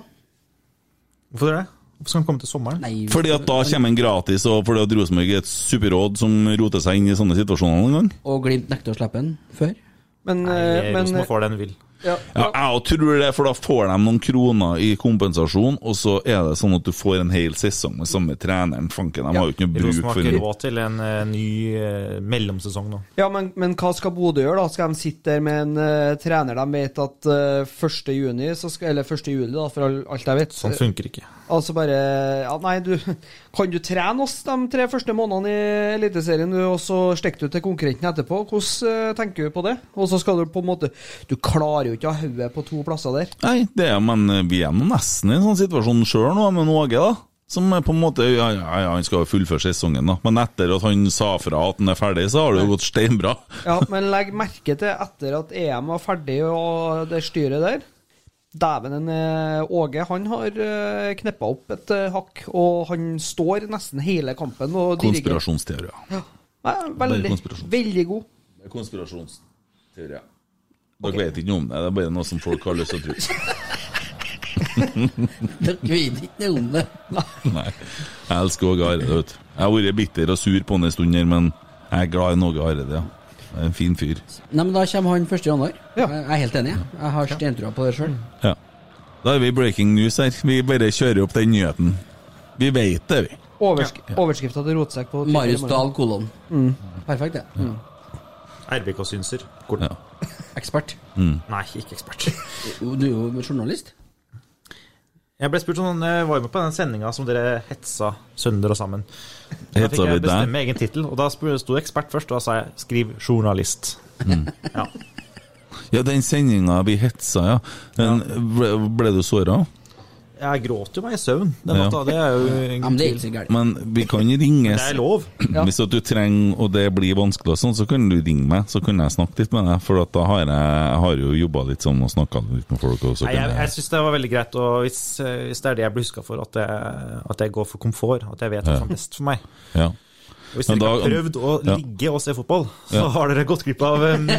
Speaker 11: Hvorfor det? Hvorfor skal han komme til sommeren?
Speaker 7: Nei. vi-
Speaker 6: Fordi at da kommer han gratis, og fordi at Rosenborg er et superråd som roter seg inn i sånne situasjoner noen gang.
Speaker 7: Og Glimt nekter å slippe den før?
Speaker 5: Men, eh, men
Speaker 11: Rosenborg får det den vil.
Speaker 5: ja,
Speaker 6: Ja, jeg også tror det, for da får de noen kroner i kompensasjon, og så er det sånn at du får en hel sesong med samme treneren. Fanken, de har jo ikke noe bruk
Speaker 11: Rosenborg
Speaker 6: for
Speaker 11: har
Speaker 6: det.
Speaker 11: ikke råd til en eh, ny eh, mellomsesong nå.
Speaker 5: ja men, men hva skal Bodø gjøre, da? Skal de sitte der med en eh, trener de vet at eh, 1. juni, så skal, eller 1. juli, da, for all- alt jeg vet
Speaker 7: Eh.
Speaker 11: Sånn funker ikke.
Speaker 5: Altså bare ja, Nei, du Kan du trene oss de tre første månedene i Eliteserien, du, og så stikker du til konkurrenten etterpå? Hvordan eh, tenker du på det? Og så skal du på en måte Du klarer jo ikke å ha hodet på to plasser der.
Speaker 6: Nei, det er, men eh, vi er nå nesten i en sånn situasjon sjøl nå, med Åge, da. Som er på en måte ja, ja, ja, Han skal jo fullføre sesongen, da. Men etter at han sa fra at han er ferdig, så har det jo gått steinbra.
Speaker 5: Ja, men legg merke til etter at EM var ferdig og det styret der Dæven, en eh, Åge han har kneppa opp et eh, hakk, og han står nesten hele kampen og dirigerer.
Speaker 6: Konspirasjonsteorier.
Speaker 5: Nei,
Speaker 6: Bare
Speaker 5: veldig,
Speaker 6: konspirasjon.
Speaker 5: veldig god.
Speaker 6: Det er Konspirasjonsteorier. Dere vet ikke noe om det, det er bare noe som folk har lyst til å tro.
Speaker 7: Dere vet ikke noe om det.
Speaker 6: Nei. Jeg elsker Åge Hareide, vet du. Jeg har vært bitter og sur på han en stund her, men jeg er glad i Åge Hareide, ja. Det er En fin fyr.
Speaker 7: Nei, men Da kommer han 1. januar.
Speaker 5: Ja.
Speaker 7: Jeg er helt enig. jeg. Jeg har stentrua på det sjøl.
Speaker 6: Ja. Da er vi breaking news her. Vi bare kjører opp den nyheten. Vi vet det, vi.
Speaker 5: Oversk Overskrifta til Rotsekk på Twitter i
Speaker 7: Marius
Speaker 5: morgen.
Speaker 7: Dahl kolon. Perfekt, det. Mm.
Speaker 11: RBK-synser. Hvor-
Speaker 6: Ja.
Speaker 7: Ekspert.
Speaker 5: Mm.
Speaker 6: Mm.
Speaker 11: Nei, ikke ekspert.
Speaker 7: Jo, Du er jo journalist.
Speaker 11: Jeg ble spurt sånn, jeg var jo med på den sendinga som dere hetsa sønder og sammen. Da
Speaker 6: Hetsa
Speaker 11: fikk jeg
Speaker 6: vi deg?
Speaker 11: bestemme egen tittel, og da sp- sto ekspert først, og da sa jeg 'skriv journalist'. Ja.
Speaker 6: Ja, den sendinga vi hetsa, ja. Den, ble, ble du såra?
Speaker 11: Jeg gråt jo meg i søvn den
Speaker 6: Ja.
Speaker 11: natta, det er jo
Speaker 7: Ja,
Speaker 11: ingen
Speaker 7: men det er
Speaker 11: tvil.
Speaker 7: ikke så gærent.
Speaker 6: Men vi kan ringes.
Speaker 11: Det er lov.
Speaker 6: Hvis at du trenger, og det blir vanskelig, og sånn, så kan du ringe meg, så kan jeg snakke litt med deg. For at da har jeg, jeg har jo jobba litt sammen og snakka litt med folk. Og så
Speaker 11: Nei, jeg,
Speaker 6: kan
Speaker 11: jeg
Speaker 6: jeg,
Speaker 11: syns det var veldig greit, og hvis, eh, hvis det er det jeg blir huska for, at jeg, at jeg går for komfort, at jeg vet hva som er best for meg.
Speaker 6: ja.
Speaker 11: Og hvis
Speaker 6: Men
Speaker 11: dere ikke
Speaker 6: da-
Speaker 11: har prøvd å
Speaker 6: ja.
Speaker 11: ligge og se fotball, så
Speaker 6: Ja.
Speaker 11: har dere gått glipp av um,
Speaker 7: Ja,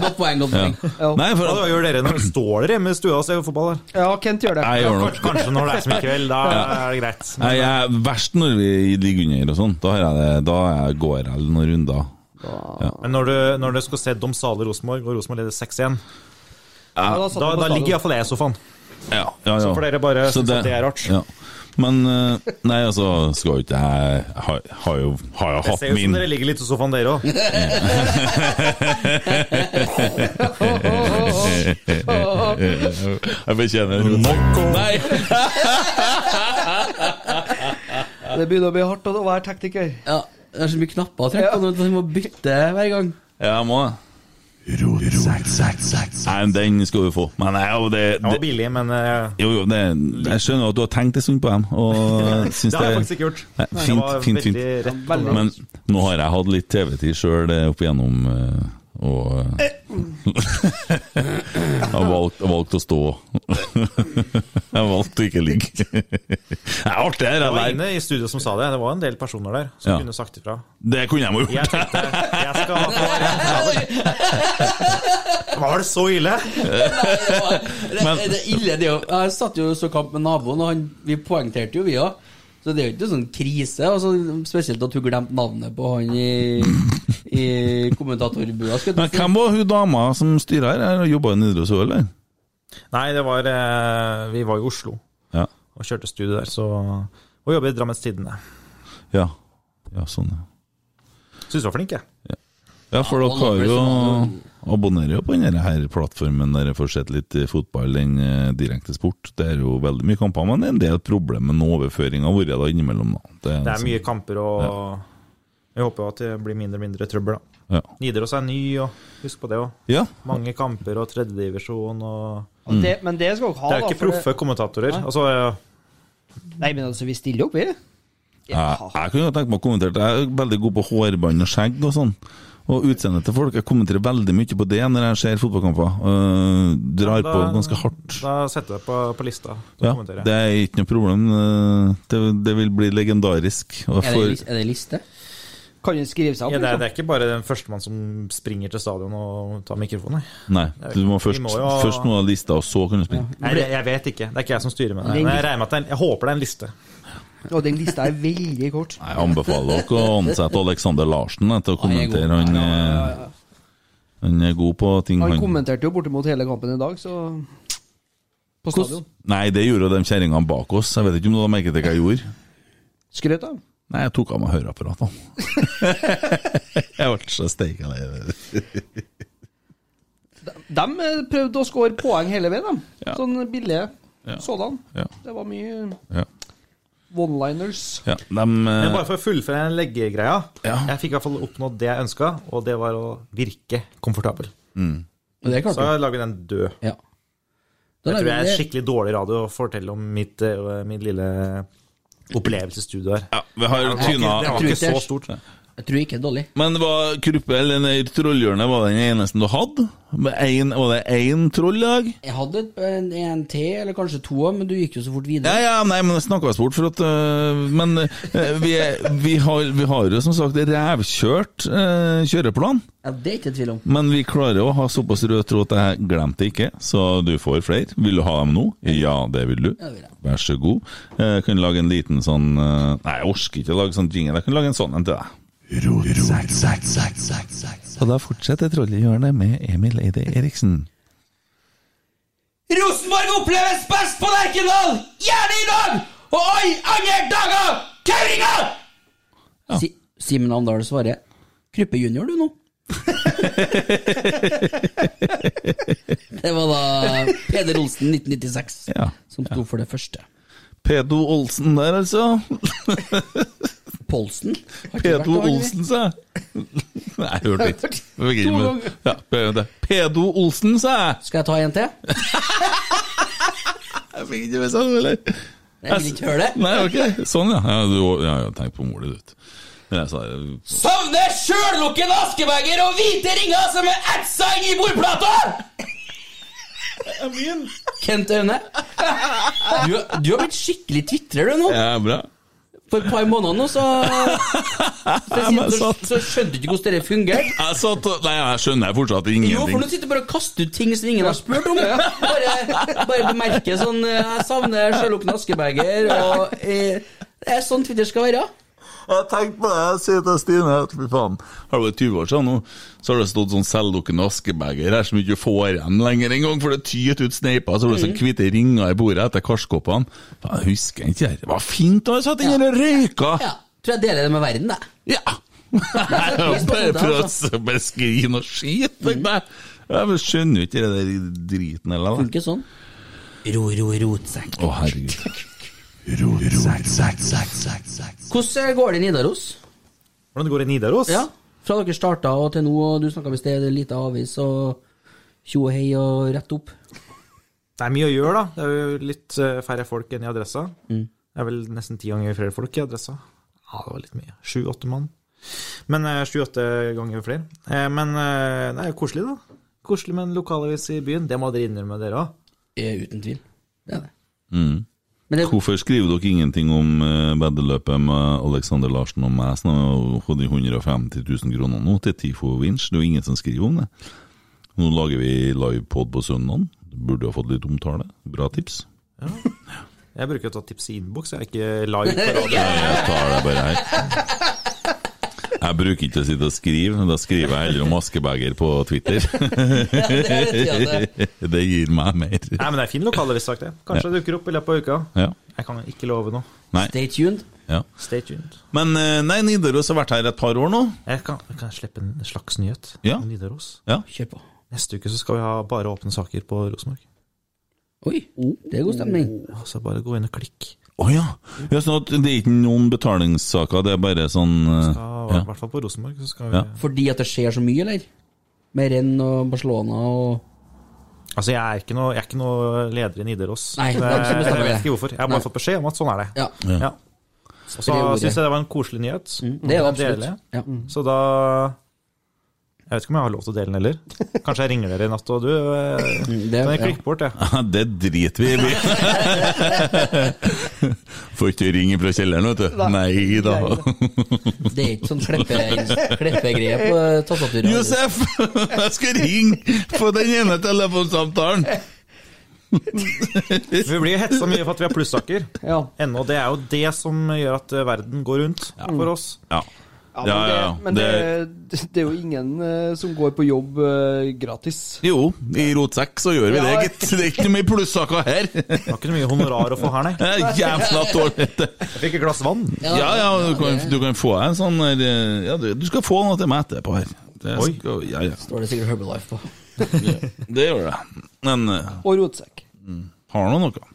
Speaker 7: godt poeng, godt
Speaker 6: Ja.
Speaker 7: poeng.
Speaker 6: Nei, for
Speaker 11: Hva
Speaker 6: at,
Speaker 11: gjør dere når står dere hjemme i stua og ser fotball? da?
Speaker 5: Ja, Kent gjør det.
Speaker 6: jeg gjør nok
Speaker 11: Kanskje når det er som i kveld, da er det greit.
Speaker 6: Nei, jeg er verst når vi ligger under og sånn. Da, har jeg det- da er jeg- går jeg noen runder.
Speaker 11: Men når du, når du skal se Domsale Rosenborg, og Rosenborg leder 6-1,
Speaker 5: Ja, da satt
Speaker 11: da,
Speaker 5: han på
Speaker 11: da ligger
Speaker 5: stadion.
Speaker 11: iallfall jeg i sofaen.
Speaker 6: Ja, ja, ja.
Speaker 11: Så får dere bare
Speaker 6: Så
Speaker 11: synes at det er rart.
Speaker 6: Ja. Men eh, Nei, altså, skal jo ikke jeg Har, har jo, har jo
Speaker 11: Jeg
Speaker 6: hatt
Speaker 11: ser jo
Speaker 6: min
Speaker 11: som dere ligger litt i sofaen, dere òg.
Speaker 6: Jeg betjener Nei!
Speaker 5: Det begynner å bli hardt å være tekniker.
Speaker 7: Ja, det er så mye knapper å trekke på, så vi må bytte hver gang.
Speaker 6: Ja, jeg må det. Nei, men den skal du få. Men nei, jo, det,
Speaker 11: Det var
Speaker 6: det
Speaker 11: billig, men eh,
Speaker 6: jo, jo, det, jeg skjønner at du har tenkt en stund på dem, og syns
Speaker 11: det har jeg
Speaker 6: det
Speaker 11: faktisk ikke gjort.
Speaker 6: Nei,
Speaker 11: Det
Speaker 6: fint,
Speaker 11: var
Speaker 6: fint,
Speaker 11: veldig
Speaker 6: fint.
Speaker 11: rett.
Speaker 5: Veldig.
Speaker 6: Men nå har jeg hatt litt TV-tid sjøl opp igjennom, eh, og eh, Jeg valgte valgt å stå. Jeg valgte å ikke ligge. Det er artig, det
Speaker 11: Det var
Speaker 6: der.
Speaker 11: inne i studio som sa det. Det var en del personer der som
Speaker 6: Ja.
Speaker 11: kunne sagt ifra.
Speaker 6: Det kunne jeg må
Speaker 11: Jeg
Speaker 6: gjort.
Speaker 11: tenkte jeg skal ha på Var det så ille?
Speaker 7: Det,
Speaker 6: Men-
Speaker 7: det er ille, det er jo Jeg satt jo og så kamp med naboen, og han, vi poengterte jo, vi òg. Så det er jo ikke sånn krise. Altså, spesielt at hun glemte navnet på han i, i kommentatorbua. skal
Speaker 6: Men
Speaker 7: jeg ta og si.
Speaker 6: hvem var hun dama som styra her? Jobba i Nidros òg, eller?
Speaker 11: Nei, det var eh, Vi var i Oslo
Speaker 6: Ja.
Speaker 11: og kjørte studio der, så Og jobber i Drammens Tidende.
Speaker 6: Ja, ja sånn, ja.
Speaker 11: Syns du var flink, jeg.
Speaker 6: Ja, for dere har jo abonnerer jo på den her plattformen der jeg får sett litt fotball, den eh, direkte sport. Det er jo veldig mye kamper, men det er en del problemer med overføringa vår da innimellom. Da.
Speaker 11: Det er
Speaker 6: liksom-
Speaker 11: mye kamper, og jeg håper jo at det blir mindre og mindre trøbbel, da.
Speaker 6: Ja.
Speaker 11: Nidaros er ny, og husk på det òg.
Speaker 6: ja.
Speaker 11: Mange kamper og tredjedivisjon og
Speaker 5: Og
Speaker 6: Mm.
Speaker 5: det, men det skal dere ha,
Speaker 11: Det er jo
Speaker 5: da.
Speaker 11: ikke
Speaker 5: for
Speaker 11: proffe kommentatorer. Altså,
Speaker 5: det- Nei, men altså, vi stiller opp, vi.
Speaker 6: Jeg, jeg kunne jo tenkt meg å kommentere det. Jeg er veldig god på hårbånd og skjegg og sånn. Og utseendet til folk. Jeg kommenterer veldig mye på det når jeg ser fotballkamper. Eh, drar på
Speaker 11: da-
Speaker 6: ganske hardt.
Speaker 11: da setter jeg på, på lista. til å
Speaker 6: Ja,
Speaker 11: kommentere.
Speaker 6: det er ikke noe problem. Eh, Det, det vil bli legendarisk. Og
Speaker 7: Er det,
Speaker 6: for,
Speaker 7: lis- er det liste?
Speaker 5: Kan jo skrive seg opp.
Speaker 11: Ja, det, er,
Speaker 5: liksom.
Speaker 11: det er ikke bare den førstemann som springer til stadion og tar mikrofonen. nei.
Speaker 6: nei, du må først,
Speaker 11: Vi må jo-
Speaker 6: først må ha lista, og så kunne du springe.
Speaker 11: Nei, jeg, jeg vet ikke. Det er ikke jeg som styrer med det.
Speaker 5: Den-
Speaker 11: Men jeg, regner med at det er, en- jeg håper det er en liste.
Speaker 5: Og den lista er veldig kort.
Speaker 6: Nei, Jeg anbefaler dere å ansette Alexander Larsen eh, til å
Speaker 7: Han er god.
Speaker 6: kommentere. Han, eh, han er god på ting.
Speaker 5: Han
Speaker 6: Han.
Speaker 5: kommenterte jo bortimot hele kampen i dag, så På stadion.
Speaker 6: Nei, det gjorde de kjerringene bak oss. Jeg vet ikke om du har merket det hva jeg gjorde.
Speaker 5: Skrøt av.
Speaker 6: Nei, jeg tok av meg høreapparatene. jeg ble så steika lei.
Speaker 5: De eh, prøvde å score poeng hele veien, de.
Speaker 6: Ja.
Speaker 5: Sånn billige
Speaker 6: Ja.
Speaker 5: sådan.
Speaker 6: Ja.
Speaker 5: Det var mye
Speaker 6: Ja.
Speaker 5: one-liners.
Speaker 6: Ja, dem, eh,
Speaker 11: Men bare for å fullføre den leggegreia.
Speaker 6: Ja.
Speaker 11: Jeg fikk i hvert fall oppnådd det jeg ønska, og det var å virke komfortabel.
Speaker 6: Mm.
Speaker 7: Men det
Speaker 11: Så
Speaker 7: klarte du.
Speaker 11: lager vi den død.
Speaker 7: Ja. Da
Speaker 11: Jeg tror jeg
Speaker 7: lager
Speaker 11: er
Speaker 7: vi det.
Speaker 11: skikkelig dårlig radio å fortelle om mitt, eh, min lille opplevelse i studio her.
Speaker 6: ja, vi har
Speaker 11: Det
Speaker 6: tyna
Speaker 11: var
Speaker 7: tror
Speaker 11: ikke
Speaker 7: ikke
Speaker 11: så
Speaker 7: jeg-
Speaker 11: stort.
Speaker 7: Jeg tror ikke det er dårlig.
Speaker 6: Men var kruppe eller nei, trollhjørnet var den eneste du hadde? Med en, var det én troll i dag?
Speaker 7: Jeg hadde et- en, en til, eller kanskje to, men du gikk jo så fort
Speaker 6: Ja,
Speaker 7: videre.
Speaker 6: ja, nei, men jeg snakka oss bort, for at øh, Men øh, vi, er, vi, har, vi har jo som sagt rævkjørt øh, kjøreplan.
Speaker 7: Ja, Det er ikke jeg i tvil om.
Speaker 6: Men vi klarer å ha såpass rød tråd at jeg glemte ikke, så du får flere. Vil du ha dem nå? Ja, det vil du.
Speaker 7: Ja, det vil jeg.
Speaker 6: Vær så god. Jeg kan lage en liten sånn eh, Nei, jeg orker ikke å lage sånn jingle. Jeg kan lage en sånn en til deg. Og da fortsetter trollehjørnet med Emil Eide Eriksen.
Speaker 7: Rosenborg oppleves best på Lerkendal! Gjerne i dag! Og alle andre dager! Kauringa!
Speaker 6: Ja.
Speaker 7: Si Simen Amdal svarer. Kruppe junior, du nå. det var da Peder Olsen 1996
Speaker 6: Ja.
Speaker 7: som sto for det første.
Speaker 6: Pedo Olsen der, altså.
Speaker 7: Polsen. har ikke vært
Speaker 6: Pedo
Speaker 7: der,
Speaker 6: Olsen, sa jeg. Nei, jeg hørte ikke. Jeg fikk ikke med det. Ja, prøv det. Pedo Olsen, sa jeg.
Speaker 7: Skal jeg ta en til?
Speaker 6: Jeg fikk ikke med sånn, eller?
Speaker 7: Jeg vil ikke høre det.
Speaker 6: Nei, ok. Sånn, ja. ja, du, ja, ja tenk på mor di, du. Men jeg sa eh, det
Speaker 7: Savner sjøllukkende askebeger og hvite ringer som er etsa inn i bordplata! Kent Aune, du, du har blitt skikkelig twitrer, du nå.
Speaker 6: Ja, bra.
Speaker 7: For et par måneder nå, så
Speaker 6: men
Speaker 7: Så,
Speaker 6: sant.
Speaker 7: så skjønte du ikke hvordan det fungerte.
Speaker 6: Jeg satt og Nei, jeg skjønner fortsatt
Speaker 7: Jo, for nå
Speaker 6: ingenting.
Speaker 7: sitter du bare og kaster ut ting som ingen har spurt om. Bare, bare bemerker sånn eh, Jeg savner sjølåpne askebeger, og eh, Det er sånn Twitter skal være.
Speaker 6: Jeg tenkte på det, jeg sier til Stine at fy faen, har det vært 20 år siden nå, så har det stått sånn selvlukkende askebeger her som ikke får igjen lenger engang, for det tyter ut sneiper, så har det sånn
Speaker 7: Mm.
Speaker 6: hvite ringer i bordet etter karskoppene. Faen, Jeg husker ikke her. Det var fint da jeg satt inne og røyka!
Speaker 7: Ja, tror jeg deler det med verden, jeg.
Speaker 6: Ja! Jeg har bare
Speaker 7: det,
Speaker 6: prøvd å beskrive noe skit, tenkte jeg. Jeg skjønner jo ikke det der driten heller. da.
Speaker 7: Mm. Funker sånn. Ro, ro, rotsekk.
Speaker 6: Å, herregud.
Speaker 7: Hvordan går det i Nidaros?
Speaker 11: Hvordan det går i Nidaros?
Speaker 7: Ja, Fra dere starta og til nå, og du snakka om i sted, lita avis og tjo og hei og rett opp.
Speaker 11: Det er mye å gjøre, da. Det er jo litt eh, færre folk enn i adressa.
Speaker 7: Mm.
Speaker 11: Det er vel nesten ti ganger flere folk i adressa. Ja, det var litt mye. Sju-åtte mann. Men eh, sju-åtte ganger flere. Eh, Men eh, det er jo koselig, da. Koselig med en lokalavis i byen. Det må dere innrømme, dere òg.
Speaker 7: Uten tvil. Det er det.
Speaker 6: Mm.
Speaker 7: Men det-
Speaker 6: Hvorfor skriver dere ingenting om uh, veddeløpet med Alexander Larsen og meg, som har fått de 150 000 kroner nå til Tifo Winch? Det er jo ingen som skriver om det. Nå lager vi livepod på søndagen. Burde ha fått litt omtale. Bra tips.
Speaker 11: Jeg bruker å ta tips i innboks, jeg er ikke live på radio.
Speaker 6: Jeg tar det bare her. Jeg bruker ikke å sitte og skrive, da skriver jeg heller om askebeger på Twitter. Det gir meg mer.
Speaker 11: Nei, men det er fin lokalavis, sagt det. Kanskje det dukker opp i løpet av uka.
Speaker 6: Ja.
Speaker 11: Jeg kan ikke love noe.
Speaker 6: Nei.
Speaker 7: Stay tuned.
Speaker 6: Ja.
Speaker 11: Stay tuned.
Speaker 6: Men eh, nei, Nidaros har vært her et par år nå.
Speaker 11: Jeg kan, jeg kan slippe en slags nyhet
Speaker 6: Ja.
Speaker 11: om Nidaros.
Speaker 6: Ja.
Speaker 7: Kjør på.
Speaker 11: Neste uke så skal vi ha bare åpne saker på Rosenborg.
Speaker 7: Oi,
Speaker 6: Oh.
Speaker 7: det er god stemning.
Speaker 11: Så bare gå inn og klikk.
Speaker 6: Å ja. ja sånn at det er ikke noen betalingssaker, det er bare sånn eh,
Speaker 11: Ja, I
Speaker 6: ja.
Speaker 11: hvert fall på Rosenborg. Så skal vi...
Speaker 6: Ja.
Speaker 7: Fordi at det skjer så mye, eller? Med renn og Barcelona og
Speaker 11: Altså, jeg er, ikke noe, jeg er ikke noe leder i Nidaros.
Speaker 7: Nei, det er ikke som
Speaker 11: jeg,
Speaker 7: bestemmer
Speaker 11: jeg vet
Speaker 7: det.
Speaker 11: ikke hvorfor. Jeg har bare
Speaker 7: Nei.
Speaker 11: fått beskjed om at sånn er det.
Speaker 7: Ja.
Speaker 11: Ja. Og så
Speaker 7: Spre ordet.
Speaker 11: syns jeg det var en koselig nyhet.
Speaker 7: Mm. Det er
Speaker 11: Den
Speaker 7: jo absolutt.
Speaker 11: deler jeg.
Speaker 7: Ja.
Speaker 11: Mm. Så da Jeg vet ikke om jeg har lov til å dele den heller. Kanskje jeg ringer dere i natt, og du eh,
Speaker 7: Mm, Det,
Speaker 11: Kan jeg
Speaker 7: ja.
Speaker 11: klikke bort, jeg.
Speaker 6: Det driter vi i. Får ikke ringe fra kjelleren, vet du. Nei da.
Speaker 7: det er ikke sånn kleppe- kleppegreie på tastaturet.
Speaker 6: Josef! Jeg skal ringe på den ene telefonsamtalen!
Speaker 11: Vi blir hetsa mye for at vi har plussaker
Speaker 5: Ja.
Speaker 11: ennå. Det er jo det som gjør at eh, verden går rundt for oss.
Speaker 6: Ja.
Speaker 5: Ja, men,
Speaker 6: Ja, ja, ja.
Speaker 5: Det, men det, det er jo ingen eh, som går på jobb eh, gratis.
Speaker 6: Jo, i rotsekk så gjør vi det,
Speaker 5: Ja.
Speaker 6: gitt. Det er ikke noe mye plussaker her.
Speaker 11: Det var ikke noe mye honorar å få her, nei.
Speaker 6: Det er Jævla dårlig.
Speaker 11: Jeg fikk et glass vann.
Speaker 6: Ja, ja, du kan, du kan få en sånn der, eh, ja, du- Du skal få noe til meg etterpå her. Det
Speaker 11: Oi.
Speaker 6: skal, ja, ja.
Speaker 7: Står det sikkert Herbalife på.
Speaker 6: Det gjør det. Men eh,
Speaker 5: Og rotsekk.
Speaker 6: har nå noe.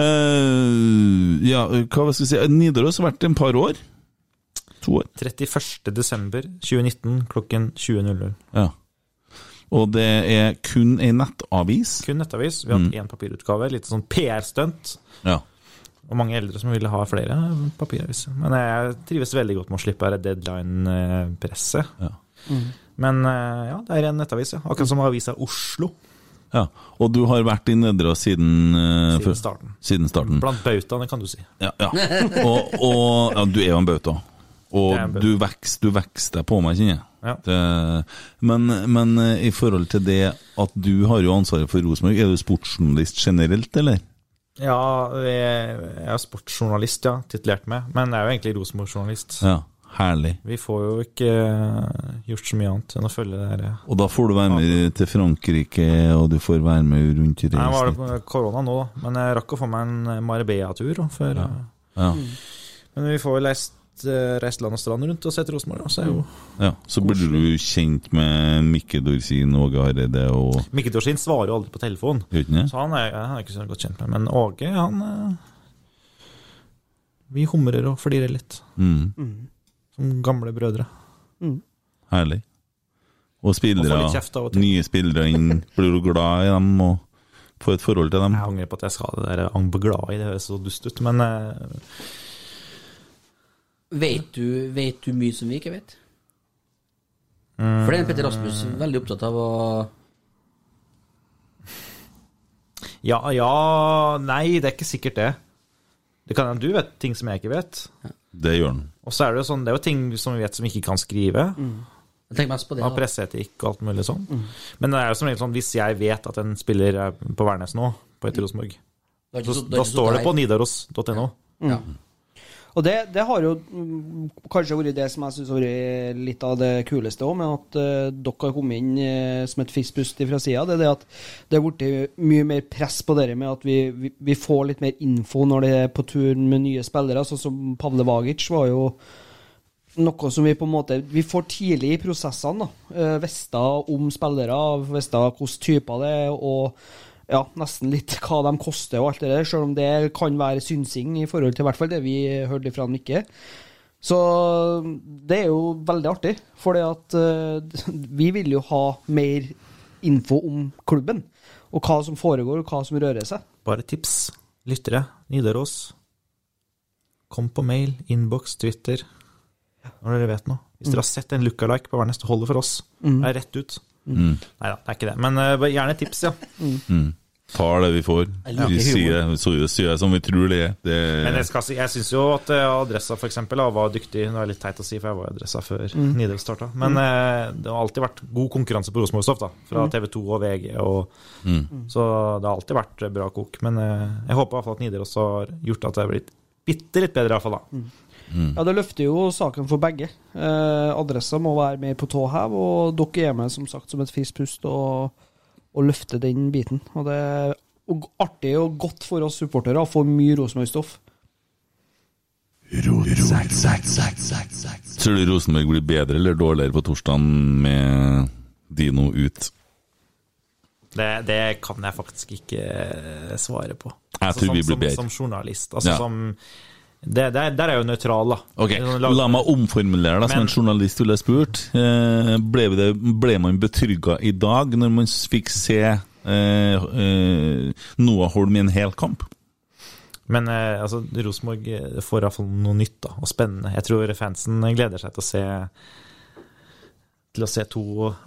Speaker 6: Eh, ja, hva skal vi si Nidaros har vært i en par år. To år.
Speaker 11: 31. desember 2019 klokken 20.00.
Speaker 6: Ja. Og det Eh, er kun ei nettavis. Mm.
Speaker 11: Kun nettavis. Vi har hatt én papirutgave. Litt sånn PR-stunt.
Speaker 6: Ja.
Speaker 11: Og mange eldre som ville ha flere papiraviser. Men jeg trives veldig godt med å slippe det deadline-presset.
Speaker 6: Ja.
Speaker 11: Men eh, ja, det er en nettavis, ja. Akkurat som avisa Oslo
Speaker 6: ja. Og du har vært i Nedra siden eh, før-
Speaker 11: siden starten.
Speaker 6: Siden starten.
Speaker 11: Blant bautaene, kan du si.
Speaker 6: Ja, ja. Og, og ja, du er jo en bauta. Og
Speaker 11: Jeg er en bauta.
Speaker 6: du vokser du vokser deg på meg, kjenner jeg.
Speaker 11: Ja.
Speaker 6: Det- Men, men eh, i forhold til det at du har jo ansvaret for Rosenborg, er du sportsjournalist generelt, eller?
Speaker 11: Ja, jeg jeg er sportsjournalist, ja, titulert med. Men jeg er jo egentlig Rosenborg-journalist.
Speaker 6: Ja, herlig.
Speaker 11: Vi får jo ikke eh, gjort så mye annet enn å følge det her.
Speaker 6: Og da får du være med til Frankrike, og du får være med rundt i
Speaker 11: Nei, var
Speaker 6: reisen.
Speaker 11: det korona nå, da. Men jeg rakk å få meg en eh, Marbella-tur. da, før, eh,
Speaker 6: Ja,
Speaker 11: Men vi får jo reist, eh, reist land og strand rundt og sett Rosenborg, da. Så er jo
Speaker 6: ja. Så blir du jo kjent med Mikke Dorsin, Åge Hareide og
Speaker 11: Mikke Dorsin svarer jo aldri på telefon.
Speaker 6: Gjør ikke det?
Speaker 11: Så han er, han er ikke så godt kjent med. Men Åge, han eh, Vi humrer og flirer litt,
Speaker 6: Mm,
Speaker 11: som gamle brødre.
Speaker 6: herlig. Og
Speaker 11: Og
Speaker 6: spillere,
Speaker 11: får litt kjeft av og til.
Speaker 6: nye spillere inn, blir du glad i dem og får et forhold til dem?
Speaker 11: Jeg angrer på at jeg sa det der «ang på glad i, det høres så dust ut, men eh,
Speaker 7: Vet du, vet du mye som vi ikke vet? For det er Petter Rasmus veldig opptatt av å
Speaker 11: ja, ja Nei, det er ikke sikkert det. Det kan hende du vet ting som jeg ikke vet.
Speaker 6: Det gjør han.
Speaker 11: Og så er det jo sånn, det er jo ting som vi vet som vi ikke kan skrive.
Speaker 7: Mm. Jeg tenker mest på det. Mm.
Speaker 11: Av
Speaker 7: Da.
Speaker 11: presseetikk og alt mulig sånn. Men det er jo som regel sånn, hvis jeg vet at en spiller er på Værnes nå, på
Speaker 7: Mm.
Speaker 11: et Rosenborg,
Speaker 7: Da,
Speaker 11: så- da står det på nidaros.no.
Speaker 7: Ja.
Speaker 5: Og det, det har jo mm, kanskje vært det som jeg syns har vært litt av det kuleste òg, med at eh, dere har kommet inn eh, som et fiskpust fra sida. Det er det at det er blitt mye mer press på dere med at vi, vi, vi får litt mer info når det er på tur med nye spillere, sånn som Pavle Vagic var jo noe som vi på en måte Vi får tidlig i prosessene, da. Eh, Visste om spillere, visste hvilke typer det er, og ja, nesten litt hva de koster og alt det der, selv om det kan være synsing i forhold til i hvert fall det vi hørte fra Mikke. Så det er jo veldig artig, for eh, vi vil jo ha mer info om klubben. Og hva som foregår, og hva som rører seg.
Speaker 11: Bare tips. Lyttere. Nidaros. Kom på mail, innboks,
Speaker 6: Mm.
Speaker 11: Twitter. Når dere vet noe. Hvis dere har sett en lookalike på Værnes, det holder for oss. Det er rett ut.
Speaker 6: Mm.
Speaker 11: Nei da, det er ikke det. Men eh, bare gjerne tips, ja.
Speaker 6: Mm. Tar det vi får.
Speaker 11: Jeg liker
Speaker 6: Vi
Speaker 11: humor.
Speaker 6: sier det, så det sier jeg som vi tror det er. Det,
Speaker 11: Men jeg, skal si, jeg syns jo at eh, Adressa for eksempel, da, var dyktig. Det er litt teit å si, for jeg var i Adressa før
Speaker 6: Mm.
Speaker 11: Nidaros starta. Men eh, det har alltid vært god konkurranse på Rosenborg Soft, da, fra
Speaker 6: Mm.
Speaker 11: TV 2 og VG. Og,
Speaker 6: Mm.
Speaker 11: Så det har alltid vært bra kok. Men eh, jeg håper i hvert fall at Nidaros har gjort at det har blitt bitte litt bedre, iallfall da.
Speaker 6: Mm.
Speaker 11: Mm.
Speaker 5: Ja, Det løfter jo saken for begge. Eh, adressa må være mer på tå hev, og dere er med som sagt som et friskt pust og, og løfter den biten. Og Det er og artig og godt for oss supportere å få mye Rosenborg-stoff.
Speaker 6: Tror du Rosenborg blir bedre eller dårligere på torsdagen med Dino ut?
Speaker 11: Det, det kan jeg faktisk ikke eh, svare på. Altså,
Speaker 6: Jeg tror
Speaker 11: som,
Speaker 6: vi blir bedre.
Speaker 11: Som, som journalist. Altså,
Speaker 6: Ja.
Speaker 11: som, det, der, der er jeg jo nøytral, da.
Speaker 6: Ok,
Speaker 11: Sånn,
Speaker 6: La meg omformulere deg som en
Speaker 11: Men-
Speaker 6: journalist ville spurt. Eh, Ble, det, ble man betrygga i dag når man fikk se eh, eh, Noah Holm i en hel kamp?
Speaker 11: Men eh, altså, Rosenborg eh, får iallfall noe nytt da, og spennende. Jeg tror fansen eh, gleder seg til å se til å se to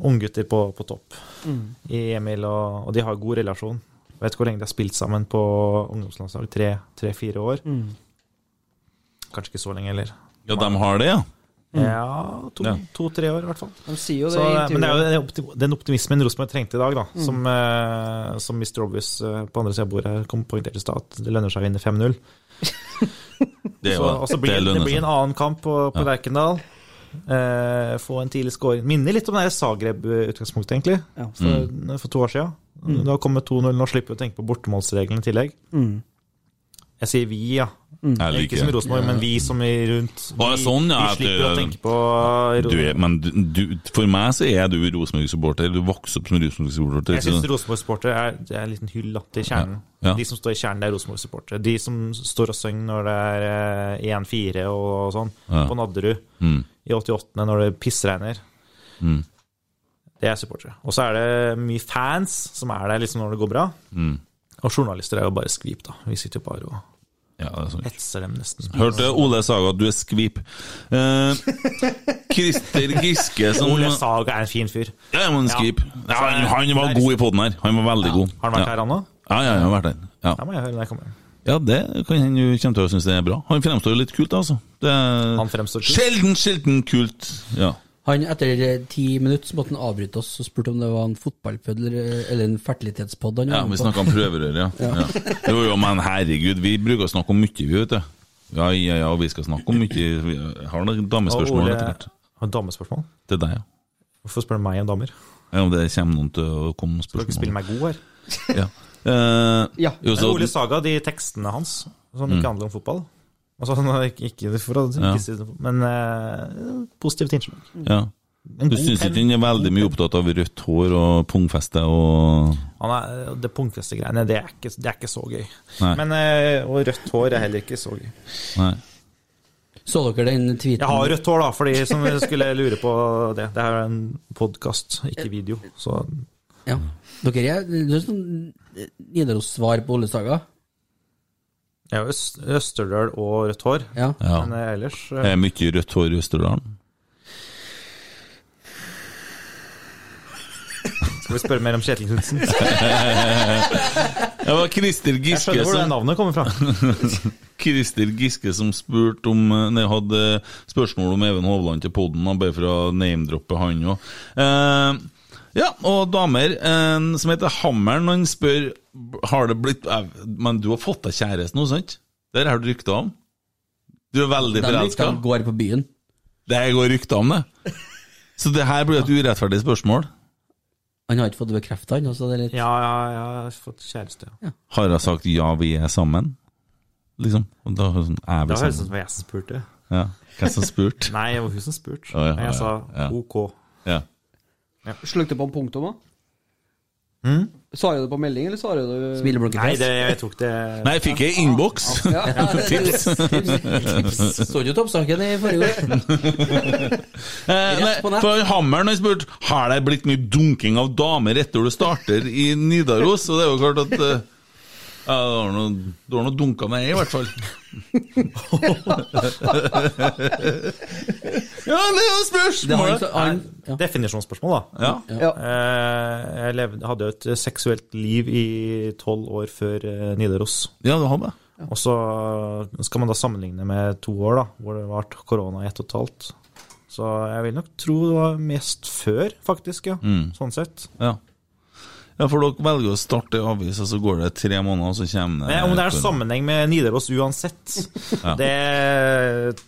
Speaker 11: unggutter på, på topp
Speaker 5: Mm.
Speaker 11: i Emil, og, og de har god relasjon. Jeg vet ikke hvor lenge de har spilt sammen på ungdomslandslag. Tre- Tre-fire år. Kanskje ikke så lenge heller.
Speaker 6: Ja, de har det, ja.
Speaker 11: Ja, to-
Speaker 6: Ja.
Speaker 11: to-tre år i hvert fall.
Speaker 5: De sier jo
Speaker 11: Så, eh,
Speaker 5: det i
Speaker 11: men det er jo
Speaker 5: intervjuet.
Speaker 11: den opti- den optimismen Rosenborg trengte i dag, da,
Speaker 5: Mm.
Speaker 11: som, eh, som Mr. Obvious eh, på andre siden av bordet her kom poengterte i stad, at det lønner seg å vinne 5-0. Så-
Speaker 6: Det er jo-
Speaker 11: og så blir
Speaker 6: det
Speaker 11: det,
Speaker 6: lønner
Speaker 11: blir
Speaker 6: seg.
Speaker 11: en annen kamp på, på
Speaker 6: Ja.
Speaker 11: Lerkendal. Eh, få en tidlig scoring. Minner litt om det her Zagreb-utgangspunktet, egentlig,
Speaker 5: Ja.
Speaker 11: for, for to år siden.
Speaker 5: Mm.
Speaker 11: Da kommer 2-0. Nå slipper vi å tenke på bortemålsreglene i tillegg.
Speaker 5: Mm.
Speaker 11: Jeg sier vi, ja.
Speaker 5: Mm.
Speaker 6: Jeg liker
Speaker 11: Ikke som i
Speaker 6: det.
Speaker 11: Rosenborg, men vi som er rundt. Vi,
Speaker 6: Å, sånn, ja, at
Speaker 11: vi slipper å
Speaker 6: du-
Speaker 11: tenke på eh,
Speaker 6: Du er, men du, du, for meg så er du Rosenborg-supporter. Du vokste opp som Rosenborg-supporter.
Speaker 11: Jeg syns Rosenborg-supportere er, det er en liten hyll da, til kjernen.
Speaker 6: sånn- Ja, ja.
Speaker 11: De som står i kjernen, det er Rosenborg-supportere. De som står og synger når det er eh, 1-4 og, og sånn,
Speaker 6: Ja.
Speaker 11: på Nadderud.
Speaker 6: Mm.
Speaker 11: I 88. når det pissregner.
Speaker 6: Mm.
Speaker 11: Det er supportere. Og så er det mye fans som er der liksom når det går bra.
Speaker 6: Mm.
Speaker 11: Og journalister er jo bare skvip, da. Vi sitter jo bare og
Speaker 6: Ja, det er sånn.
Speaker 11: hetser dem nesten.
Speaker 6: Hørte Ole Saga at du er skvip. Eh, Christer Giske som
Speaker 11: Ole Saga er en fin fyr.
Speaker 6: Ja, men
Speaker 11: Ja.
Speaker 6: skvip. Ja, han, han var god i poden her. Han var veldig god.
Speaker 11: Har han vært
Speaker 6: ja.
Speaker 11: her, han òg?
Speaker 6: Ja, ja, han har vært her. Ja.
Speaker 11: Da må jeg høre når jeg kommer.
Speaker 6: ja, det kan hende du kommer til å synes det er bra. Han fremstår jo litt kult, altså. Det er
Speaker 11: Han fremstår kult.
Speaker 6: Sjelden, sjelden kult. Ja.
Speaker 7: Han, etter eh, ti minutter så måtte han avbryte oss og spurte om det var en fotballpødd eller, eller en fertilitetspod. Han
Speaker 6: Ja,
Speaker 7: var
Speaker 6: vi
Speaker 7: på.
Speaker 6: snakka om prøverør, ja. ja. Jo, jo, men herregud, vi bruker å snakke om mye, vi, vet du. Ja, ja, ja, vi skal snakke om mye. Vi har noen
Speaker 11: Og
Speaker 6: damespørsmål
Speaker 11: Ole
Speaker 6: etter hvert.
Speaker 11: har du damespørsmål.
Speaker 6: Til deg, ja.
Speaker 11: Hvorfor spør du meg om damer?
Speaker 6: ja. Om det kommer noen til å komme med
Speaker 11: Skal du ikke spille
Speaker 6: spørsmål.
Speaker 11: meg god her?
Speaker 6: Ja. Eh,
Speaker 5: Ja.
Speaker 6: jo, så, Mm.
Speaker 11: Ole Saga, de tekstene hans som ikke handler om fotball altså, han har ikke, ikke, for å, ikke
Speaker 6: Ja.
Speaker 11: si det, Men eh, positivt innslag.
Speaker 6: ja.
Speaker 11: En
Speaker 6: Du
Speaker 11: god
Speaker 6: syns
Speaker 11: penn.
Speaker 6: ikke han er veldig mye opptatt av rødt hår og pungfeste og
Speaker 11: Han er, eh, det punktfestegreiene, det, er ikke- det er ikke så gøy.
Speaker 6: Nei.
Speaker 11: Men, eh, og rødt hår er heller ikke så gøy.
Speaker 6: Nei.
Speaker 7: Så dere den tweeten?
Speaker 11: Jeg har rødt hår, da, for de som skulle lure på det. Det er en podkast, ikke video. Så
Speaker 7: Ja. Dere er, det er sånn Nidaros-svar på Ole Saga.
Speaker 11: jeg har øst, Østerdøl og rødt hår.
Speaker 7: Ja.
Speaker 6: Ja.
Speaker 11: Men eh, ellers eh,
Speaker 6: Er det mye rødt hår i Østerdalen?
Speaker 11: skal vi spørre mer om Kjetil Knutsen.
Speaker 6: Det var Christer
Speaker 11: Jeg
Speaker 6: Giske
Speaker 11: skjønner hvor det
Speaker 6: som
Speaker 11: navnet kommer fra.
Speaker 6: Christer Giske som spurte om eh, Nei, hadde spørsmål om Even Hovland til poden, bare for å name-droppe han òg. ja, og damer en som heter Hammeren, han spør Har det blitt eh, Men du har fått deg kjæreste nå, sant? Der har du rykter om. Du er veldig
Speaker 7: Den
Speaker 6: forelska.
Speaker 7: rykta går på byen.
Speaker 6: Det går rykter om det. Så det her blir et urettferdig spørsmål.
Speaker 7: Han har ikke fått det bekrefta ennå, så det er litt
Speaker 11: Ja, ja, ja, jeg har fått kjæreste. Ja.
Speaker 6: Har jeg sagt 'ja, vi er sammen'? Liksom. Og da er det sånn, er
Speaker 11: Det høres
Speaker 6: vi
Speaker 11: ut
Speaker 6: sammen?
Speaker 11: som jeg som spurte.
Speaker 6: Ja. Hvem som spurte?
Speaker 11: Nei, det var hun som spurte.
Speaker 6: Å, ja,
Speaker 11: Men jeg sa
Speaker 6: ja, ja.
Speaker 11: OK.
Speaker 6: Ja.
Speaker 5: Slukte på en punktum, da? Svarer du på melding, eller svarer du
Speaker 11: Mm? Nei,
Speaker 7: smileblunkefjes.
Speaker 11: det, jeg tok det
Speaker 6: Nei, fikk jeg innboks?
Speaker 5: Ja.
Speaker 6: Tips.
Speaker 7: Så jo toppsaken i forrige år.
Speaker 6: Eh, nei,
Speaker 7: på nett.
Speaker 6: for Hammeren har spurt Har det blitt mye dunking av damer etter du starter i Nidaros. Og det er jo klart at eh, Ja, du har noe, du har noe dunka med ei, i hvert fall. ja, det er jo spørsmålet!
Speaker 11: Nei, Definisjonsspørsmål, da.
Speaker 6: Ja.
Speaker 11: Eh, Jeg levde, hadde jo et seksuelt liv i tolv år før eh, Nidaros.
Speaker 6: ja, du har det.
Speaker 11: Og så skal man da sammenligne med to år, da, hvor det har vært korona i ett og et halvt. Så jeg vil nok tro det var mest før, faktisk, ja.
Speaker 6: Mm.
Speaker 11: Sånn sett.
Speaker 6: Ja. ja, for dere velger å starte ei avis, og så går det tre måneder, og så kommer det
Speaker 11: Men om det er sammenheng med Nidaros uansett,
Speaker 6: Ja.
Speaker 11: det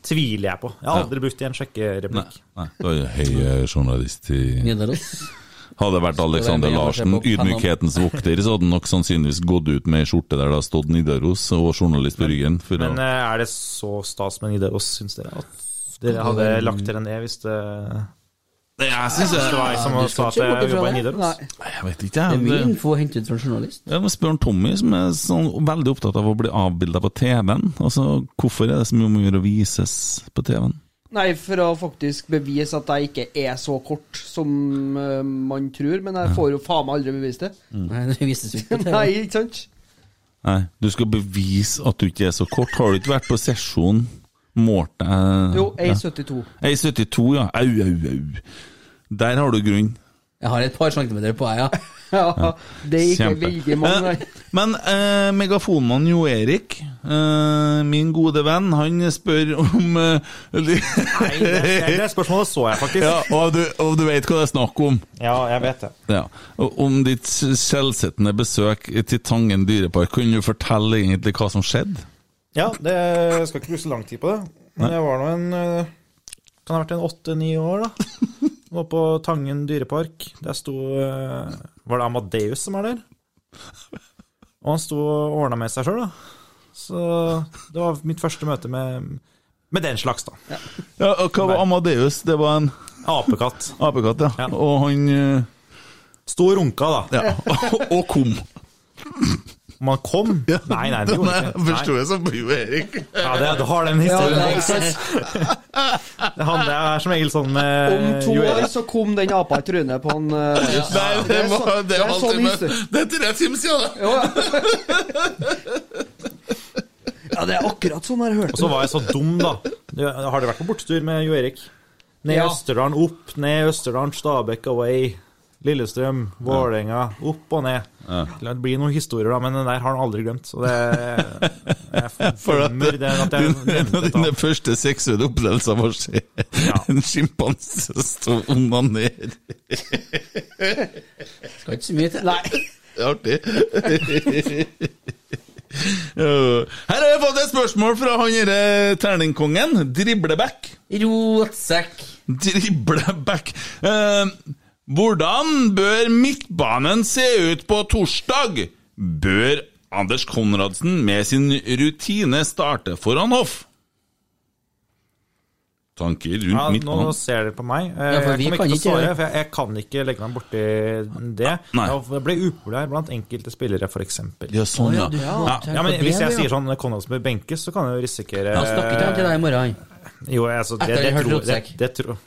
Speaker 11: tviler jeg på. Jeg har aldri brukt det i en
Speaker 6: Nei,
Speaker 11: sjekkereplikk.
Speaker 6: nei. Da er det høy eh, journalist i
Speaker 7: Nidaros.
Speaker 6: Hadde det vært Alexander Larsen, ydmykhetens vokter, så hadde han nok sannsynligvis gått ut med ei skjorte der det har stått Nidaros og journalist på ryggen. For
Speaker 11: Men
Speaker 6: å...
Speaker 11: eh, er det så stas med Nidaros, syns dere? At dere hadde lagt dere ned hvis det
Speaker 6: Jeg syns jeg
Speaker 11: Det var jeg som
Speaker 7: du
Speaker 11: sa
Speaker 7: skal
Speaker 11: at
Speaker 7: ikke
Speaker 11: jeg
Speaker 7: bort ifra
Speaker 11: jobba i
Speaker 7: det.
Speaker 11: Nidaros.
Speaker 5: Nei.
Speaker 6: Jeg vet ikke,
Speaker 7: Det
Speaker 6: jeg. eh,
Speaker 7: er mye
Speaker 6: Det-
Speaker 7: info hentet fra en journalist.
Speaker 6: Jeg må spørre om Tommy, som er sånn, veldig opptatt av å bli avbilda på TV-en. Altså, hvorfor er det så mye om å gjøre å vises på TV-en?
Speaker 5: Nei, for å faktisk bevise at jeg ikke er så kort som eh, man tror, men jeg får jo faen meg aldri bevist det.
Speaker 7: Nei, det vises jo ikke på TV.
Speaker 5: Nei, ikke sant?
Speaker 6: Nei, du skal bevise at du ikke er så kort. Har du ikke vært på sesjon? Målt deg
Speaker 5: Jo,
Speaker 6: ja.
Speaker 5: A72.
Speaker 6: 1,72, ja. Au, au, au. Der har du grunn.
Speaker 7: Jeg har et par centimeter på jeg, ja.
Speaker 5: Ja, det er ikke
Speaker 6: Kjempe.
Speaker 5: veldig mange.
Speaker 6: Eh, Men eh, megafonmannen Jo Erik, eh, min gode venn, han spør om eh,
Speaker 11: Nei, det, det, det spørsmålet så jeg faktisk.
Speaker 6: ja,
Speaker 11: Ja,
Speaker 6: og, du, og du vet hva det er snakk om?
Speaker 11: jeg vet det.
Speaker 6: Ja. Og Om ditt skjellsettende besøk til Tangen dyrepark, kunne du fortelle egentlig hva som skjedde?
Speaker 11: Ja, det jeg skal ikke bruke så lang tid på det. Men jeg var nå en eh, Kan ha vært en åtte-ni år, da. Var på Tangen dyrepark. Der sto eh, Var det Amadeus som er der? Og han sto og ordna med seg sjøl, da. Så det var mitt første møte med, med den slags, da.
Speaker 6: Ja, og Hva var Amadeus? Det var en
Speaker 11: Apekatt.
Speaker 6: apekatt, ja.
Speaker 11: Ja.
Speaker 6: Og han eh,
Speaker 11: Sto og runka, da.
Speaker 6: Ja, og kom.
Speaker 11: Om han kom? Nei, nei, det gjorde han ikke.
Speaker 6: Nei,
Speaker 11: Nei.
Speaker 6: Forsto jeg som Jo Erik.
Speaker 11: Ja, det, du har den historien.
Speaker 5: Ja,
Speaker 11: det, er han, det er som regel sånn med
Speaker 5: Om to
Speaker 11: Jo
Speaker 5: år
Speaker 11: Erik.
Speaker 5: så kom den apa i trynet på han eh, Marius.
Speaker 6: Nei, det,
Speaker 5: er
Speaker 6: var,
Speaker 5: sånn-
Speaker 6: det, var
Speaker 5: er sånn
Speaker 6: alltid-
Speaker 5: history.
Speaker 6: det er tre timer siden!
Speaker 5: Jo, ja. ja, det er akkurat sånn jeg har hørt
Speaker 11: Og så var jeg så dum, da. Du, Har dere vært på bortetur med Jo Erik? Ned
Speaker 5: Ja.
Speaker 11: Østerdalen, opp, ned Østerdalen, Stabekk away. Lillestrøm, Vålerenga, opp og ned. Det blir noen historier, da, men den der har han aldri glemt. Så det Jeg
Speaker 6: For at,
Speaker 11: fordømmer det at jeg
Speaker 6: din- en av
Speaker 11: nevnte
Speaker 6: dine
Speaker 11: det.
Speaker 6: første seksuelle opplevelser var å se en sjimpanse stå og onanere.
Speaker 7: Skal ikke så mye til.
Speaker 5: Nei.
Speaker 6: Det er artig. Ja. Her har jeg fått et spørsmål fra han derre terningkongen. Dribleback.
Speaker 7: Rotsekk.
Speaker 6: Dribleback. Eh, hvordan bør midtbanen se ut på torsdag? Bør Anders Konradsen med sin rutine starte foran hoff? Tanker rundt
Speaker 11: Ja, nå
Speaker 6: midtbanen?
Speaker 11: ser dere på meg. Eh,
Speaker 7: Ja, for vi
Speaker 11: jeg kommer ikke til
Speaker 7: kan
Speaker 11: å
Speaker 7: ikke
Speaker 11: svare,
Speaker 7: gjøre-
Speaker 11: for jeg, jeg kan ikke legge meg borti det.
Speaker 6: Nei.
Speaker 11: Jeg ble upopulær blant enkelte spillere, f.eks.
Speaker 6: Ja, sånn, ja.
Speaker 7: Ja,
Speaker 11: Ja, men Hvis jeg sier sånn Konradsen bør benkes, så kan jeg jo risikere
Speaker 7: Han snakker ikke han til deg i morgen, han.
Speaker 11: Jo, altså, det,
Speaker 7: Etter
Speaker 11: det,
Speaker 7: jeg hørte
Speaker 11: tror, det,
Speaker 7: rotsekk.
Speaker 11: det tror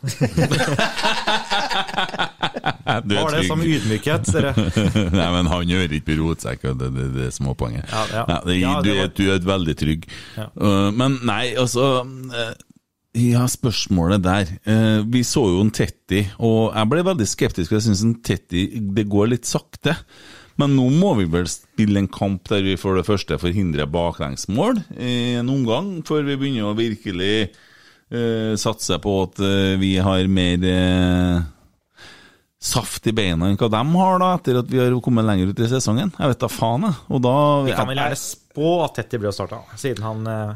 Speaker 6: Du er
Speaker 11: Har det som
Speaker 6: trygg.
Speaker 11: ydmykhet, dere.
Speaker 6: Nei, men han gjør ikke rotsekk, og det, det, det er småpoenget.
Speaker 11: Ja, ja.
Speaker 6: Nei, det,
Speaker 11: Ja,
Speaker 6: du,
Speaker 11: det
Speaker 6: er,
Speaker 11: var-
Speaker 6: du er veldig trygg.
Speaker 11: Ja.
Speaker 6: Uh, men nei, altså uh, Ja, spørsmålet der. Uh, vi så jo en Tetti, og jeg ble veldig skeptisk, for jeg syns Tetti det går litt sakte. Men nå må vi vel spille en kamp der vi for det første forhindrer baklengsmål i en omgang, før vi begynner å virkelig uh, satse på at eh, vi har mer eh, saft i beina enn hva de har, da, etter at vi har kommet lenger ut i sesongen. Jeg vet da faen, jeg. Og da
Speaker 11: Vi kan vel gjerne
Speaker 6: jeg,
Speaker 11: spå at Tetty ble starta, siden han eh,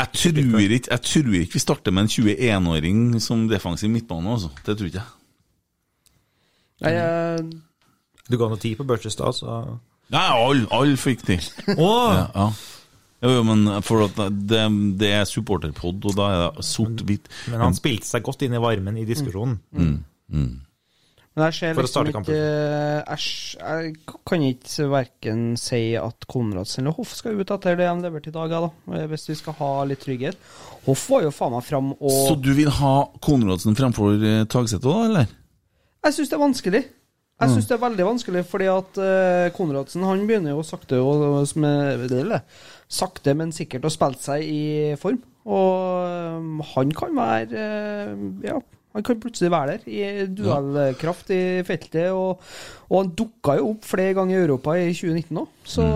Speaker 6: jeg, tror ikke, jeg tror ikke vi starter med en 21-åring som defensiv midtbane, altså. Det tror ikke jeg.
Speaker 5: Nei, jeg-
Speaker 11: Du ga noe tid på Børsestad, så
Speaker 6: Nei, alle all fikk til.
Speaker 11: Åh!
Speaker 6: Ja. Jo, jo, men for at det, det er supporterpod, og da er det sort-hvitt.
Speaker 11: Men han spilte seg godt inn i varmen i diskusjonen.
Speaker 6: Mm.
Speaker 7: Hmm.
Speaker 5: Men jeg ser
Speaker 11: For å
Speaker 5: liksom
Speaker 11: starte
Speaker 5: ikke
Speaker 11: kampen.
Speaker 5: Eh, Æsj, jeg kan ikke verken si at Konradsen eller Hoff skal ut etter det de leverte i dag, ja, da. Eh, Hvis vi skal ha litt trygghet. Hoff var jo faen meg fram og
Speaker 6: Så du vil ha Konradsen fremfor eh, Tagseth òg, eller?
Speaker 5: Jeg syns det er vanskelig. Jeg syns det er veldig vanskelig, fordi at eh, Konradsen han begynner jo sakte, å- som er- eller, sakte men sikkert å spille seg i form. Og eh, han kan være eh, Ja, han kan plutselig være der i duellkraft i feltet. Og, og han dukka jo opp flere ganger i Europa i 2019 òg, så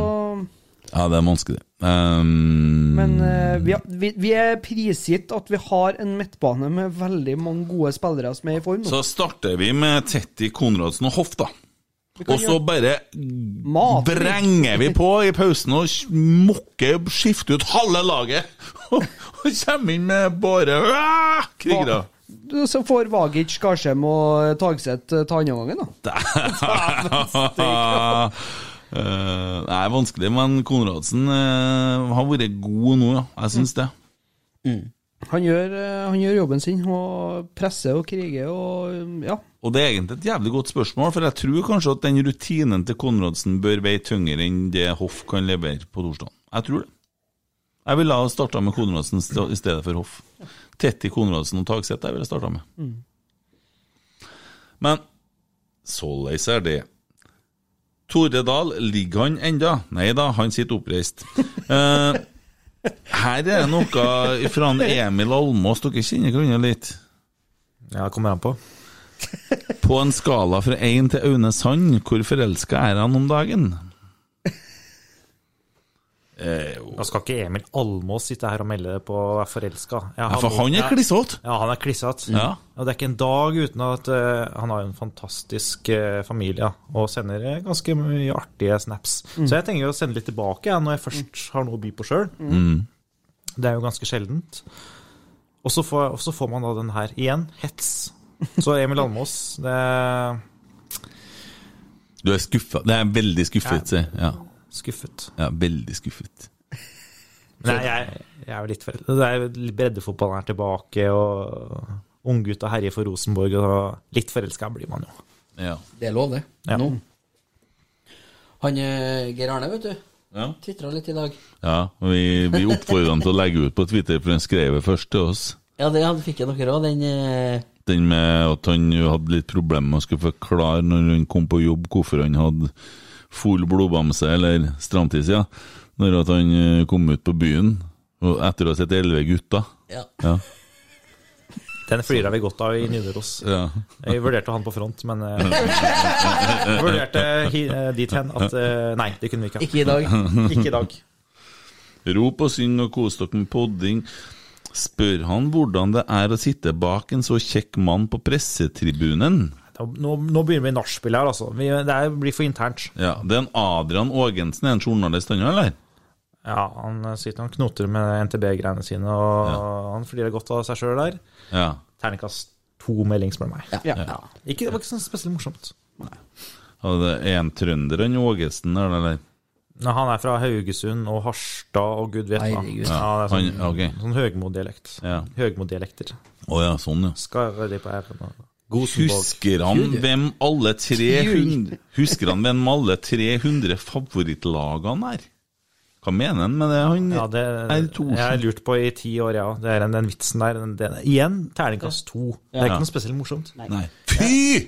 Speaker 6: Ja, det er vanskelig. Ehm,
Speaker 5: Men eh, vi, har- vi, vi er prisgitt at vi har en midtbane med veldig mange gode spillere som er i form. nå.
Speaker 6: så starter vi med Tetti, Konradsen og Hoff, da.
Speaker 5: Vi kan
Speaker 6: Og så
Speaker 5: gjøre
Speaker 6: bare
Speaker 5: mat.
Speaker 6: vrenger vi på i pausen og mokker, skifter ut halve laget. Og kommer inn med bare «Åh!» krigere.
Speaker 5: Du, Så får Vagic, Skarsheim og Tagseth eh, ta andre gangen, da.
Speaker 6: Eh, Det er vanskelig, men Konradsen eh, har vært god nå, ja. Jeg syns det.
Speaker 5: Han gjør, eh, han gjør jobben sin og presser og kriger og um, ja.
Speaker 6: Og det er egentlig et jævlig godt spørsmål, for jeg tror kanskje at den rutinen til Konradsen bør veie tyngre enn det Hoff kan levere på torsdag. Jeg tror det. Jeg ville ha starta med Konradsen st- i stedet for Hoff. Tett i Konradsen og Tagseth jeg ville starta med. Men såleis er det. Tore Dahl, ligger han enda? Nei da, han sitter oppreist. Eh, her er det noe fra en Emil Almås, dere kjenner hverandre litt?
Speaker 11: Ja, det kommer an på.
Speaker 6: På en skala fra 1 til Aune Sand, hvor forelska er han om dagen? Eh, jo.
Speaker 11: Da skal ikke Emil Almås sitte her og melde på å være forelska. Ja,
Speaker 6: Ja, for han er klissete!
Speaker 11: Ja, han er klissete.
Speaker 6: Ja.
Speaker 11: Og det er ikke en dag uten at eh, han har jo en fantastisk eh, familie og sender eh, ganske mye artige snaps. Så jeg tenker å sende litt tilbake jeg, når jeg først har noe å by på sjøl. Det er jo ganske sjeldent. Og så får, og så får man da den her igjen. Hets. Så Emil Almås det er
Speaker 6: Du er skuffa. Det er veldig skuffet, sier jeg. Ja.
Speaker 11: Skuffet.
Speaker 6: ja, veldig skuffet.
Speaker 11: Nei, jeg, jeg er jo litt for Det er jo breddefotballen er tilbake, og unggutta herjer for Rosenborg, og litt forelska blir man jo.
Speaker 6: Ja.
Speaker 7: Det er lov, det.
Speaker 11: Ja.
Speaker 7: Nå. Han eh, Geir Arne, vet du,
Speaker 6: Ja.
Speaker 7: tvitra litt i dag.
Speaker 6: ja og vi, vi oppfordrer ham til å legge ut på Twitter, for han skrev det først til oss.
Speaker 7: Ja, det hadde- fikk jeg dere òg, den eh,
Speaker 6: Den med at han jo hadde litt problemer med å skulle forklare når han kom på jobb hvorfor han hadde full blodbamse eller stramtiss, ja. Når at han eh, kom ut på byen og etter å ha sett elleve gutter.
Speaker 7: Ja.
Speaker 6: Ja.
Speaker 11: Den flirer vi godt av i Nidaros.
Speaker 6: Ja.
Speaker 11: Jeg vurderte å ha den på front, men eh, jeg vurderte hi- eh, dit hen at eh, nei, det kunne vi ikke.
Speaker 7: Ikke i dag.
Speaker 11: ha. Ikke i dag.
Speaker 6: Rop og syng og kos dere med podding. Spør han hvordan det er å sitte bak en så kjekk mann på pressetribunen?
Speaker 11: Da- Nå, nå begynner vi nachspiel her, altså. Vi, det er, blir for internt.
Speaker 6: Ja, Det er en Adrian Aagensen, er en journalist han, eller?
Speaker 11: Ja, han eh, sitter og knoter med NTB-greiene sine, og han flirer godt av seg sjøl der.
Speaker 6: Ja.
Speaker 11: Terningkast to melding, spør du meg.
Speaker 5: Ja.
Speaker 11: Ikke, det var ikke sånn spesielt morsomt.
Speaker 6: Og det er en trønder, han Aagensen, er det, eller?
Speaker 11: Nei, han er fra Haugesund og Harstad og gud vet hva.
Speaker 7: Herregud.
Speaker 11: Ja, det er sånn,
Speaker 6: Han- ok.
Speaker 11: sånn Høgmo-dialekt.
Speaker 6: Ja.
Speaker 11: Høgmo-dialekter.
Speaker 6: Å ja, sånn, ja.
Speaker 11: Skarrer de på r-en. og-
Speaker 6: Husker han hvem alle 300 Husker han hvem alle 300 favorittlagene er? Hva mener han med det? Han
Speaker 11: Ja, det
Speaker 6: er Thorsen.
Speaker 11: Eh, jeg har lurt på i ti år, ja. Det er den, den vitsen der. Den, den, igjen terningkast to. Det er ikke noe spesielt morsomt.
Speaker 6: Nei. Fy!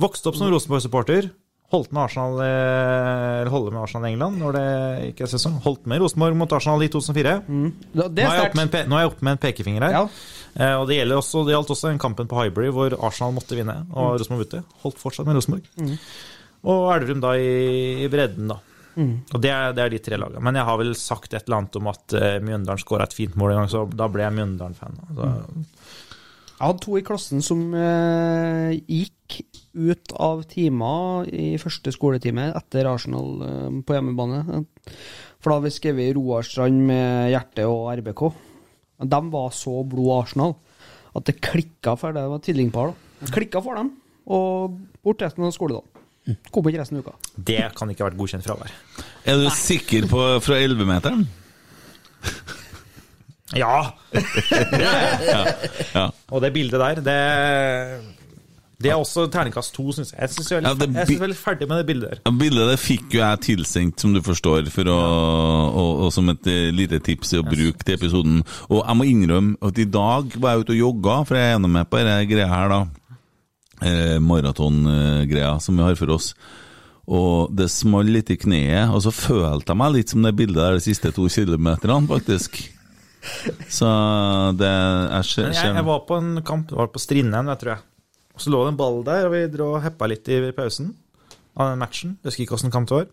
Speaker 11: Vokste opp som Rosenborg-supporter. Holdt med Arsenal eh, eller holder med Arsenal i England når det ikke er sesong. Holdt med Rosenborg mot Arsenal i 2004.
Speaker 5: Mm. Da- Det
Speaker 11: Nå
Speaker 5: er
Speaker 11: er jeg oppe med en,
Speaker 5: sterkt.
Speaker 11: pe nå er jeg oppe med en pekefinger her.
Speaker 5: Ja.
Speaker 11: Eh, og det, gjelder også, det gjaldt også den kampen på Highbury hvor Arsenal måtte vinne, og
Speaker 5: Mm.
Speaker 11: Rosenborg vant. det. Holdt fortsatt med Rosenborg. Og Elverum da i, i bredden, da. Og det er, det er de tre lagene. Men jeg har vel sagt et eller annet om at eh, Mjøndalen skåra et fint mål en gang, så da ble jeg Mjøndalen-fan. Altså,
Speaker 5: Mm. Jeg hadde to i klassen som eh, gikk ut av timer i første skoletime etter Arsenal eh, på hjemmebane. For da hadde vi skrevet Roarstrand med hjerte og RBK. De var så blod Arsenal at det klikka for det var tvillingpar. da. Det Klikka for dem, og bort resten av skoledagen. Kom ikke resten av uka.
Speaker 11: det kan ikke ha vært godkjent fravær.
Speaker 6: Er du sikker på fra 11-meteren?
Speaker 11: Ja!
Speaker 6: Ja.
Speaker 11: Og det bildet der, det det er også terningkast to, syns jeg. Jeg syns jeg er
Speaker 6: Ja,
Speaker 11: litt
Speaker 6: det
Speaker 11: jeg
Speaker 6: bi-
Speaker 11: synes jeg er litt ferdig med det bildet der.
Speaker 6: Ja, Bildet det fikk jo jeg tilsendt, som du forstår, for å, og, og som et eh, lite tips å bruke til episoden. Og jeg må innrømme at i dag var jeg ute og jogga, for jeg er gjennom med på denne greia her, da. eh, maratongreia som vi har for oss. Og det smalt litt i kneet, og så følte jeg meg litt som det bildet der de siste to kilometerne, faktisk. Så det Jeg ser,
Speaker 11: Men jeg,
Speaker 6: ser
Speaker 11: jeg var på en kamp, det var på Strindheim, det tror jeg. Og så lå det en ball der, og vi dro og heppa litt i pausen av den matchen. Jeg husker ikke åssen kamp det var.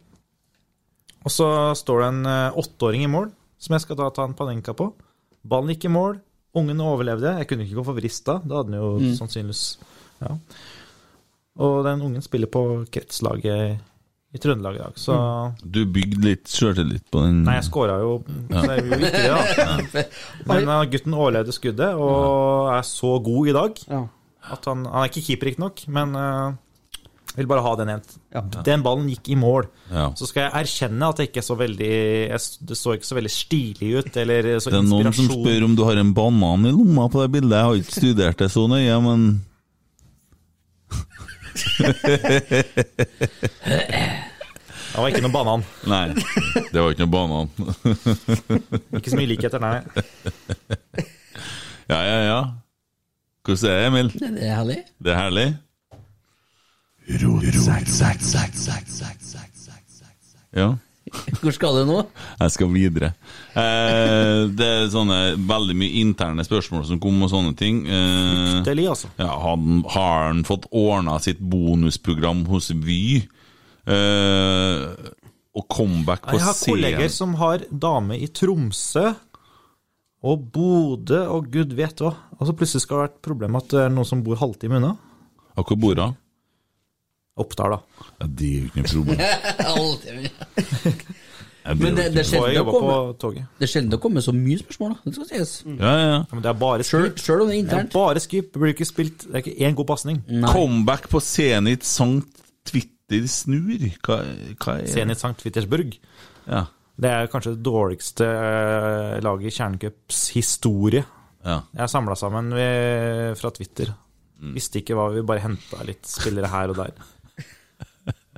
Speaker 11: Og så står det en eh, åtteåring i mål, som jeg skal da ta en panenka på. Ballen gikk i mål, ungen overlevde. Jeg kunne ikke gå for vrista, da hadde den jo
Speaker 5: Mm.
Speaker 11: sannsynligvis ja. Og den ungen spiller på kretslaget i Trøndelag i dag, så
Speaker 6: Mm. Du bygde litt sjøltillit på den
Speaker 11: Nei, jeg skåra jo,
Speaker 6: Ja.
Speaker 11: så jeg gjorde ikke det, da. Men eh, gutten overlevde skuddet og er så god i dag
Speaker 5: Ja.
Speaker 11: at han, han er ikke keeper, riktignok, men eh, vil bare ha den ent.
Speaker 5: Ja.
Speaker 11: Den ballen gikk i mål.
Speaker 6: Ja.
Speaker 11: Så skal jeg erkjenne at det ikke er så veldig jeg, s- Det så ikke så veldig stilig ut, eller så
Speaker 6: Det er noen som
Speaker 11: inspirasjon
Speaker 6: spør om du har en banan i lomma på det bildet. Jeg har ikke studert det så nøye, men
Speaker 11: Det var ikke noen banan.
Speaker 6: Nei, det var ikke noe banan.
Speaker 11: Ikke så mye likheter, nei.
Speaker 6: Ja, ja, ja. Hvordan er det, Emil?
Speaker 7: Det er herlig.
Speaker 6: Det er herlig? Ja.
Speaker 7: Hvor skal du nå?
Speaker 6: Jeg skal videre. Eh, det er sånne veldig mye interne spørsmål som kom, og sånne ting. Eh,
Speaker 11: Deli, altså.
Speaker 6: Ja, han, har han fått ordna sitt bonusprogram hos Vy? Eh, og comeback på
Speaker 11: Jeg har kolleger
Speaker 6: scenen?
Speaker 11: som har dame i Tromsø og Bodø og gud vet hva. Og så plutselig skal det være et problem at det er noen som bor halvtime unna.
Speaker 6: Og Hvor bor hun?
Speaker 11: Oppdal, da.
Speaker 6: Ja, det er jo ikke noe problem.
Speaker 7: Alltid.
Speaker 6: Ja, det er
Speaker 7: Men
Speaker 6: jo
Speaker 7: det, det er
Speaker 6: ikke
Speaker 11: Og jeg
Speaker 7: sjelden
Speaker 6: noe-
Speaker 7: det
Speaker 11: jobba på
Speaker 7: kommer-
Speaker 11: toget.
Speaker 7: det er sjelden det kommer så mye spørsmål, da. Det skal sies.
Speaker 6: Ja, ja, ja.
Speaker 11: Ja, Men det er bare
Speaker 7: Selv
Speaker 11: Skype.
Speaker 7: selv om det
Speaker 11: Det
Speaker 7: er
Speaker 11: er
Speaker 7: internt.
Speaker 11: bare Skype. Det blir ikke spilt Det er ikke én god pasning.
Speaker 6: Comeback på Zenit Sankt Twitter Snur? Hva, hva er
Speaker 11: Zenit Sankt Petersburg.
Speaker 6: Ja.
Speaker 11: Det er kanskje det dårligste eh, laget i Kjernecups historie.
Speaker 6: ja.
Speaker 11: Jeg samla sammen ved, fra Twitter. Visste ikke hva vi bare henta litt spillere her og der.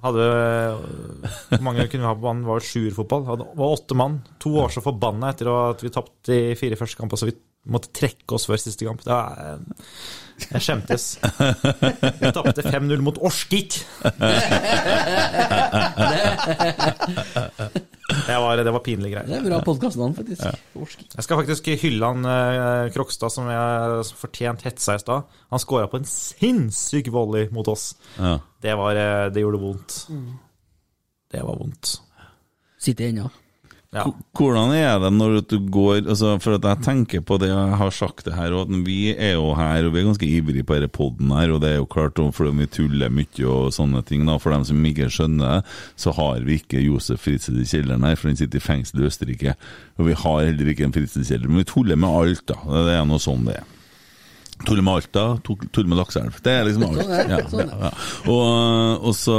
Speaker 11: Hadde Hvor mange kunne vi ha på banen? Var det sjuerfotball? Hadde- Var åtte mann. To år så forbanna etter at vi tapte de fire første kampene, så vi måtte trekke oss før siste kamp. Det er, jeg skjemtes. Vi tapte 5-0 mot Orskik! Det var, det var pinlige greier.
Speaker 7: Det er bra podkastnavn, faktisk. Orsk.
Speaker 11: Jeg skal faktisk hylle han eh, Krokstad, som jeg som fortjent hetsa i stad. Han skåra på en sinnssyk volley mot oss.
Speaker 6: ja.
Speaker 11: Det, var, eh, det gjorde vondt. Det var vondt.
Speaker 7: Sitter ennå.
Speaker 11: Ja.
Speaker 6: H- Hvordan er det når du går altså For at jeg tenker på det jeg har sagt det her, og at vi er jo her, og vi er ganske ivrige på denne poden her, og det er jo klart, og fordi vi tuller mye og sånne ting, da, for dem som ikke skjønner det, så har vi ikke Josef Fritzl i kjelleren her, for han sitter i fengsel i Østerrike, og vi har heller ikke en Fritzl-kjeller, men vi tuller med alt, da. Det er nå sånn det er. Tulle med Alta, tu- tulle med Lakseelv. Det er liksom alt. Ja, ja, ja. Og, og så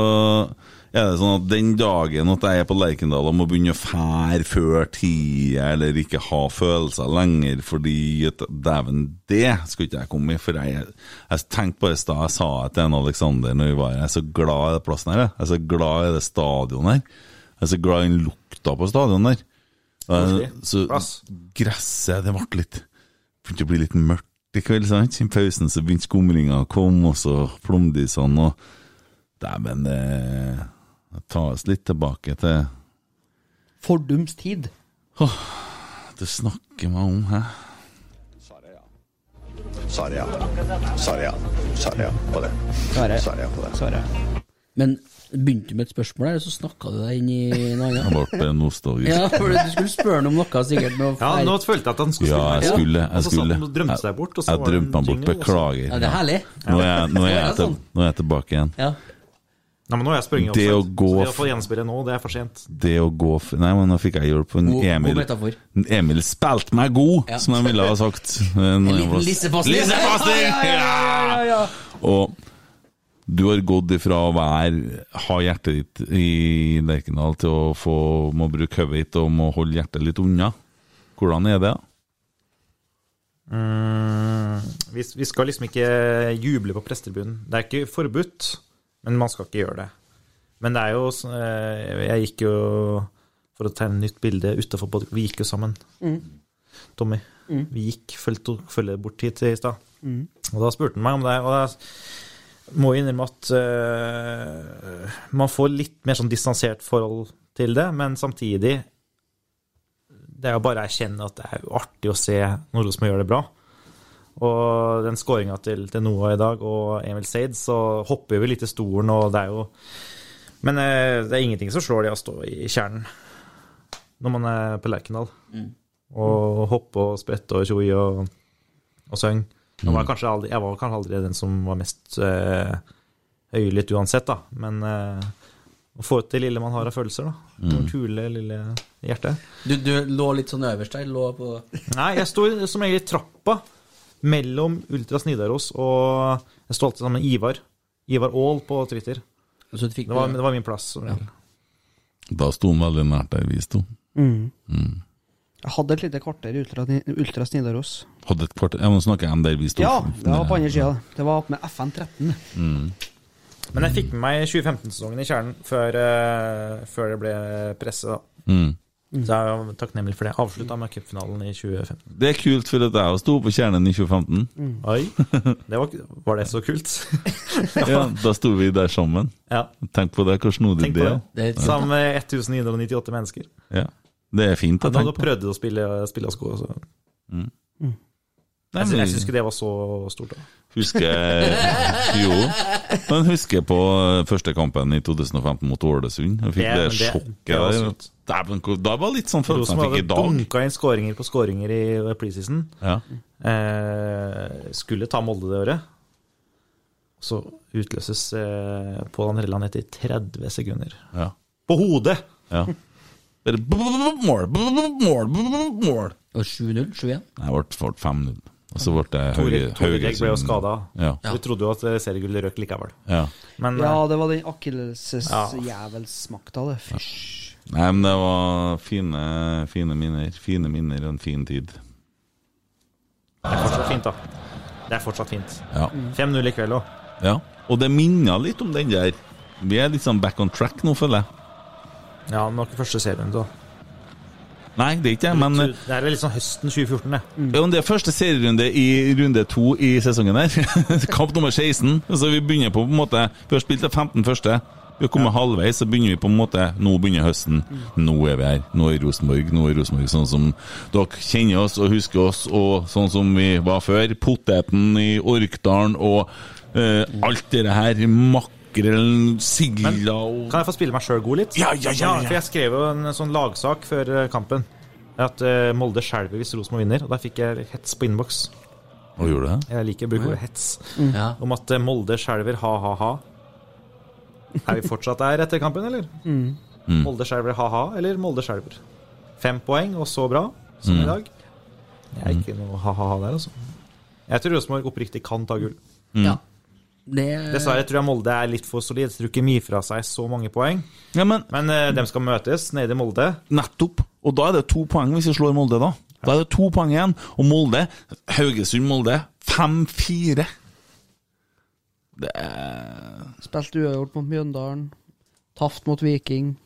Speaker 6: er det sånn at den dagen at jeg er på Lerkendal og må begynne å fære før tida, eller ikke ha følelser lenger fordi at Dæven, det skulle ikke jeg komme i. For jeg, jeg tenkte på det i stad, jeg sa det til en Aleksander når vi var her, jeg er så glad i den plassen her. jeg. Jeg er så glad i det stadionet her. Jeg er så glad i den lukta på stadionet her.
Speaker 11: Koselig.
Speaker 6: Eh, Så
Speaker 11: Plass.
Speaker 6: gresset, det ble litt begynte å bli litt mørkt i kveld, sant? I pausen så begynte skumringa å komme, og så flomdysene og Dæven, det tar oss litt tilbake til
Speaker 5: Fordums tid.
Speaker 6: Du snakker meg om, hæ?
Speaker 12: Svarer ja. Svarer ja. Svarer ja på det.
Speaker 5: Svarer.
Speaker 12: Svarer ja på det.
Speaker 5: Svarer.
Speaker 7: Men begynte du med et spørsmål der, så snakka du deg inn i en annen.
Speaker 6: Jeg ble nostalgisk.
Speaker 7: Ja, for du skulle spørre ham om noe sikkert med å
Speaker 11: Ja,
Speaker 7: feire.
Speaker 11: nå følte jeg at han skulle
Speaker 6: Ja, jeg skulle.
Speaker 11: Og
Speaker 6: Jeg
Speaker 11: så sa han
Speaker 6: skulle.
Speaker 11: at han drømte seg bort, og så
Speaker 6: jeg
Speaker 11: var det en
Speaker 6: drømte meg bort.
Speaker 11: jingle, og så-
Speaker 6: Beklager.
Speaker 7: Ja, det er herlig.
Speaker 6: Nå er jeg, nå er jeg,
Speaker 7: Det er
Speaker 6: til,
Speaker 7: sånn.
Speaker 6: nå er jeg tilbake igjen.
Speaker 7: Ja.
Speaker 11: Nei, men nå er jeg sprunget opp.
Speaker 6: Det å
Speaker 11: så-
Speaker 6: gå-
Speaker 11: så Det å få gjenspillet nå, det er for sent.
Speaker 6: Det å gå f... Nei, men nå fikk jeg hjelp på en
Speaker 7: God- god
Speaker 6: Emil.
Speaker 7: metafor.
Speaker 6: Emil spilte meg god,
Speaker 7: Ja.
Speaker 6: som de ville ha sagt. Eh, En
Speaker 7: liten lissepasning.
Speaker 6: Lissepasning! Ja! Og du har gått ifra å være ha hjertet ditt i Lerkendal til å få må bruke hodet ditt og må holde hjertet litt unna. Hvordan er det?
Speaker 11: Mm, Vi, vi skal liksom ikke juble på prestetribunen. Det er ikke forbudt, men man skal ikke gjøre det. Men det er jo så- eh, Jeg gikk jo For å tegne nytt bilde utafor podkast Vi gikk jo sammen, Tommy. Vi gikk følge bort hit i stad. Og da spurte han meg om det. Og da må jo innrømme at eh, man får litt mer sånn distansert forhold til det, men samtidig Det er jo bare å erkjenne at det er jo artig å se når Rosenborg gjør det bra. Og den skåringa til, til Noah i dag og Emil Seid, så hopper vi litt i stolen, og det er jo Men eh, det er ingenting som slår det å stå i kjernen når man er på Lerkendal. Og hoppe og sprette og tjoi og, og søng. Nå var jeg, kanskje aldri, jeg var kanskje aldri den som var mest eh, høylytt uansett, da. Men eh, å få ut det lille man har av følelser, da.
Speaker 7: Mm.
Speaker 11: Det Kule, lille hjertet.
Speaker 7: Du, du lå litt sånn øverst der? Lå på
Speaker 11: Nei, jeg sto som regel i trappa mellom Ultras Nidaros og Jeg sto alltid sammen med Ivar. Ivar Aall på Twitter.
Speaker 7: Så du fikk
Speaker 11: Det var, det var min plass. som regel.
Speaker 6: Da sto han veldig nært der vi sto.
Speaker 5: Mm.
Speaker 6: Mm.
Speaker 5: Jeg hadde et lite kvarter i Ultra, Ultra Snidaros.
Speaker 6: Hadde et kvarter Jeg må snakke om der vi sto.
Speaker 5: Ja, det var på andre sida. Det var opp med FN13.
Speaker 6: Mm.
Speaker 11: Men jeg fikk med meg 2015-sesongen i kjernen før, eh, før det ble presse, da.
Speaker 6: Mm.
Speaker 11: Så jeg er takknemlig for det. Avslutta med cupfinalen i 2015.
Speaker 6: Det er kult, for at jeg sto på kjernen i 2015.
Speaker 5: Mm.
Speaker 11: Oi, det var, var det så kult?
Speaker 6: Ja, da sto vi der sammen.
Speaker 11: Ja.
Speaker 6: Tenk på det, hvor snodig
Speaker 11: Tenk på
Speaker 6: det
Speaker 11: det.
Speaker 6: er.
Speaker 11: Sammen med 1998 mennesker.
Speaker 6: Ja. Det er fint å
Speaker 11: Da hadde
Speaker 6: tenke
Speaker 11: du
Speaker 6: på.
Speaker 11: prøvd å spille, spille oss gode. Så.
Speaker 6: Mm. Nei,
Speaker 11: Jeg, sy-
Speaker 6: men-
Speaker 11: jeg syns ikke det var så stort. Da.
Speaker 6: Husker Jo. Men husker på eh, første kampen i 2015 mot Ålesund. Jeg fikk
Speaker 11: Ja,
Speaker 6: det,
Speaker 11: men det-
Speaker 6: sjokket
Speaker 11: det var
Speaker 6: der.
Speaker 11: sykt.
Speaker 6: Dæven, hvor- Da var det litt sånn følelsen jeg
Speaker 11: Rosenborg
Speaker 6: fikk i
Speaker 11: hadde
Speaker 6: dag.
Speaker 11: dunka inn skåringer på skåringer i preseason.
Speaker 6: Ja.
Speaker 11: Eh, skulle ta Molde det året. Så utløses eh, Pål André Land etter 30 sekunder.
Speaker 6: Ja.
Speaker 11: På hodet!
Speaker 6: ja. Bare b- b- b- Mål, b- b- mål, b- b- mål.
Speaker 7: Og 7-0? 7-1?
Speaker 6: Nei, det ble 5-0. Og så ble det
Speaker 11: Tore
Speaker 6: Hauge-
Speaker 11: Tore ble jo skada.
Speaker 6: Ja.
Speaker 11: Du trodde jo at eh, seriegullet røk likevel.
Speaker 6: ja.
Speaker 11: Men
Speaker 5: Ja,
Speaker 11: eh,
Speaker 5: det var den akillesjævelsmakta, det. Fysj.
Speaker 6: Nei, men det var fine, fine minner. Fine minner og en fin tid.
Speaker 11: det er fortsatt fint, da. Det er fortsatt fint.
Speaker 6: Ja.
Speaker 11: 5-0 i kveld òg.
Speaker 6: ja. Og det minner litt om den der. Vi er litt sånn back on track nå, føler jeg.
Speaker 11: Ja, men det var ikke første serien, da.
Speaker 6: Nei, det er ikke jeg, men eh, Mm.
Speaker 11: det er litt sånn høsten 2014, det.
Speaker 6: Ja, men det er første serierunde i runde to i sesongen her. Kamp nummer 16. Så vi begynner på på en måte Vi har spilt de 15 første. Vi har kommet halvveis, så begynner vi på en måte Nå begynner høsten.
Speaker 11: Mm.
Speaker 6: Nå er vi her. Nå er Rosenborg. Nå er Rosenborg sånn som dere kjenner oss og husker oss, og sånn som vi var før. Poteten i Orkdalen og eh, alt det her. Makrellen, sigla og
Speaker 11: Kan jeg få spille meg sjøl god litt?
Speaker 6: Ja, ja, ja, ja.
Speaker 11: For jeg skrev jo en sånn lagsak før eh, kampen. At eh, Molde skjelver hvis Rosenborg vinner. Og der fikk jeg hets på innboks.
Speaker 6: Og gjorde det?
Speaker 11: Jeg liker å bruke ordet hets.
Speaker 6: Mm.
Speaker 7: Ja.
Speaker 11: Om at eh, Molde skjelver ha-ha-ha. Er vi fortsatt der etter kampen, eller?
Speaker 6: Mm.
Speaker 11: Molde skjelver ha-ha, eller Molde skjelver? Fem poeng, og så bra, som
Speaker 6: Mm.
Speaker 11: i dag. Det er ikke noe ha-ha-ha der, altså. Jeg tror Rosenborg oppriktig kan ta gull.
Speaker 7: ja. Det,
Speaker 11: Dessverre tror jeg Molde er litt for solid. Jeg tror ikke mye fra seg så mange poeng.
Speaker 6: Ja, men
Speaker 11: Men eh, dem skal møtes nede i Molde.
Speaker 6: Nettopp. Og da er det to poeng hvis vi slår Molde, da. Da er det to poeng igjen. Og Molde Haugesund-Molde 5-4. Det er
Speaker 5: Spilte uavgjort mot Mjøndalen. Taft mot Viking.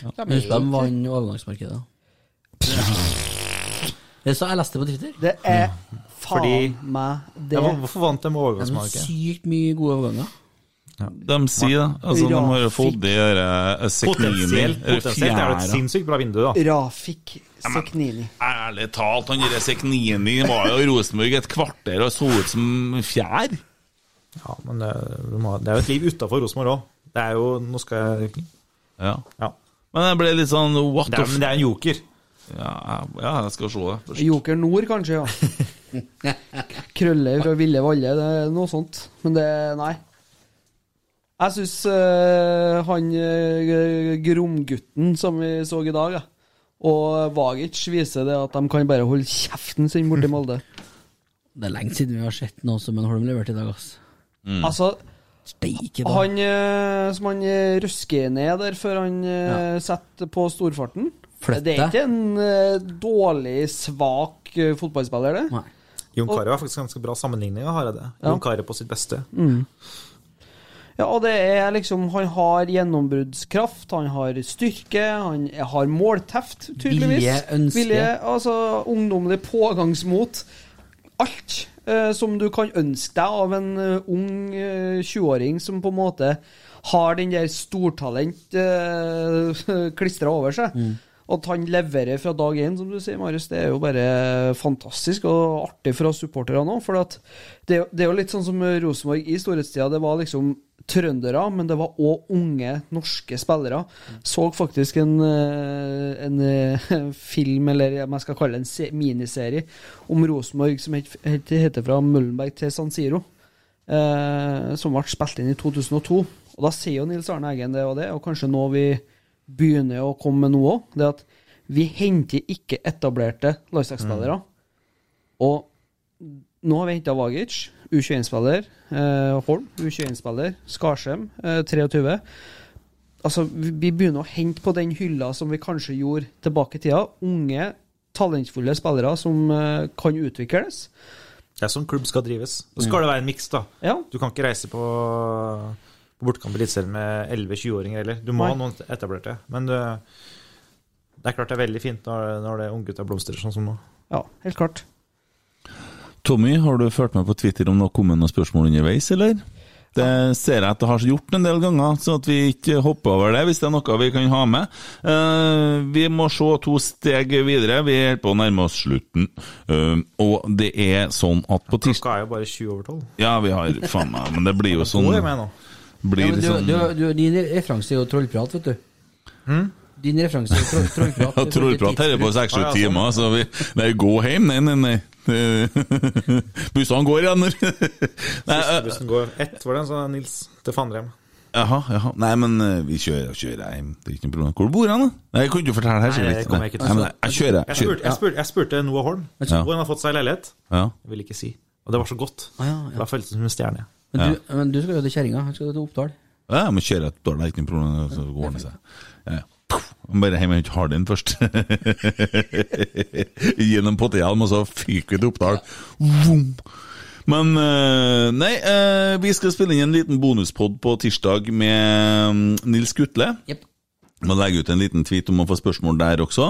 Speaker 7: Husk de vant overgangsmarkedet. Det sa jeg leste på Twitter.
Speaker 5: Det er faen
Speaker 11: Fordi-
Speaker 5: meg det.
Speaker 11: Ja, hvor- hvorfor vant de
Speaker 7: Det er noe
Speaker 11: overgangsmarkedet?
Speaker 7: sykt mye gode overganger.
Speaker 6: De sier det. Altså, de har jo fått de der eh, Sekhnini
Speaker 11: Potensielt,
Speaker 6: eller
Speaker 11: potensielt er det et
Speaker 6: fjæra.
Speaker 11: sinnssykt bra vindu, da.
Speaker 5: Rafik Sekhnini.
Speaker 6: Ærlig talt, han der Sekhnini var jo i Rosenborg et kvarter og så ut som fjær.
Speaker 11: Ja, men eh, du må- det er jo et liv utafor Rosenborg òg. Det er jo Nå skal jeg
Speaker 6: Ja.
Speaker 11: Ja.
Speaker 6: Men jeg ble litt sånn what
Speaker 11: Det er,
Speaker 6: the
Speaker 11: men
Speaker 6: f...
Speaker 11: det er en joker.
Speaker 6: Ja, ja, jeg skal se det. først.
Speaker 5: Joker Nord, kanskje, ja. Krøller fra Ville Valle, det er noe sånt. Men det Nei. Jeg syns han eh, Gromgutten som vi så i dag, ja. og Vagic viser det at de kan bare holde kjeften sin borti Molde.
Speaker 7: Det er lenge siden vi har sett noe som en Holm leverte i dag, ass.
Speaker 11: Mm.
Speaker 6: Mm.
Speaker 5: Altså,
Speaker 7: Steike, da.
Speaker 5: han eh, som han eh, røsker ned der før han eh, setter på storfarten
Speaker 7: Flytte.
Speaker 5: Det er ikke en eh, dårlig, svak eh, fotballspiller, det.
Speaker 7: Nei.
Speaker 11: Jon Carew har faktisk ganske bra sammenligning av Hareide. Jon Carew på sitt beste.
Speaker 6: Mm.
Speaker 5: Ja, og det er liksom Han har gjennombruddskraft, han har styrke, han har målteft, tydeligvis.
Speaker 7: Vilje, ønske.
Speaker 5: Vilje, altså ungdommelig pågangsmot. Alt. eh, som du kan ønske deg av en eh, ung eh, 20-åring som på en måte har den der stortalent uh, klistra over seg. At han leverer fra dag én, som du sier, Marius, det er jo bare fantastisk og artig for oss supportere nå. For at det, det er jo litt sånn som Rosenborg i storhetstida. Det var liksom trøndere, men det var òg unge norske spillere. Så faktisk en, eh, en eh, film, eller om jeg skal kalle det en se- miniserie, om Rosenborg som het, het, heter Fra Møllenberg til San Siro eh, som ble spilt inn i 2002. Og da sier jo Nils Arne Eggen det og det, og kanskje nå vi begynner å komme med nå òg, det at vi henter ikke etablerte landslagsspillere. Og nå har vi henta Vagic, U21-spiller, eh, Holm, U21-spiller, Skarsheim, eh, 23. Altså, vi vi begynner å hente på den hylla som vi kanskje gjorde tilbake i tida. Unge, talentfulle spillere som eh, kan utvikles. Mm.
Speaker 11: Det er sånn klubb skal drives. Og så skal det være en miks, da.
Speaker 5: Ja.
Speaker 11: Du kan ikke reise på, på bortekamp i Eliteserien med 11-20-åringer heller. Du må
Speaker 5: Nei.
Speaker 11: ha noen etablerte. Men det, det er klart det er veldig fint når, når det unggutta blomstrer sånn som nå.
Speaker 5: Ja, helt klart.
Speaker 6: Tommy, har du ført meg på Twitter om det har kommet noen spørsmål underveis, eller? Det ser jeg at det har gjort en del ganger, så at vi ikke hopper over det, hvis det er noe vi kan ha med. Eh, vi må se to steg videre, vi holder på å nærme oss slutten. Eh, og det er sånn at på tirsdag
Speaker 11: Klokka er jo bare 20 over 12.
Speaker 6: Ja, vi har faen meg, men det blir jo sånn
Speaker 11: Hvor er jeg med nå?
Speaker 7: Ja,
Speaker 6: Blir
Speaker 7: men du,
Speaker 6: sånn
Speaker 7: du, du, din referanse er jo trollprat, vet du.
Speaker 5: Hm?
Speaker 7: Din referanse er jo troll, trollprat.
Speaker 6: Ja, trollprat her er på seks-sju
Speaker 11: sånn.
Speaker 6: timer, så vi Nei, gå hjem? Nei, nei, nei. Bussene går igjen når Nei, eh,
Speaker 11: Bussen går ett, var det, så Nils til Fandrem.
Speaker 6: Jaha, jaha. Nei, men eh, vi kjører kjører hjem. Det er ikke noe problem. Hvor bor han, da? Nei, jeg kunne ikke fortelle her. sikkert
Speaker 11: Nei, det
Speaker 6: ikke.
Speaker 11: kommer jeg ikke til.
Speaker 6: Nei, men jeg- jeg
Speaker 11: Jeg
Speaker 6: kjører. Jeg
Speaker 11: spurte, jeg
Speaker 6: kjører.
Speaker 11: spurte, jeg spurte Noah Holm
Speaker 6: Ja.
Speaker 11: hvor han har fått seg leilighet.
Speaker 6: Ja.
Speaker 11: Jeg vil ikke si. Og det var så godt.
Speaker 7: Ah, ja, ja.
Speaker 11: Da føltes det som en stjerne.
Speaker 7: Men, du, men du skal jo til kjerringa. Han skal jo til Oppdal.
Speaker 6: ja, jeg må kjøre et dårlig, det er ikke noe problem. Så går det seg. Ja, ja. Puff. Jeg må Bare hjem og hente Hardin først. Gi ham en potetgull, og så fyker vi til Oppdal. Vroom. Men eh, nei, eh, vi skal spille inn en liten bonuspod på tirsdag med mm, Nils Gutle.
Speaker 7: Jepp.
Speaker 6: Må legge ut en liten tweet om å få spørsmål der også.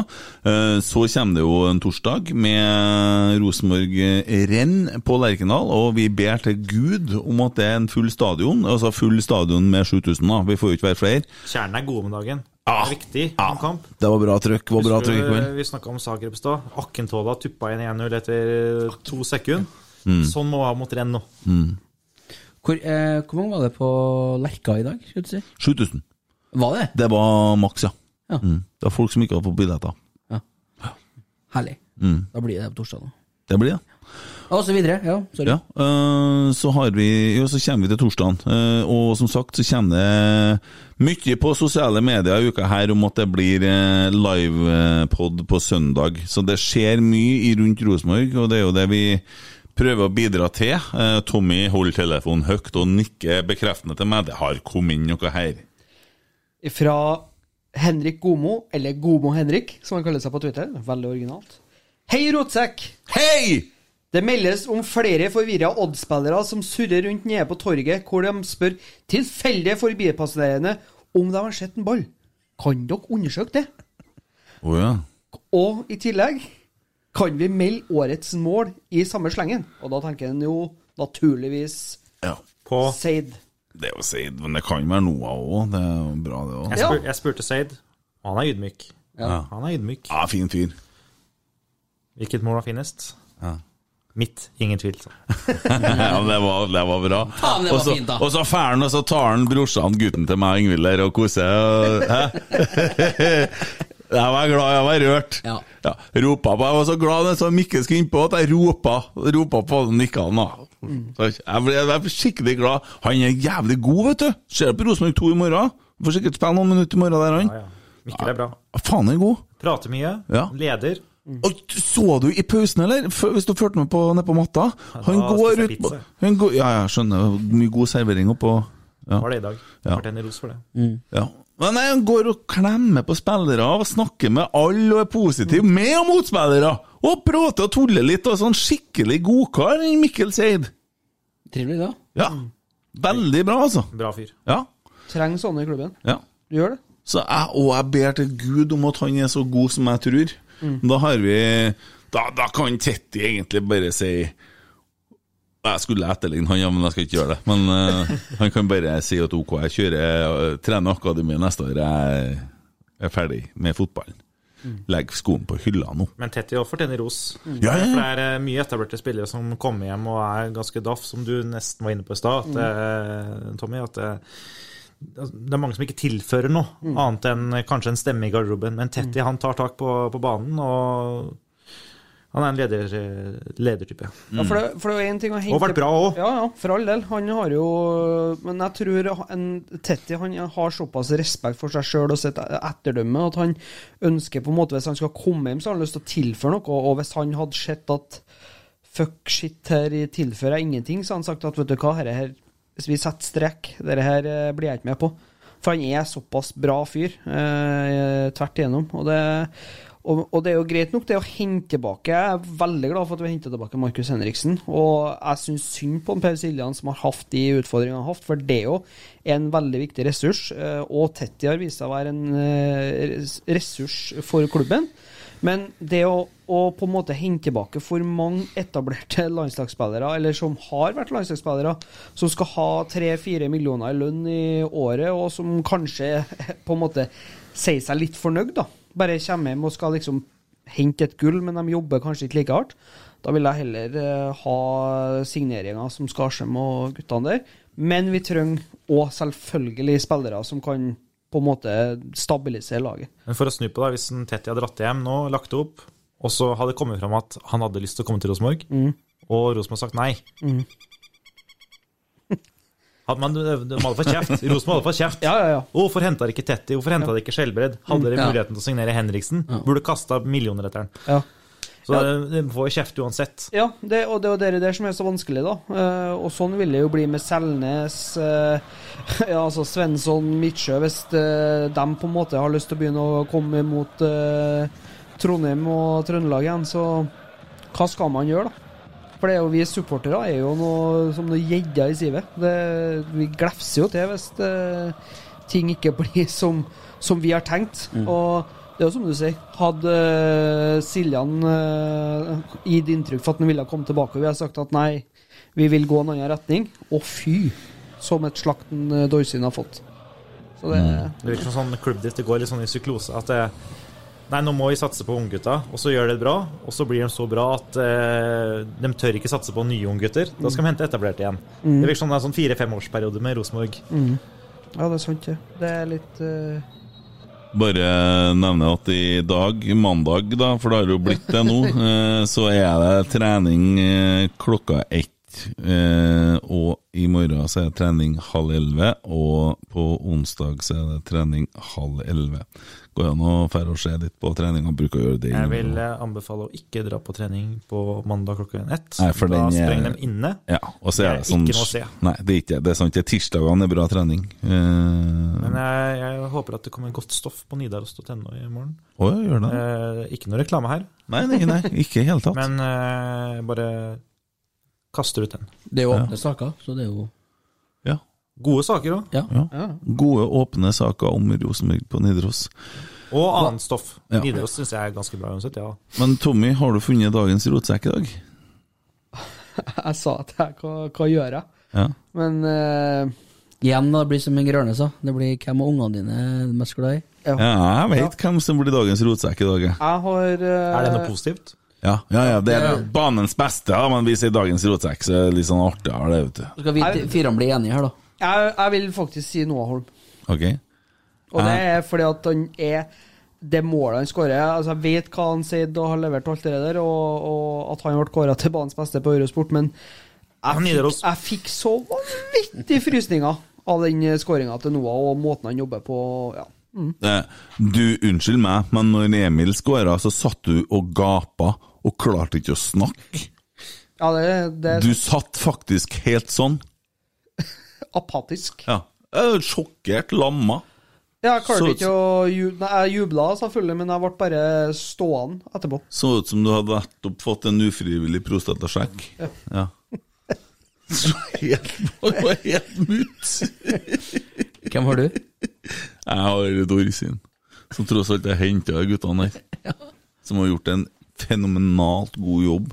Speaker 6: Eh, Så kommer det jo en torsdag med eh, Rosenborg-renn på Lerkendal, og vi ber til Gud om at det er en full stadion. Altså full stadion med 7000, da. Vi får jo ikke være flere.
Speaker 11: Kjernen er god om dagen.
Speaker 6: Ah,
Speaker 11: det er viktig
Speaker 6: ah.
Speaker 11: om kamp.
Speaker 6: Det var bra trøkk. var bra trøkk i
Speaker 11: Husker
Speaker 6: kveld.
Speaker 11: du, vi snakka om Zagreb i stad. Akkentola tuppa inn 1-0 etter eh, to sekunder.
Speaker 6: Mm.
Speaker 11: Sånn må vi ha mot renn nå.
Speaker 7: Hvor, eh, hvor mange var det på Lerka i dag? Skulle du si?
Speaker 6: 7000.
Speaker 7: Var det?
Speaker 6: Det var maks, ja.
Speaker 7: Ja.
Speaker 6: Mm. Det var folk som ikke hadde fått billetter.
Speaker 7: Herlig.
Speaker 6: Mm.
Speaker 7: Da blir det på torsdag, da.
Speaker 6: Det blir det.
Speaker 7: Og så videre. Ja, sorry.
Speaker 6: Ja, øh, så, har vi, jo, så kommer vi til torsdagen. øh, og som sagt så kommer det mye på sosiale medier i uka her om at det blir øh, livepod på søndag. Så det skjer mye i rundt Rosenborg, og det er jo det vi prøver å bidra til. Eh, Tommy holder telefonen høyt og nikker bekreftende til meg. Det har kommet inn noe her.
Speaker 5: fra Henrik Gomo, eller Gomo Henrik, som han kaller seg på Twitter. Veldig originalt. Hei, rotsekk!
Speaker 6: Hei!
Speaker 5: Det meldes om flere forvirra Odd-spillere som surrer rundt nede på torget, hvor de spør tilfeldige forbipasserende om de har sett en ball. Kan dere undersøke det?
Speaker 6: Å ja.
Speaker 5: Og i tillegg kan vi melde årets mål i samme slengen. Og da tenker en jo naturligvis
Speaker 6: ja.
Speaker 11: På
Speaker 5: Seid.
Speaker 6: Det er jo seid, men det kan være noe òg. Det er jo bra, det òg.
Speaker 11: Jeg, spur, jeg spurte Seid. Han er ydmyk.
Speaker 6: Ja.
Speaker 11: Han er ydmyk.
Speaker 6: Ja, fin fyr.
Speaker 11: Hvilket mål var finest?
Speaker 6: Ja.
Speaker 11: Mitt. Ingen tvil. sa han.
Speaker 6: Ja, det var, det var bra.
Speaker 7: Faen, det var
Speaker 6: Og så-
Speaker 7: fint, da.
Speaker 6: Og så fær han, og så tar han brorsan, gutten til meg, Ingvild, der og koser. og- Hæ? Jeg var glad, jeg var rørt.
Speaker 7: Ja.
Speaker 6: ropa på, Jeg var så glad det så Mikkel skulle innpå at jeg ropa, ropa på han nikka han. da. Så Jeg ble, jeg ble skikkelig glad. Han er jævlig god, vet du. Ser på Rosenborg 2 i morgen. Får sikkert spille noen minutter i morgen der, han.
Speaker 11: Ja, ja. Mikkel er bra.
Speaker 6: Faen, han er god.
Speaker 11: Prater mye.
Speaker 6: Ja.
Speaker 11: Leder.
Speaker 6: Og så du i pausen, eller? Før- Hvis du fulgte med på ned på matta? Han
Speaker 11: da
Speaker 6: går
Speaker 11: spiser jeg
Speaker 6: ut på
Speaker 11: pizza.
Speaker 6: han går, Ja, ja, skjønner. Mye god servering oppå ja.
Speaker 11: Var det i dag.
Speaker 6: Ja.
Speaker 11: Fortjener ros for det.
Speaker 7: Mm.
Speaker 6: ja. Men nei, han går og klemmer på spillere og snakker med alle og er positiv
Speaker 11: Mm.
Speaker 6: med og mot spillere! Og prater og tuller litt, og sånn skikkelig godkar, han Mikkel Seid.
Speaker 7: Trivelig, da. Mm.
Speaker 6: Ja. Veldig bra, altså.
Speaker 11: Bra fyr.
Speaker 6: Ja.
Speaker 5: Trenger sånne i klubben.
Speaker 6: ja.
Speaker 5: Du gjør det.
Speaker 6: Så jeg, og jeg ber til Gud om at han er så god som jeg Mm. tror. Da har vi Da, da kan Tetti egentlig bare si Jeg skulle etterligne han, ja, men jeg skal ikke gjøre det. Men eh, han kan bare si at OK, jeg kjører eh, trener akademiet neste år. Jeg er ferdig med fotballen. Legg skoen på hylla nå.
Speaker 11: Men Tetty også fortjener ros.
Speaker 5: Mm.
Speaker 6: Ja, ja, ja.
Speaker 11: For det er eh, mye etablerte spillere som kommer hjem og er ganske daff, som du nesten var inne på i stad,
Speaker 5: Mm.
Speaker 11: at, eh, Tommy. at eh, altså, det er mange som ikke tilfører noe,
Speaker 5: Mm.
Speaker 11: annet enn eh, kanskje en stemme i garderoben. Men Tetty han tar tak på, på banen, og han er en leder, eh, ledertype. Mm.
Speaker 5: Ja, for, det, for det er jo en ting å hente
Speaker 11: Og vært bra også.
Speaker 5: Ja, ja, for all del. Han har jo Men jeg tror en Tetti han har såpass respekt for seg sjøl og sitt etterdømme at han ønsker på en måte Hvis han skal komme hjem, så har han lyst til å tilføre noe. Og hvis han hadde sett at fuck shit her tilfører jeg ingenting, så hadde han sagt at vet du hva, herre her Hvis vi setter strek, dette her eh, blir jeg ikke med på. For han er såpass bra fyr eh, tvert igjennom. Og det og, og det er jo greit nok, det å hente tilbake. Jeg er veldig glad for at vi henter tilbake Markus Henriksen. Og jeg syns synd på Per Siljan, som har hatt de utfordringene han har hatt, for det er jo en veldig viktig ressurs. eh, Og Tetti har vist seg å være en eh, res- ressurs for klubben. Men det å, å på en måte hente tilbake for mange etablerte landslagsspillere, eller som har vært landslagsspillere, som skal ha tre-fire millioner i lønn i året, og som kanskje på en måte sier seg litt fornøyd, da. Bare kommer hjem og skal liksom hente et gull, men de jobber kanskje ikke like hardt. Da vil jeg heller eh, ha signeringer som Skarsheim og guttene der. Men vi trenger òg selvfølgelig spillere som kan på en måte stabilisere laget.
Speaker 11: Men for å snu på det, hvis en Tetty hadde dratt hjem nå, lagt det opp, og så hadde det kommet fram at han hadde lyst til å komme til Rosenborg, og Rosenborg sagt nei
Speaker 5: Mm.
Speaker 11: Hadde man, de hadde fått kjeft. Rosenborg hadde fått kjeft.
Speaker 5: Ja, ja, ja.
Speaker 11: Hvorfor henta dere ikke Tetty? Hvorfor henta dere ikke Skjelbred? Hadde dere
Speaker 7: Ja.
Speaker 11: muligheten til å signere Henriksen? Burde kasta millioner etter den.
Speaker 5: Ja.
Speaker 11: Så de får jo kjeft uansett.
Speaker 5: Ja, det, og det er jo dere der som er så vanskelig, da. Eh, og sånn vil det jo bli med Selnes, eh, ja, altså Svensson, Midtsjø, hvis eh, de på en måte har lyst til å begynne å komme mot eh, Trondheim og Trøndelag igjen, så hva skal man gjøre, da? For det er jo vi supportere er jo noe som noen gjedder i sivet. Det- Vi glefser jo til hvis eh, ting ikke blir som, som vi har tenkt. Og det er jo som du sier, hadde eh, Siljan eh, gitt inntrykk for at han ville komme tilbake, og vi har sagt at nei, vi vil gå en annen retning, å fy, som et slakten eh, Dorsin har fått. Så det
Speaker 11: Det virker som sånn klubbdrift det går litt sånn i syklose. At eh, nei, nå må vi satse på unggutta, og så gjør de det bra. Og så blir de så bra at eh, de tør ikke satse på nye unggutter. Da skal de hente etablerte igjen.
Speaker 5: Mm.
Speaker 11: Det virker som det er sånn fire-fem årsperiode med Rosenborg.
Speaker 5: Ja, det er sant, det. Det er litt eh,
Speaker 6: Bare nevne at i dag, mandag, da, for det har jo blitt det nå, eh, så er det trening eh, klokka ett. eh, Og i morgen så er det trening halv elleve, og på onsdag så er det trening halv elleve. Går det an å dra og se litt på treninga? Bruker å gjøre det.
Speaker 11: Jeg vil eh, anbefale å ikke dra på trening på mandag klokken ett.
Speaker 6: Nei, for
Speaker 11: da
Speaker 6: den er-
Speaker 11: sprenger de inne.
Speaker 6: Ja, og så
Speaker 11: Det
Speaker 6: er det
Speaker 11: er
Speaker 6: sånn
Speaker 11: ikke noe å se.
Speaker 6: Nei, det er ikke det. Det er sant. Det er tirsdagene er bra trening. Eh,
Speaker 11: Men jeg, jeg håper at det kommer godt stoff på nidaros.no i morgen.
Speaker 6: Å ja, gjør det?
Speaker 11: Eh, ikke noe reklame her,
Speaker 6: Nei, nei, nei, ikke i det hele tatt.
Speaker 11: men eh, bare kaster ut den.
Speaker 7: Det er jo åpne saker, så det er jo
Speaker 6: Ja.
Speaker 11: Gode saker òg.
Speaker 7: Ja.
Speaker 6: Gode, åpne saker om Rosenborg på Nidaros.
Speaker 11: Og annet stoff.
Speaker 6: Ja.
Speaker 11: Nidaros syns jeg er ganske bra uansett. Ja.
Speaker 6: Men Tommy, har du funnet dagens rotsekk i dag?
Speaker 5: Jeg sa at jeg, hva, hva gjør jeg?
Speaker 6: Ja.
Speaker 5: Men eh,
Speaker 7: Igjen, da, det blir som en Grønne sa. Det blir hvem av ungene dine er mest glad i.
Speaker 6: ja jeg vet hvem som blir dagens rotsekk i dag. jeg.
Speaker 5: jeg har eh,
Speaker 11: Er det noe positivt?
Speaker 6: Ja, ja, ja det er banens beste, ja, men vi sier dagens rotsekk, så er det litt sånn artigere, det, vet du.
Speaker 7: Så skal vi
Speaker 5: Er-
Speaker 7: fire bli enige her, da.
Speaker 5: jeg, jeg vil faktisk si Noah Holm.
Speaker 6: Ok?
Speaker 5: Og det er fordi at han er det målet han skårer altså Jeg vet hva han sier og har levert og alt det der, og, og at han ble kåra til banens beste på Eurosport, men
Speaker 11: Ja,
Speaker 5: jeg fikk,
Speaker 11: Nidaros.
Speaker 5: jeg fikk så vanvittig frysninger av den skåringa til Noah og måten han jobber på. Ja. Mm.
Speaker 6: Eh, Du, unnskyld meg, men når Emil skåra, så satt du og gapa og klarte ikke å snakke.
Speaker 5: Ja, det, det er
Speaker 6: Du satt faktisk helt sånn.
Speaker 5: apatisk.
Speaker 6: Ja. Eh, Sjokkert, lamma.
Speaker 5: Jeg klarte
Speaker 6: Så-
Speaker 5: ikke å ju- Nei, Jeg jubla selvfølgelig, men jeg ble bare stående etterpå.
Speaker 6: Så ut som du hadde nettopp fått en ufrivillig prostatasjekk. Ja. Så helt, det var helt mutt.
Speaker 7: Hvem har du?
Speaker 6: Jeg har Dorsin, som tross alt er henta av guttene her. Som har gjort en fenomenalt god jobb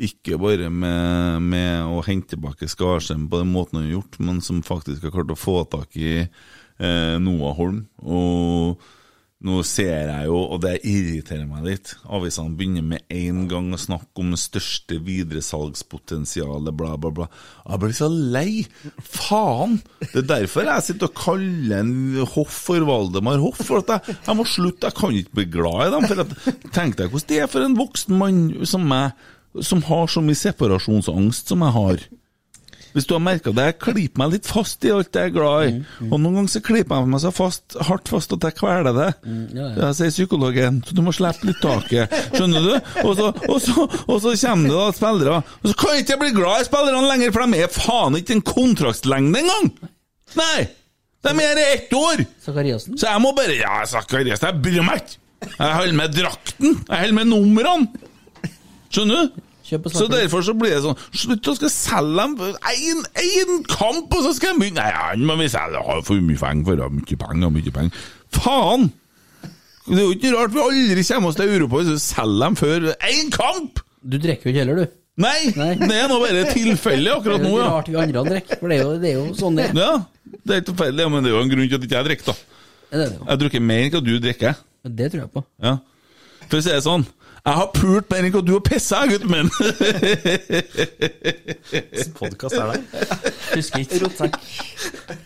Speaker 6: Ikke bare med, med å hente tilbake Skarsheim på den måten han har gjort, men som faktisk har klart å få tak i eh, Noah Holm. Og nå ser jeg jo, og det irriterer meg litt, avisene begynner med en gang å snakke om det største videresalgspotensialet, bla, bla, bla. Jeg blir så lei! Faen! Det er derfor jeg sitter og kaller en Hoff for Valdemar Hoff, for at jeg, jeg må slutte, jeg kan ikke bli glad i dem. For at, tenk deg hvordan det er for en voksen mann som meg, som har så mye separasjonsangst som jeg har. Hvis du har merka det, jeg klyper meg litt fast i alt jeg er glad i.
Speaker 7: Mm,
Speaker 6: Og noen ganger så klyper jeg meg så fast, hardt fast at jeg kveler det.
Speaker 7: Mm, ja, ja.
Speaker 6: Det sier psykologen, så du må slippe litt taket. Skjønner du? Og så, og så, og så kommer det da spillere, og så kan jeg ikke jeg bli glad i spillerne lenger, for de er faen ikke en kontraktslengde engang! Nei! De er i ett år!
Speaker 7: Sakariassen?
Speaker 6: Så jeg må bare Ja, Sakarias, jeg bryr meg ikke! Jeg holder med drakten! Jeg holder med numrene! Skjønner du?
Speaker 7: Kjøp og
Speaker 6: Så
Speaker 7: snakker.
Speaker 6: derfor så blir det sånn Slutt å skal selge dem en, en kamp, og så skal jeg begynne Nei, han må vi selge har for mye penger for det har mye penger, har mye penger Faen! Det er jo ikke rart vi aldri kommer oss til Europa hvis vi selger dem før én kamp!
Speaker 7: Du drikker jo ikke heller, du.
Speaker 6: Nei!
Speaker 7: Nei.
Speaker 6: Det er nå bare tilfellet
Speaker 7: Det er jo
Speaker 6: akkurat nå,
Speaker 7: ikke
Speaker 6: ja.
Speaker 7: rart vi andre drikker, for det er jo, det er jo sånn det er.
Speaker 6: ja. Det er helt tilfeldig, ja, men det er jo en grunn til at ikke jeg drikker, da.
Speaker 7: Det, er det, jo.
Speaker 6: Jeg drukker mer enn hva du drikker.
Speaker 7: det tror jeg på.
Speaker 6: Ja. For å si det sånn Jeg har pult mer enn hva du har pissa, gutten min!
Speaker 11: Podkast er det.
Speaker 7: Husker ikke.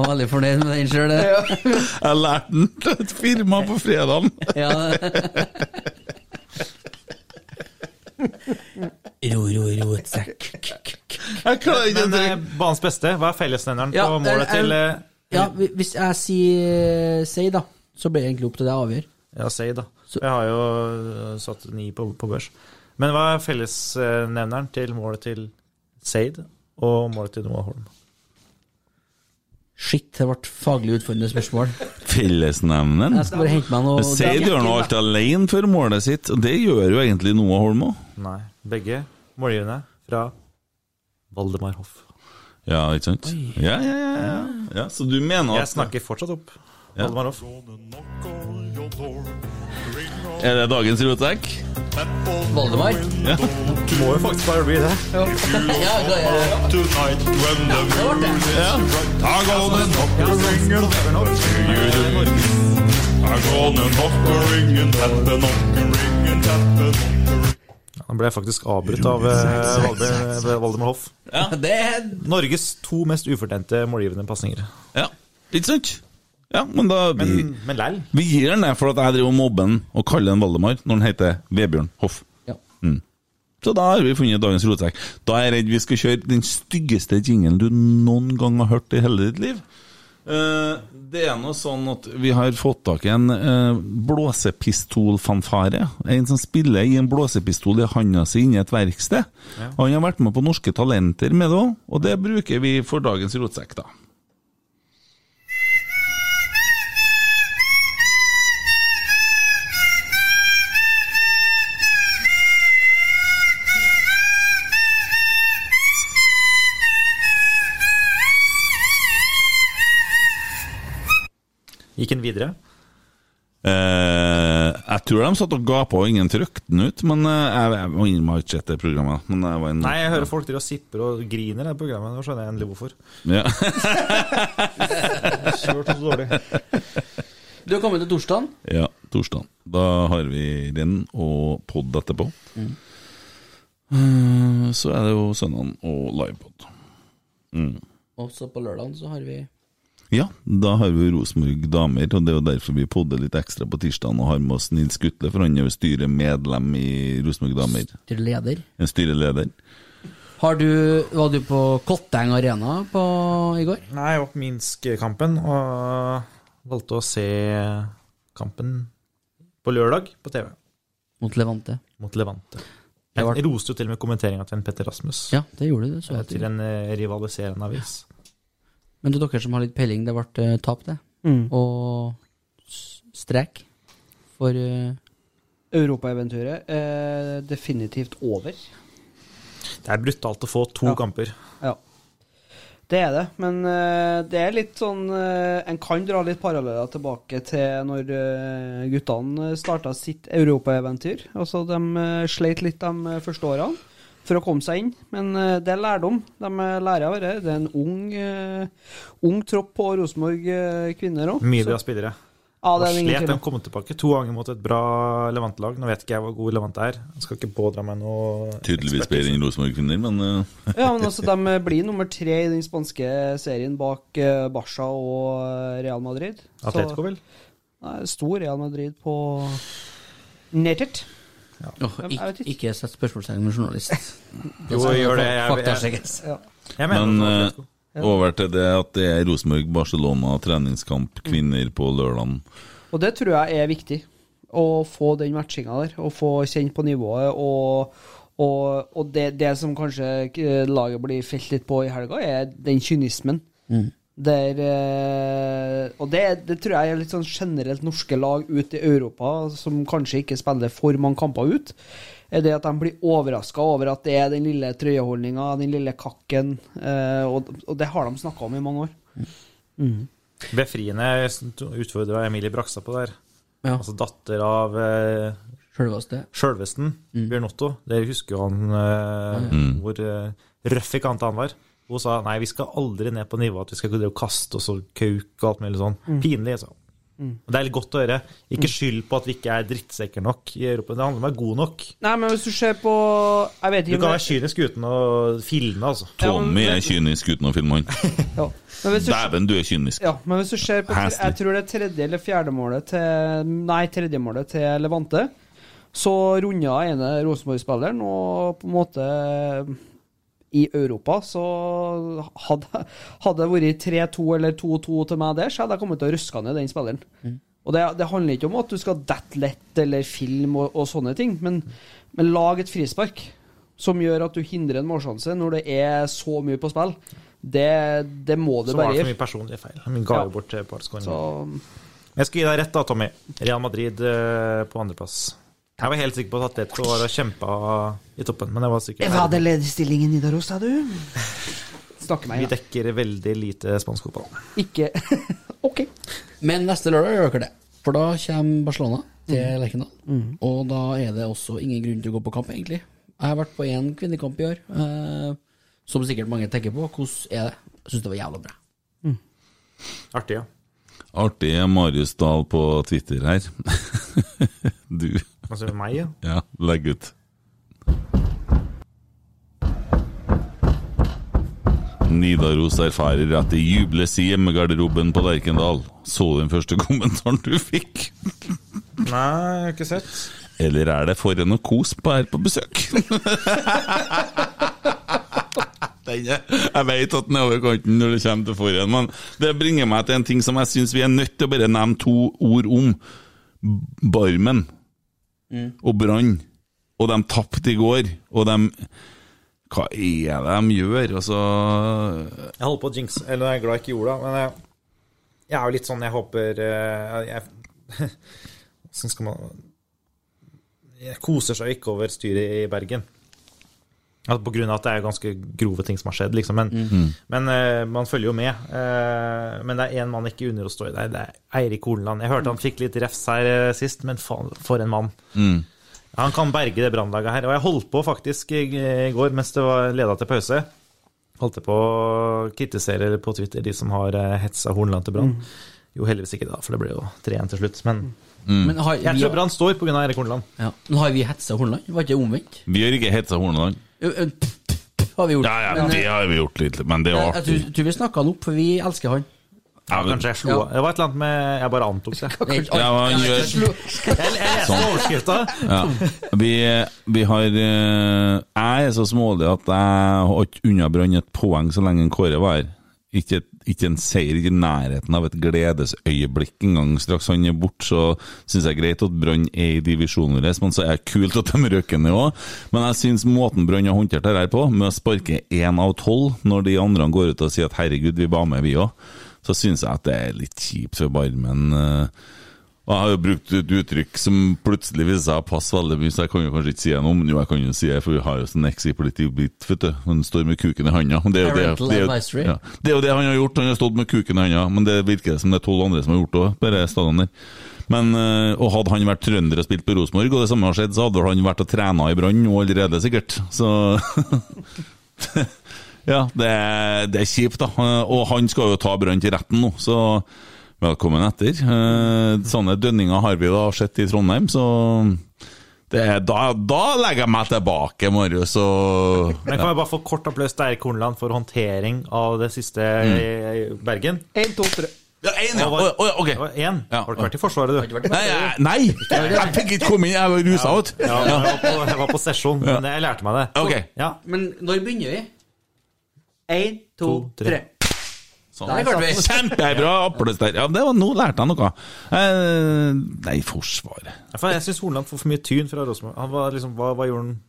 Speaker 7: Og veldig fornøyd med den sjøl, det.
Speaker 6: Jeg lærte den til et firma på fredagen.
Speaker 7: Ja. Ro, ro, ro, et sekk.
Speaker 6: Jeg klarer ikke
Speaker 11: Men
Speaker 6: å
Speaker 11: eh,
Speaker 6: drikke.
Speaker 11: banens beste, hva er fellesnevneren
Speaker 7: Ja,
Speaker 11: på målet
Speaker 7: eh,
Speaker 11: til eh,
Speaker 7: Ja, hvi- hvis jeg sier eh, si, da, så blir det egentlig opp til deg å avgjøre.
Speaker 11: Ja, si da. Jeg har jo eh, satt ni på, på børs. Men hva er fellesnevneren til målet til Seid og målet til Noah Holm?
Speaker 7: Shit, det ble faglig utfordrende spørsmål.
Speaker 6: Fellesnevneren?
Speaker 7: Jeg skal bare hente meg noe
Speaker 6: Seid gjør nå alt alene for målet sitt, og det gjør jo egentlig Noah Holm òg.
Speaker 11: Nei, begge målgivende fra Valdemar Hoff.
Speaker 6: Ja, ikke sant? Ja, ja, ja, ja. ja. Så du mener
Speaker 11: Jeg
Speaker 6: at
Speaker 11: snakker fortsatt opp Valdemar Hoff.
Speaker 6: Er det dagens rotsekk?
Speaker 7: Valdemar?
Speaker 6: Ja.
Speaker 11: Må jo faktisk bare bli det.
Speaker 7: Ja, ja, ja. Det ble det.
Speaker 6: ja. I'm gonna knock a ring and tap a ring and tap a
Speaker 11: Han ble faktisk avbrutt av eh, Valde- Valdemar Hoff.
Speaker 7: Det er
Speaker 11: Norges to mest ufortjente målgivende pasninger.
Speaker 6: Ja, ikke sant? Ja, men da vi,
Speaker 11: Men, men lell.
Speaker 6: vi gir den det, for at jeg driver og mobber den og kaller den Valdemar når den heter Vebjørn Hoff.
Speaker 7: Ja.
Speaker 6: Mm. Så da har vi funnet dagens rotsekk. Da er jeg redd vi skal kjøre den styggeste jingelen du noen gang har hørt i hele ditt liv. Eh, det er nå sånn at vi har fått tak i en eh, blåsepistolfanfare. En som spiller i en blåsepistol i handa si inni et verksted. Og Han har vært med på Norske Talenter med det òg, og det bruker vi for dagens rotsekk, da.
Speaker 11: Gikk han videre?
Speaker 6: Eh, jeg tror de satt og gapa og ingen trykte den ut, men eh, jeg, jeg, må innrømme, jeg har ikke sett det programmet. Men jeg var en,
Speaker 11: Nei, jeg hører folk driver og sipper og griner i det programmet. Nå skjønner jeg endelig hvorfor.
Speaker 6: Ja.
Speaker 11: Kjørt så dårlig.
Speaker 7: Du har kommet til torsdagen.
Speaker 6: ja, torsdag. Da har vi renn og pod etterpå.
Speaker 11: Mm.
Speaker 6: Eh, Så er det jo søndagen og livepod. Mm.
Speaker 7: Og så på lørdagen så har vi
Speaker 6: Ja, da har vi Rosenborg damer, og det er jo derfor vi podder litt ekstra på tirsdagen og har med oss Nils Gutle, for han er jo styremedlem i Rosenborg damer.
Speaker 7: til leder.
Speaker 6: En styreleder.
Speaker 7: Har du, var du på Kotteng Arena på, i går?
Speaker 11: Nei, jeg var på Minsk-kampen og valgte å se kampen på lørdag på TV
Speaker 7: Mot Levante.
Speaker 11: mot Levante.
Speaker 7: Det var-
Speaker 11: Jeg roste jo til og med kommenteringa til en Petter Rasmus
Speaker 7: Ja, det gjorde du. det så jeg
Speaker 11: til
Speaker 7: til.
Speaker 11: en eh, rivaliserende avis.
Speaker 7: Men til dere som har litt peiling, det ble eh, tap, det. Og s- strek for eh,
Speaker 5: Europaeventyret er definitivt over.
Speaker 11: Det er brutalt å få to
Speaker 5: Ja.
Speaker 11: kamper.
Speaker 5: Ja. Det er det, men eh, det er litt sånn eh, En kan dra litt paralleller tilbake til når eh, guttene starta sitt europaeventyr. Altså, de eh, sleit litt de eh, første årene for å komme seg inn, men eh, det er lærdom. De eh, lærer av det. Det er en ung, eh, ung tropp på Rosenborg eh, kvinner òg.
Speaker 11: Mye bra spillere.
Speaker 5: Ja, det er det ingen
Speaker 11: slet
Speaker 5: tvil om.
Speaker 11: de kom tilbake to ganger mot et bra Levant-lag. Nå vet ikke jeg hvor god Levant er. Jeg skal ikke pådra meg noe
Speaker 6: Tydeligvis bedre enn Rosenborg-kvinner, men eh,
Speaker 5: Ja, men altså, de blir nummer tre i den spanske serien bak eh, Barca og eh, Real Madrid. Så-
Speaker 11: Atletico, vel?
Speaker 5: Nei, stor Real Madrid på nettet.
Speaker 7: Åh,
Speaker 5: Jeg vet
Speaker 7: ikke, ikke sett spørsmålstegn med journalist.
Speaker 11: Jo, gjør det. Jeg-
Speaker 7: Faktasjekkes.
Speaker 5: Ja.
Speaker 11: Jeg mener
Speaker 6: Men
Speaker 11: det var
Speaker 6: eh,
Speaker 11: Atletico.
Speaker 6: over til det at det er Rosenborg-Barcelona treningskamp kvinner på lørdagen.
Speaker 5: Og det tror jeg er viktig. Å få den matchinga der, og få kjent på nivået. Og, og, og det, det som kanskje eh, laget blir felt litt på i helga, er den kynismen.
Speaker 7: Mm.
Speaker 5: Der, eh, og det, det tror jeg er litt sånn generelt norske lag ut i Europa, som kanskje ikke spiller for mange kamper ut, er det at de blir overraska over at det er den lille trøyeholdninga, den lille kakken, eh, og, og det har de snakka om i mange år.
Speaker 11: Befriende utfordra Emilie Brakstad på der.
Speaker 7: Ja.
Speaker 11: Altså datter av eh,
Speaker 7: Sjølveste. Mm.
Speaker 11: sjølvesten, Bjørn Otto. Dere husker jo han eh, hvor eh, røff i kanta han var. Hun sa nei, vi skal aldri ned på nivået at vi skal gå og kaste oss og kauk og alt mulig sånn.
Speaker 7: Mm.
Speaker 11: Pinlig. altså. Og Det er litt godt å høre. Ikke skyld på at vi ikke er drittsekker nok i Europa. Det handler om å være god nok.
Speaker 5: Nei, men hvis du ser på Jeg vet
Speaker 11: Du
Speaker 5: ikke
Speaker 11: kan
Speaker 5: om
Speaker 11: være
Speaker 5: det-
Speaker 11: kynisk uten å filme, altså.
Speaker 6: Tommy er kynisk uten å filme han.
Speaker 5: Ja. Men hvis du,
Speaker 6: Dæven, du er kynisk.
Speaker 5: ja, men hvis du ser på
Speaker 6: Heslig.
Speaker 5: Jeg tror det er tredje eller fjerde målet til Nei, tredje målet til Levante. Så runda ene Rosenborg-spilleren, og på en måte I Europa så hadde hadde det vært 3-2 eller 2-2 til meg der, så hadde jeg kommet til å røske ned den spilleren. Og det, det handler ikke om at du skal dette lett eller film og, og sånne ting, men, men lag et frispark som gjør at du hindrer en målsjanse når det er så mye på spill. Det, det må du
Speaker 11: Så var det
Speaker 5: bare
Speaker 11: for
Speaker 5: gjøre.
Speaker 11: mye personlige feil. Han ga
Speaker 5: Ja.
Speaker 11: jo bort et par skåringer.
Speaker 5: Så
Speaker 11: Jeg skal gi deg rett da, Tommy. Real Madrid eh, på andreplass. Jeg var helt sikker på at Atletico var og kjempa i toppen, men jeg var sikker.
Speaker 5: hadde lederstilling i Nidaros, sa du? Snakker meg
Speaker 11: Vi
Speaker 5: igjen.
Speaker 11: dekker veldig lite spansk fotball.
Speaker 5: Ikke OK.
Speaker 7: Men neste lørdag gjør dere det. For da kommer Barcelona til Lerkendal. Og da er det også ingen grunn til å gå på kamp, egentlig. Jeg har vært på én kvinnekamp i år, eh, som sikkert mange tenker på. Hvordan er det? Jeg syns det var jævla bra.
Speaker 11: Artig, ja.
Speaker 6: Artig Marius Dahl på Twitter her. Du,
Speaker 11: Altså meg, ja.
Speaker 6: ja, legg ut. Nidaros erfarer at det jubles i hjemmegarderoben på Lerkendal. Så du den første kommentaren du fikk?
Speaker 11: Nei, jeg har ikke sett.
Speaker 6: Eller er det foran og kos på her på besøk? Den er- Jeg vet at den er over kanten når det kommer til foran, men det bringer meg til en ting som jeg syns vi er nødt til å bare nevne to ord om. Barmen og Brann. Og de tapte i går, og de Hva er det de gjør? Altså
Speaker 11: Jeg holder på å jinx, eller jeg er glad jeg ikke gjorde det, men jeg, jeg er jo litt sånn, jeg håper eh, jeg, Hvordan skal man Jeg koser seg ikke over styret i Bergen. Altså, på grunn av at det er ganske grove ting som har skjedd, liksom. Men,
Speaker 6: Mm.
Speaker 11: men eh, man følger jo med. Eh, men det er én mann ikke unner å stå i det, det er Eirik Horneland. Jeg hørte han fikk litt refs her eh, sist, men faen, for en mann. Han kan berge det brannlaget her. Og jeg holdt på faktisk i, i går, mens det var leda til pause holdt jeg på å kritisere på Twitter de som har eh, hetsa Hornland til Brann.
Speaker 7: Mm.
Speaker 11: Jo, heldigvis ikke det, da, for det ble jo 3-1 til slutt. Men
Speaker 7: Mm. Men har
Speaker 11: jeg tror
Speaker 7: vi,
Speaker 11: Brann står pga. Erik Hornland.
Speaker 7: ja, men har vi hetsa Hornland? Var ikke det omvendt?
Speaker 6: Vi har ikke hetsa Horneland.
Speaker 7: Jo, eh, pff, pff, pff, Har vi gjort.
Speaker 6: Ja, ja,
Speaker 7: Men, eh,
Speaker 6: det har vi gjort litt, men det er
Speaker 7: jeg, jeg
Speaker 6: artig.
Speaker 7: tror, tror vi snakka han opp, for vi elsker han.
Speaker 6: Ja, men-
Speaker 11: Kanskje jeg slo
Speaker 7: Ja.
Speaker 11: av. Det var et eller annet med Jeg bare antok det.
Speaker 7: Det er ikke
Speaker 6: Ja, men han
Speaker 7: alt-
Speaker 6: gjør- Sånn.
Speaker 7: slo-
Speaker 11: Jeg, jeg leste overskrifta.
Speaker 6: Ja. Vi, vi har eh, Jeg er så smålig at jeg har ikke unna Brann et poeng så lenge en Kåre var her. Ikke, et- ikke en seier ikke i nærheten av et gledesøyeblikk engang. Straks han er borte, så syns jeg greit at Brann er i divisjonen vår, men så er det kult at de røkker ned òg. Men jeg syns måten Brann har håndtert dette her på, med å sparke én av tolv, når de andre går ut og sier at 'herregud, vi var med, vi òg', så syns jeg at det er litt kjipt for Barmen. eh, Og jeg har jo brukt et uttrykk som plutselig viser seg å passe veldig mye, så jeg kan jo kanskje ikke si noe om Jo, jeg kan jo si det, for vi har jo sånn exi-politi-bit, vet du. Han står med kuken i handa. og Det er jo det,
Speaker 7: Parental
Speaker 6: det, er
Speaker 7: advisory.
Speaker 6: jo- ja. det er jo det han har gjort, han har stått med kuken i handa, men det virker som det er tolv andre som har gjort det òg, bare stående der. Men, eh, og hadde han vært trønder og spilt på Rosenborg, og det samme har skjedd, så hadde vel han vært og trena i Brann nå allerede, sikkert. Så Ja, det er, det er kjipt, da. Eh, Og han skal jo ta Brann til retten nå, så velkommen etter. Eh, Sånne dønninger har vi da sett i Trondheim, så det er, da, da legger jeg meg tilbake, Marius, og
Speaker 11: Men kan vi bare få kort applaus til Eirik Horneland for håndtering av det siste i Bergen?
Speaker 5: Én, to, tre.
Speaker 6: Mm. Ja, én, ja.
Speaker 11: Og var-
Speaker 6: Å, å, ja, ok.
Speaker 11: Det var én.
Speaker 6: Ja.
Speaker 11: Har du ikke vært i Forsvaret, du?
Speaker 6: Nei, jeg- nei! Jeg fikk ikke komme inn, jeg var rusa ut.
Speaker 11: Ja, jeg var på, jeg var på sesjon, men jeg lærte meg det.
Speaker 6: Ok.
Speaker 11: Ja.
Speaker 7: Men når begynner vi? Én, to,
Speaker 11: To,
Speaker 7: tre. Sånn.
Speaker 11: tre.
Speaker 7: Der klarte vi.
Speaker 6: Kjempebra applaus der. Ja, det var, nå lærte jeg noe. Eh, nei, Forsvaret
Speaker 11: Ja, for Jeg syns Horneland får for mye tyn fra Rosenborg. Han var liksom, hva, hva gjorde han?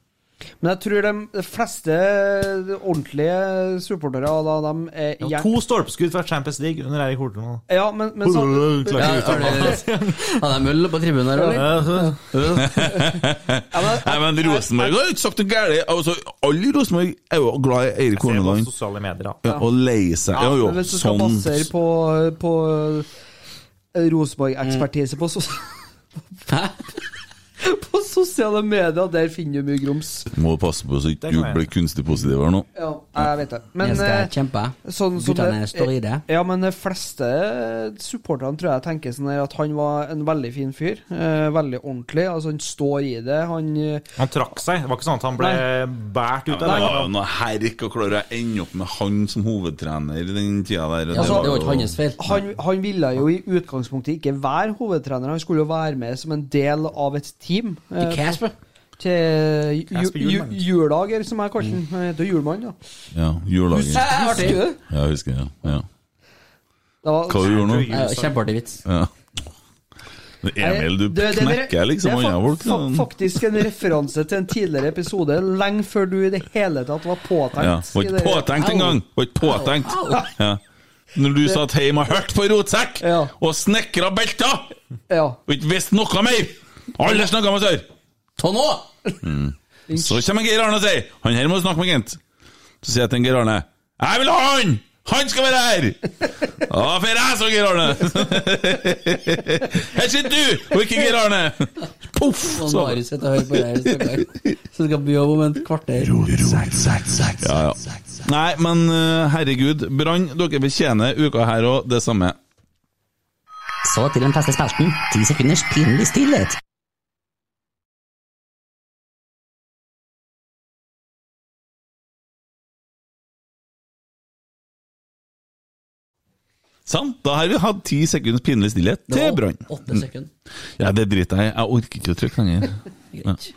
Speaker 5: Men jeg tror de- de fleste ordentlige supportere da, de er
Speaker 11: Det var
Speaker 5: gjerne-
Speaker 11: To stolpeskudd fra Champions League under Eirik Horneland.
Speaker 5: Ja, men, men sam-
Speaker 7: Ja, Hadde jeg møll på tribunen her, eller?
Speaker 5: ja, men,
Speaker 6: Nei, men Rosenborg har jo ikke sagt noe galt. Altså, alle i Rosenborg er jo glad i Eirik
Speaker 11: Se på
Speaker 6: Horneland.
Speaker 11: sosiale medier, da.
Speaker 6: Ja, og lei seg. Ja, jo,
Speaker 5: men hvis du skal
Speaker 6: sånn
Speaker 5: basere på, på eh, Rosenborg-ekspertise på, sos på sosiale medier, der finner du mye grums.
Speaker 6: Må passe på så ikke
Speaker 11: kan
Speaker 6: du
Speaker 11: jeg.
Speaker 6: blir kunstig positiv her nå.
Speaker 5: Ja, jeg vet det. Men
Speaker 7: Jeg skal
Speaker 5: eh,
Speaker 7: kjempe.
Speaker 5: sånn som
Speaker 7: Guttene står i det.
Speaker 5: Ja, men de fleste supporterne tror jeg tenker sånn her at han var en veldig fin fyr. Eh, veldig ordentlig. Altså, han står i det. Han eh,
Speaker 11: Han trakk seg. Det var ikke sånn at han ble båret ut
Speaker 6: Det
Speaker 11: av det.
Speaker 6: var jo noe herk å klare å ende opp med han som hovedtrener i den tida der. og
Speaker 7: Ja, så
Speaker 6: var
Speaker 7: det var
Speaker 6: jo-
Speaker 7: ikke hans feil.
Speaker 5: han, han ville jo i utgangspunktet ikke være hovedtrener, han skulle jo være med som en del av et team.
Speaker 7: Det
Speaker 5: eh,
Speaker 7: er Casper.
Speaker 5: til ju,
Speaker 11: Kasper
Speaker 5: ju,
Speaker 11: Hjulmann.
Speaker 5: juledager, som jeg kaller den.
Speaker 7: Mm.
Speaker 5: Han heter Julmann, da.
Speaker 6: Ja, julelaget.
Speaker 5: Husker du det?
Speaker 6: Ja, jeg husker det. Ja.
Speaker 5: Det var-
Speaker 6: Hva du gjorde nå?
Speaker 7: Ja, Kjempeartig vits.
Speaker 6: Ja. Emil, du
Speaker 5: Det- det- det-
Speaker 6: knekker
Speaker 5: Det
Speaker 6: liksom
Speaker 5: er
Speaker 6: andre
Speaker 5: fa-
Speaker 6: folk.
Speaker 5: fa-
Speaker 6: da.
Speaker 5: faktisk en referanse til en tidligere episode, lenge før du i det hele tatt var påtenkt.
Speaker 6: Ja, var
Speaker 5: i
Speaker 6: ikke
Speaker 5: det-
Speaker 6: påtenkt engang! Var ikke påtenkt. Ja. Når du satt hjemme og hørte på rotsekk
Speaker 5: Ja.
Speaker 6: og snekra belter
Speaker 5: Ja.
Speaker 6: og ikke visste noe mer! Alle snakka med sør!
Speaker 7: Ta nå!
Speaker 6: Mm. Så kommer Geir Arne og sier 'Han her må du snakke med, Kent'. Så sier jeg til Geir Arne 'Jeg vil ha han! Han skal være her!' Da får jeg, så Geir Arne. Her sitter du, og ikke Geir Arne. Poff!
Speaker 7: Nå
Speaker 6: Så.
Speaker 7: Marius sitter og hører på det her, stakkar. Så skal vi jobbe om et kvarter.
Speaker 6: Ja, ja. Nei, men eh, herregud. Brann, dere fortjener uka her òg det samme.
Speaker 7: Så til den feste spelten. Ti sekunders pinlig stillhet.
Speaker 6: Sant? Da har vi hatt ti sekunders pinlig stillhet til Brann.
Speaker 7: Åtte sekunder.
Speaker 6: Ja, det driter jeg i. Jeg orker ikke å trykke lenger.
Speaker 7: Greit.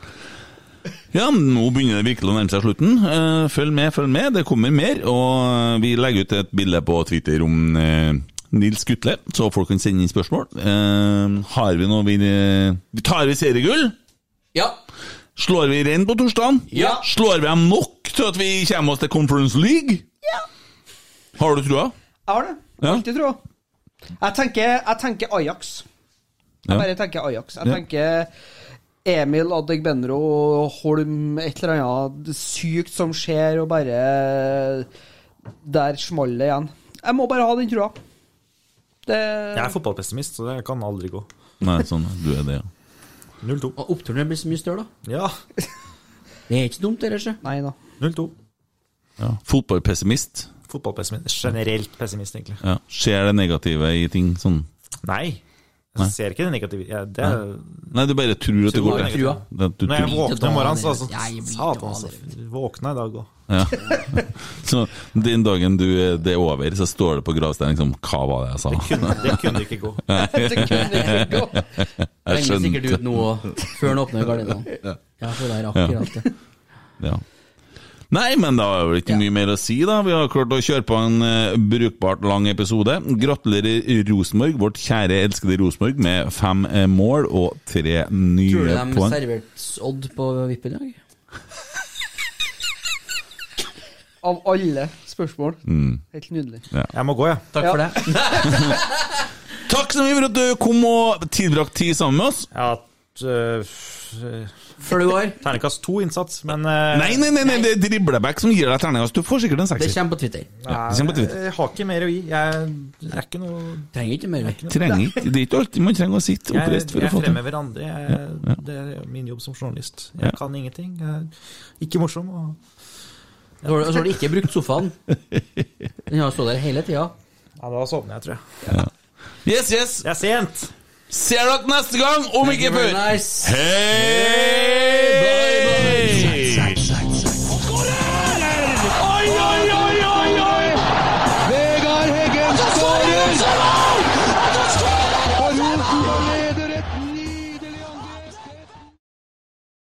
Speaker 6: Ja, nå begynner det virkelig å nærme seg slutten. Eh, Følg med, følg med. Det kommer mer. Og eh, vi legger ut et bilde på Twitter om eh, Nils Gutle, så folk kan sende inn spørsmål. Eh, Har vi noe vi vi- Tar vi seriegull?
Speaker 7: Ja.
Speaker 6: Slår vi rein på torsdagen?
Speaker 7: Ja.
Speaker 6: Slår vi dem nok til at vi kommer oss til Conference League? Ja. Har du trua?
Speaker 5: Jeg har det.
Speaker 6: Ja.
Speaker 5: Alltid, tror jeg. Jeg tenker, jeg tenker Ajax. Jeg
Speaker 6: Ja.
Speaker 5: bare tenker Ajax. Jeg
Speaker 6: Ja.
Speaker 5: tenker Emil Adegbenro og Holm, et eller annet sykt som skjer, og bare Der smalt det igjen. Jeg må bare ha den trua. Det
Speaker 11: Jeg er fotballpessimist, så det kan aldri gå.
Speaker 6: Nei, sånn. Du er det, ja.
Speaker 11: 0-2.
Speaker 7: Og oppturen blir så mye større, da.
Speaker 11: Ja,
Speaker 7: Det er ikke dumt, det der, sjø.
Speaker 5: Nei da.
Speaker 11: 0-2.
Speaker 6: ja. Fotballpessimist.
Speaker 11: Fotballpessimist. Generelt pessimist, egentlig.
Speaker 6: Ja. Ser det negative i ting sånn
Speaker 11: Nei. Jeg ser ikke det negative. Ja, det er,
Speaker 6: Nei, du bare tror at det går
Speaker 7: Bare
Speaker 6: til.
Speaker 7: trua.
Speaker 6: Det, du,
Speaker 11: når jeg
Speaker 6: tror-
Speaker 11: våkner om morgenen, så altså,
Speaker 7: Jeg blir
Speaker 11: Satan,
Speaker 7: dårlig.
Speaker 11: altså. Våkna i dag òg.
Speaker 6: Ja. Så den dagen du, er- det er over, så står det på gravsteinen liksom Hva var det jeg sa?
Speaker 11: Det kunne ikke gå.
Speaker 5: Det kunne ikke gå.
Speaker 6: Jeg
Speaker 7: Legger sikkert
Speaker 6: skjønte.
Speaker 7: ut nå før den åpner gardinene. Ja, for det er akkurat det.
Speaker 6: Ja. Nei, men da er det ikke
Speaker 7: Ja.
Speaker 6: mye mer å si, da. Vi har klart å kjøre på en eh, brukbart lang episode. Gratulerer Rosenborg, vårt kjære, elskede Rosenborg, med fem eh, mål og tre
Speaker 7: Tror du
Speaker 6: nye
Speaker 7: de
Speaker 6: poeng.
Speaker 7: serverte Odd på vippen i dag?
Speaker 5: Av
Speaker 6: Mm.
Speaker 5: alle spørsmål. Helt nydelig.
Speaker 11: Jeg må gå, jeg. Ja.
Speaker 7: Takk for det.
Speaker 6: Takk så mye for at du kom og tilbrakte tid sammen med oss.
Speaker 11: Ja, øh,
Speaker 7: Før du går.
Speaker 11: Terningkast to innsats, men eh,
Speaker 6: Nei, nei, nei, nei det er Driblebekk som gir deg terningkast. Du får sikkert en
Speaker 7: Det
Speaker 6: sekser.
Speaker 7: kommer på Twitter.
Speaker 6: Ja, det kommer på Twitter.
Speaker 11: Jeg har ikke mer å gi. Jeg er ikke noe
Speaker 7: Trenger ikke mer. vi.
Speaker 6: Trenger ikke Det er ikke alltid man trenger å sitte
Speaker 11: Jeg,
Speaker 6: oppreist for
Speaker 11: jeg
Speaker 6: å få til.
Speaker 11: fremhever andre. Jeg, Det er min jobb som journalist. Jeg
Speaker 6: Ja.
Speaker 11: kan ingenting. Jeg er ikke morsom. Og,
Speaker 7: Så har du- så har du ikke brukt sofaen. Den har stått der hele tida.
Speaker 11: ja, da sovner jeg, tror jeg.
Speaker 6: Yes, yes!
Speaker 11: Det er sent!
Speaker 6: Ser dere neste gang, om ikke før!
Speaker 7: Nice.
Speaker 6: Hei!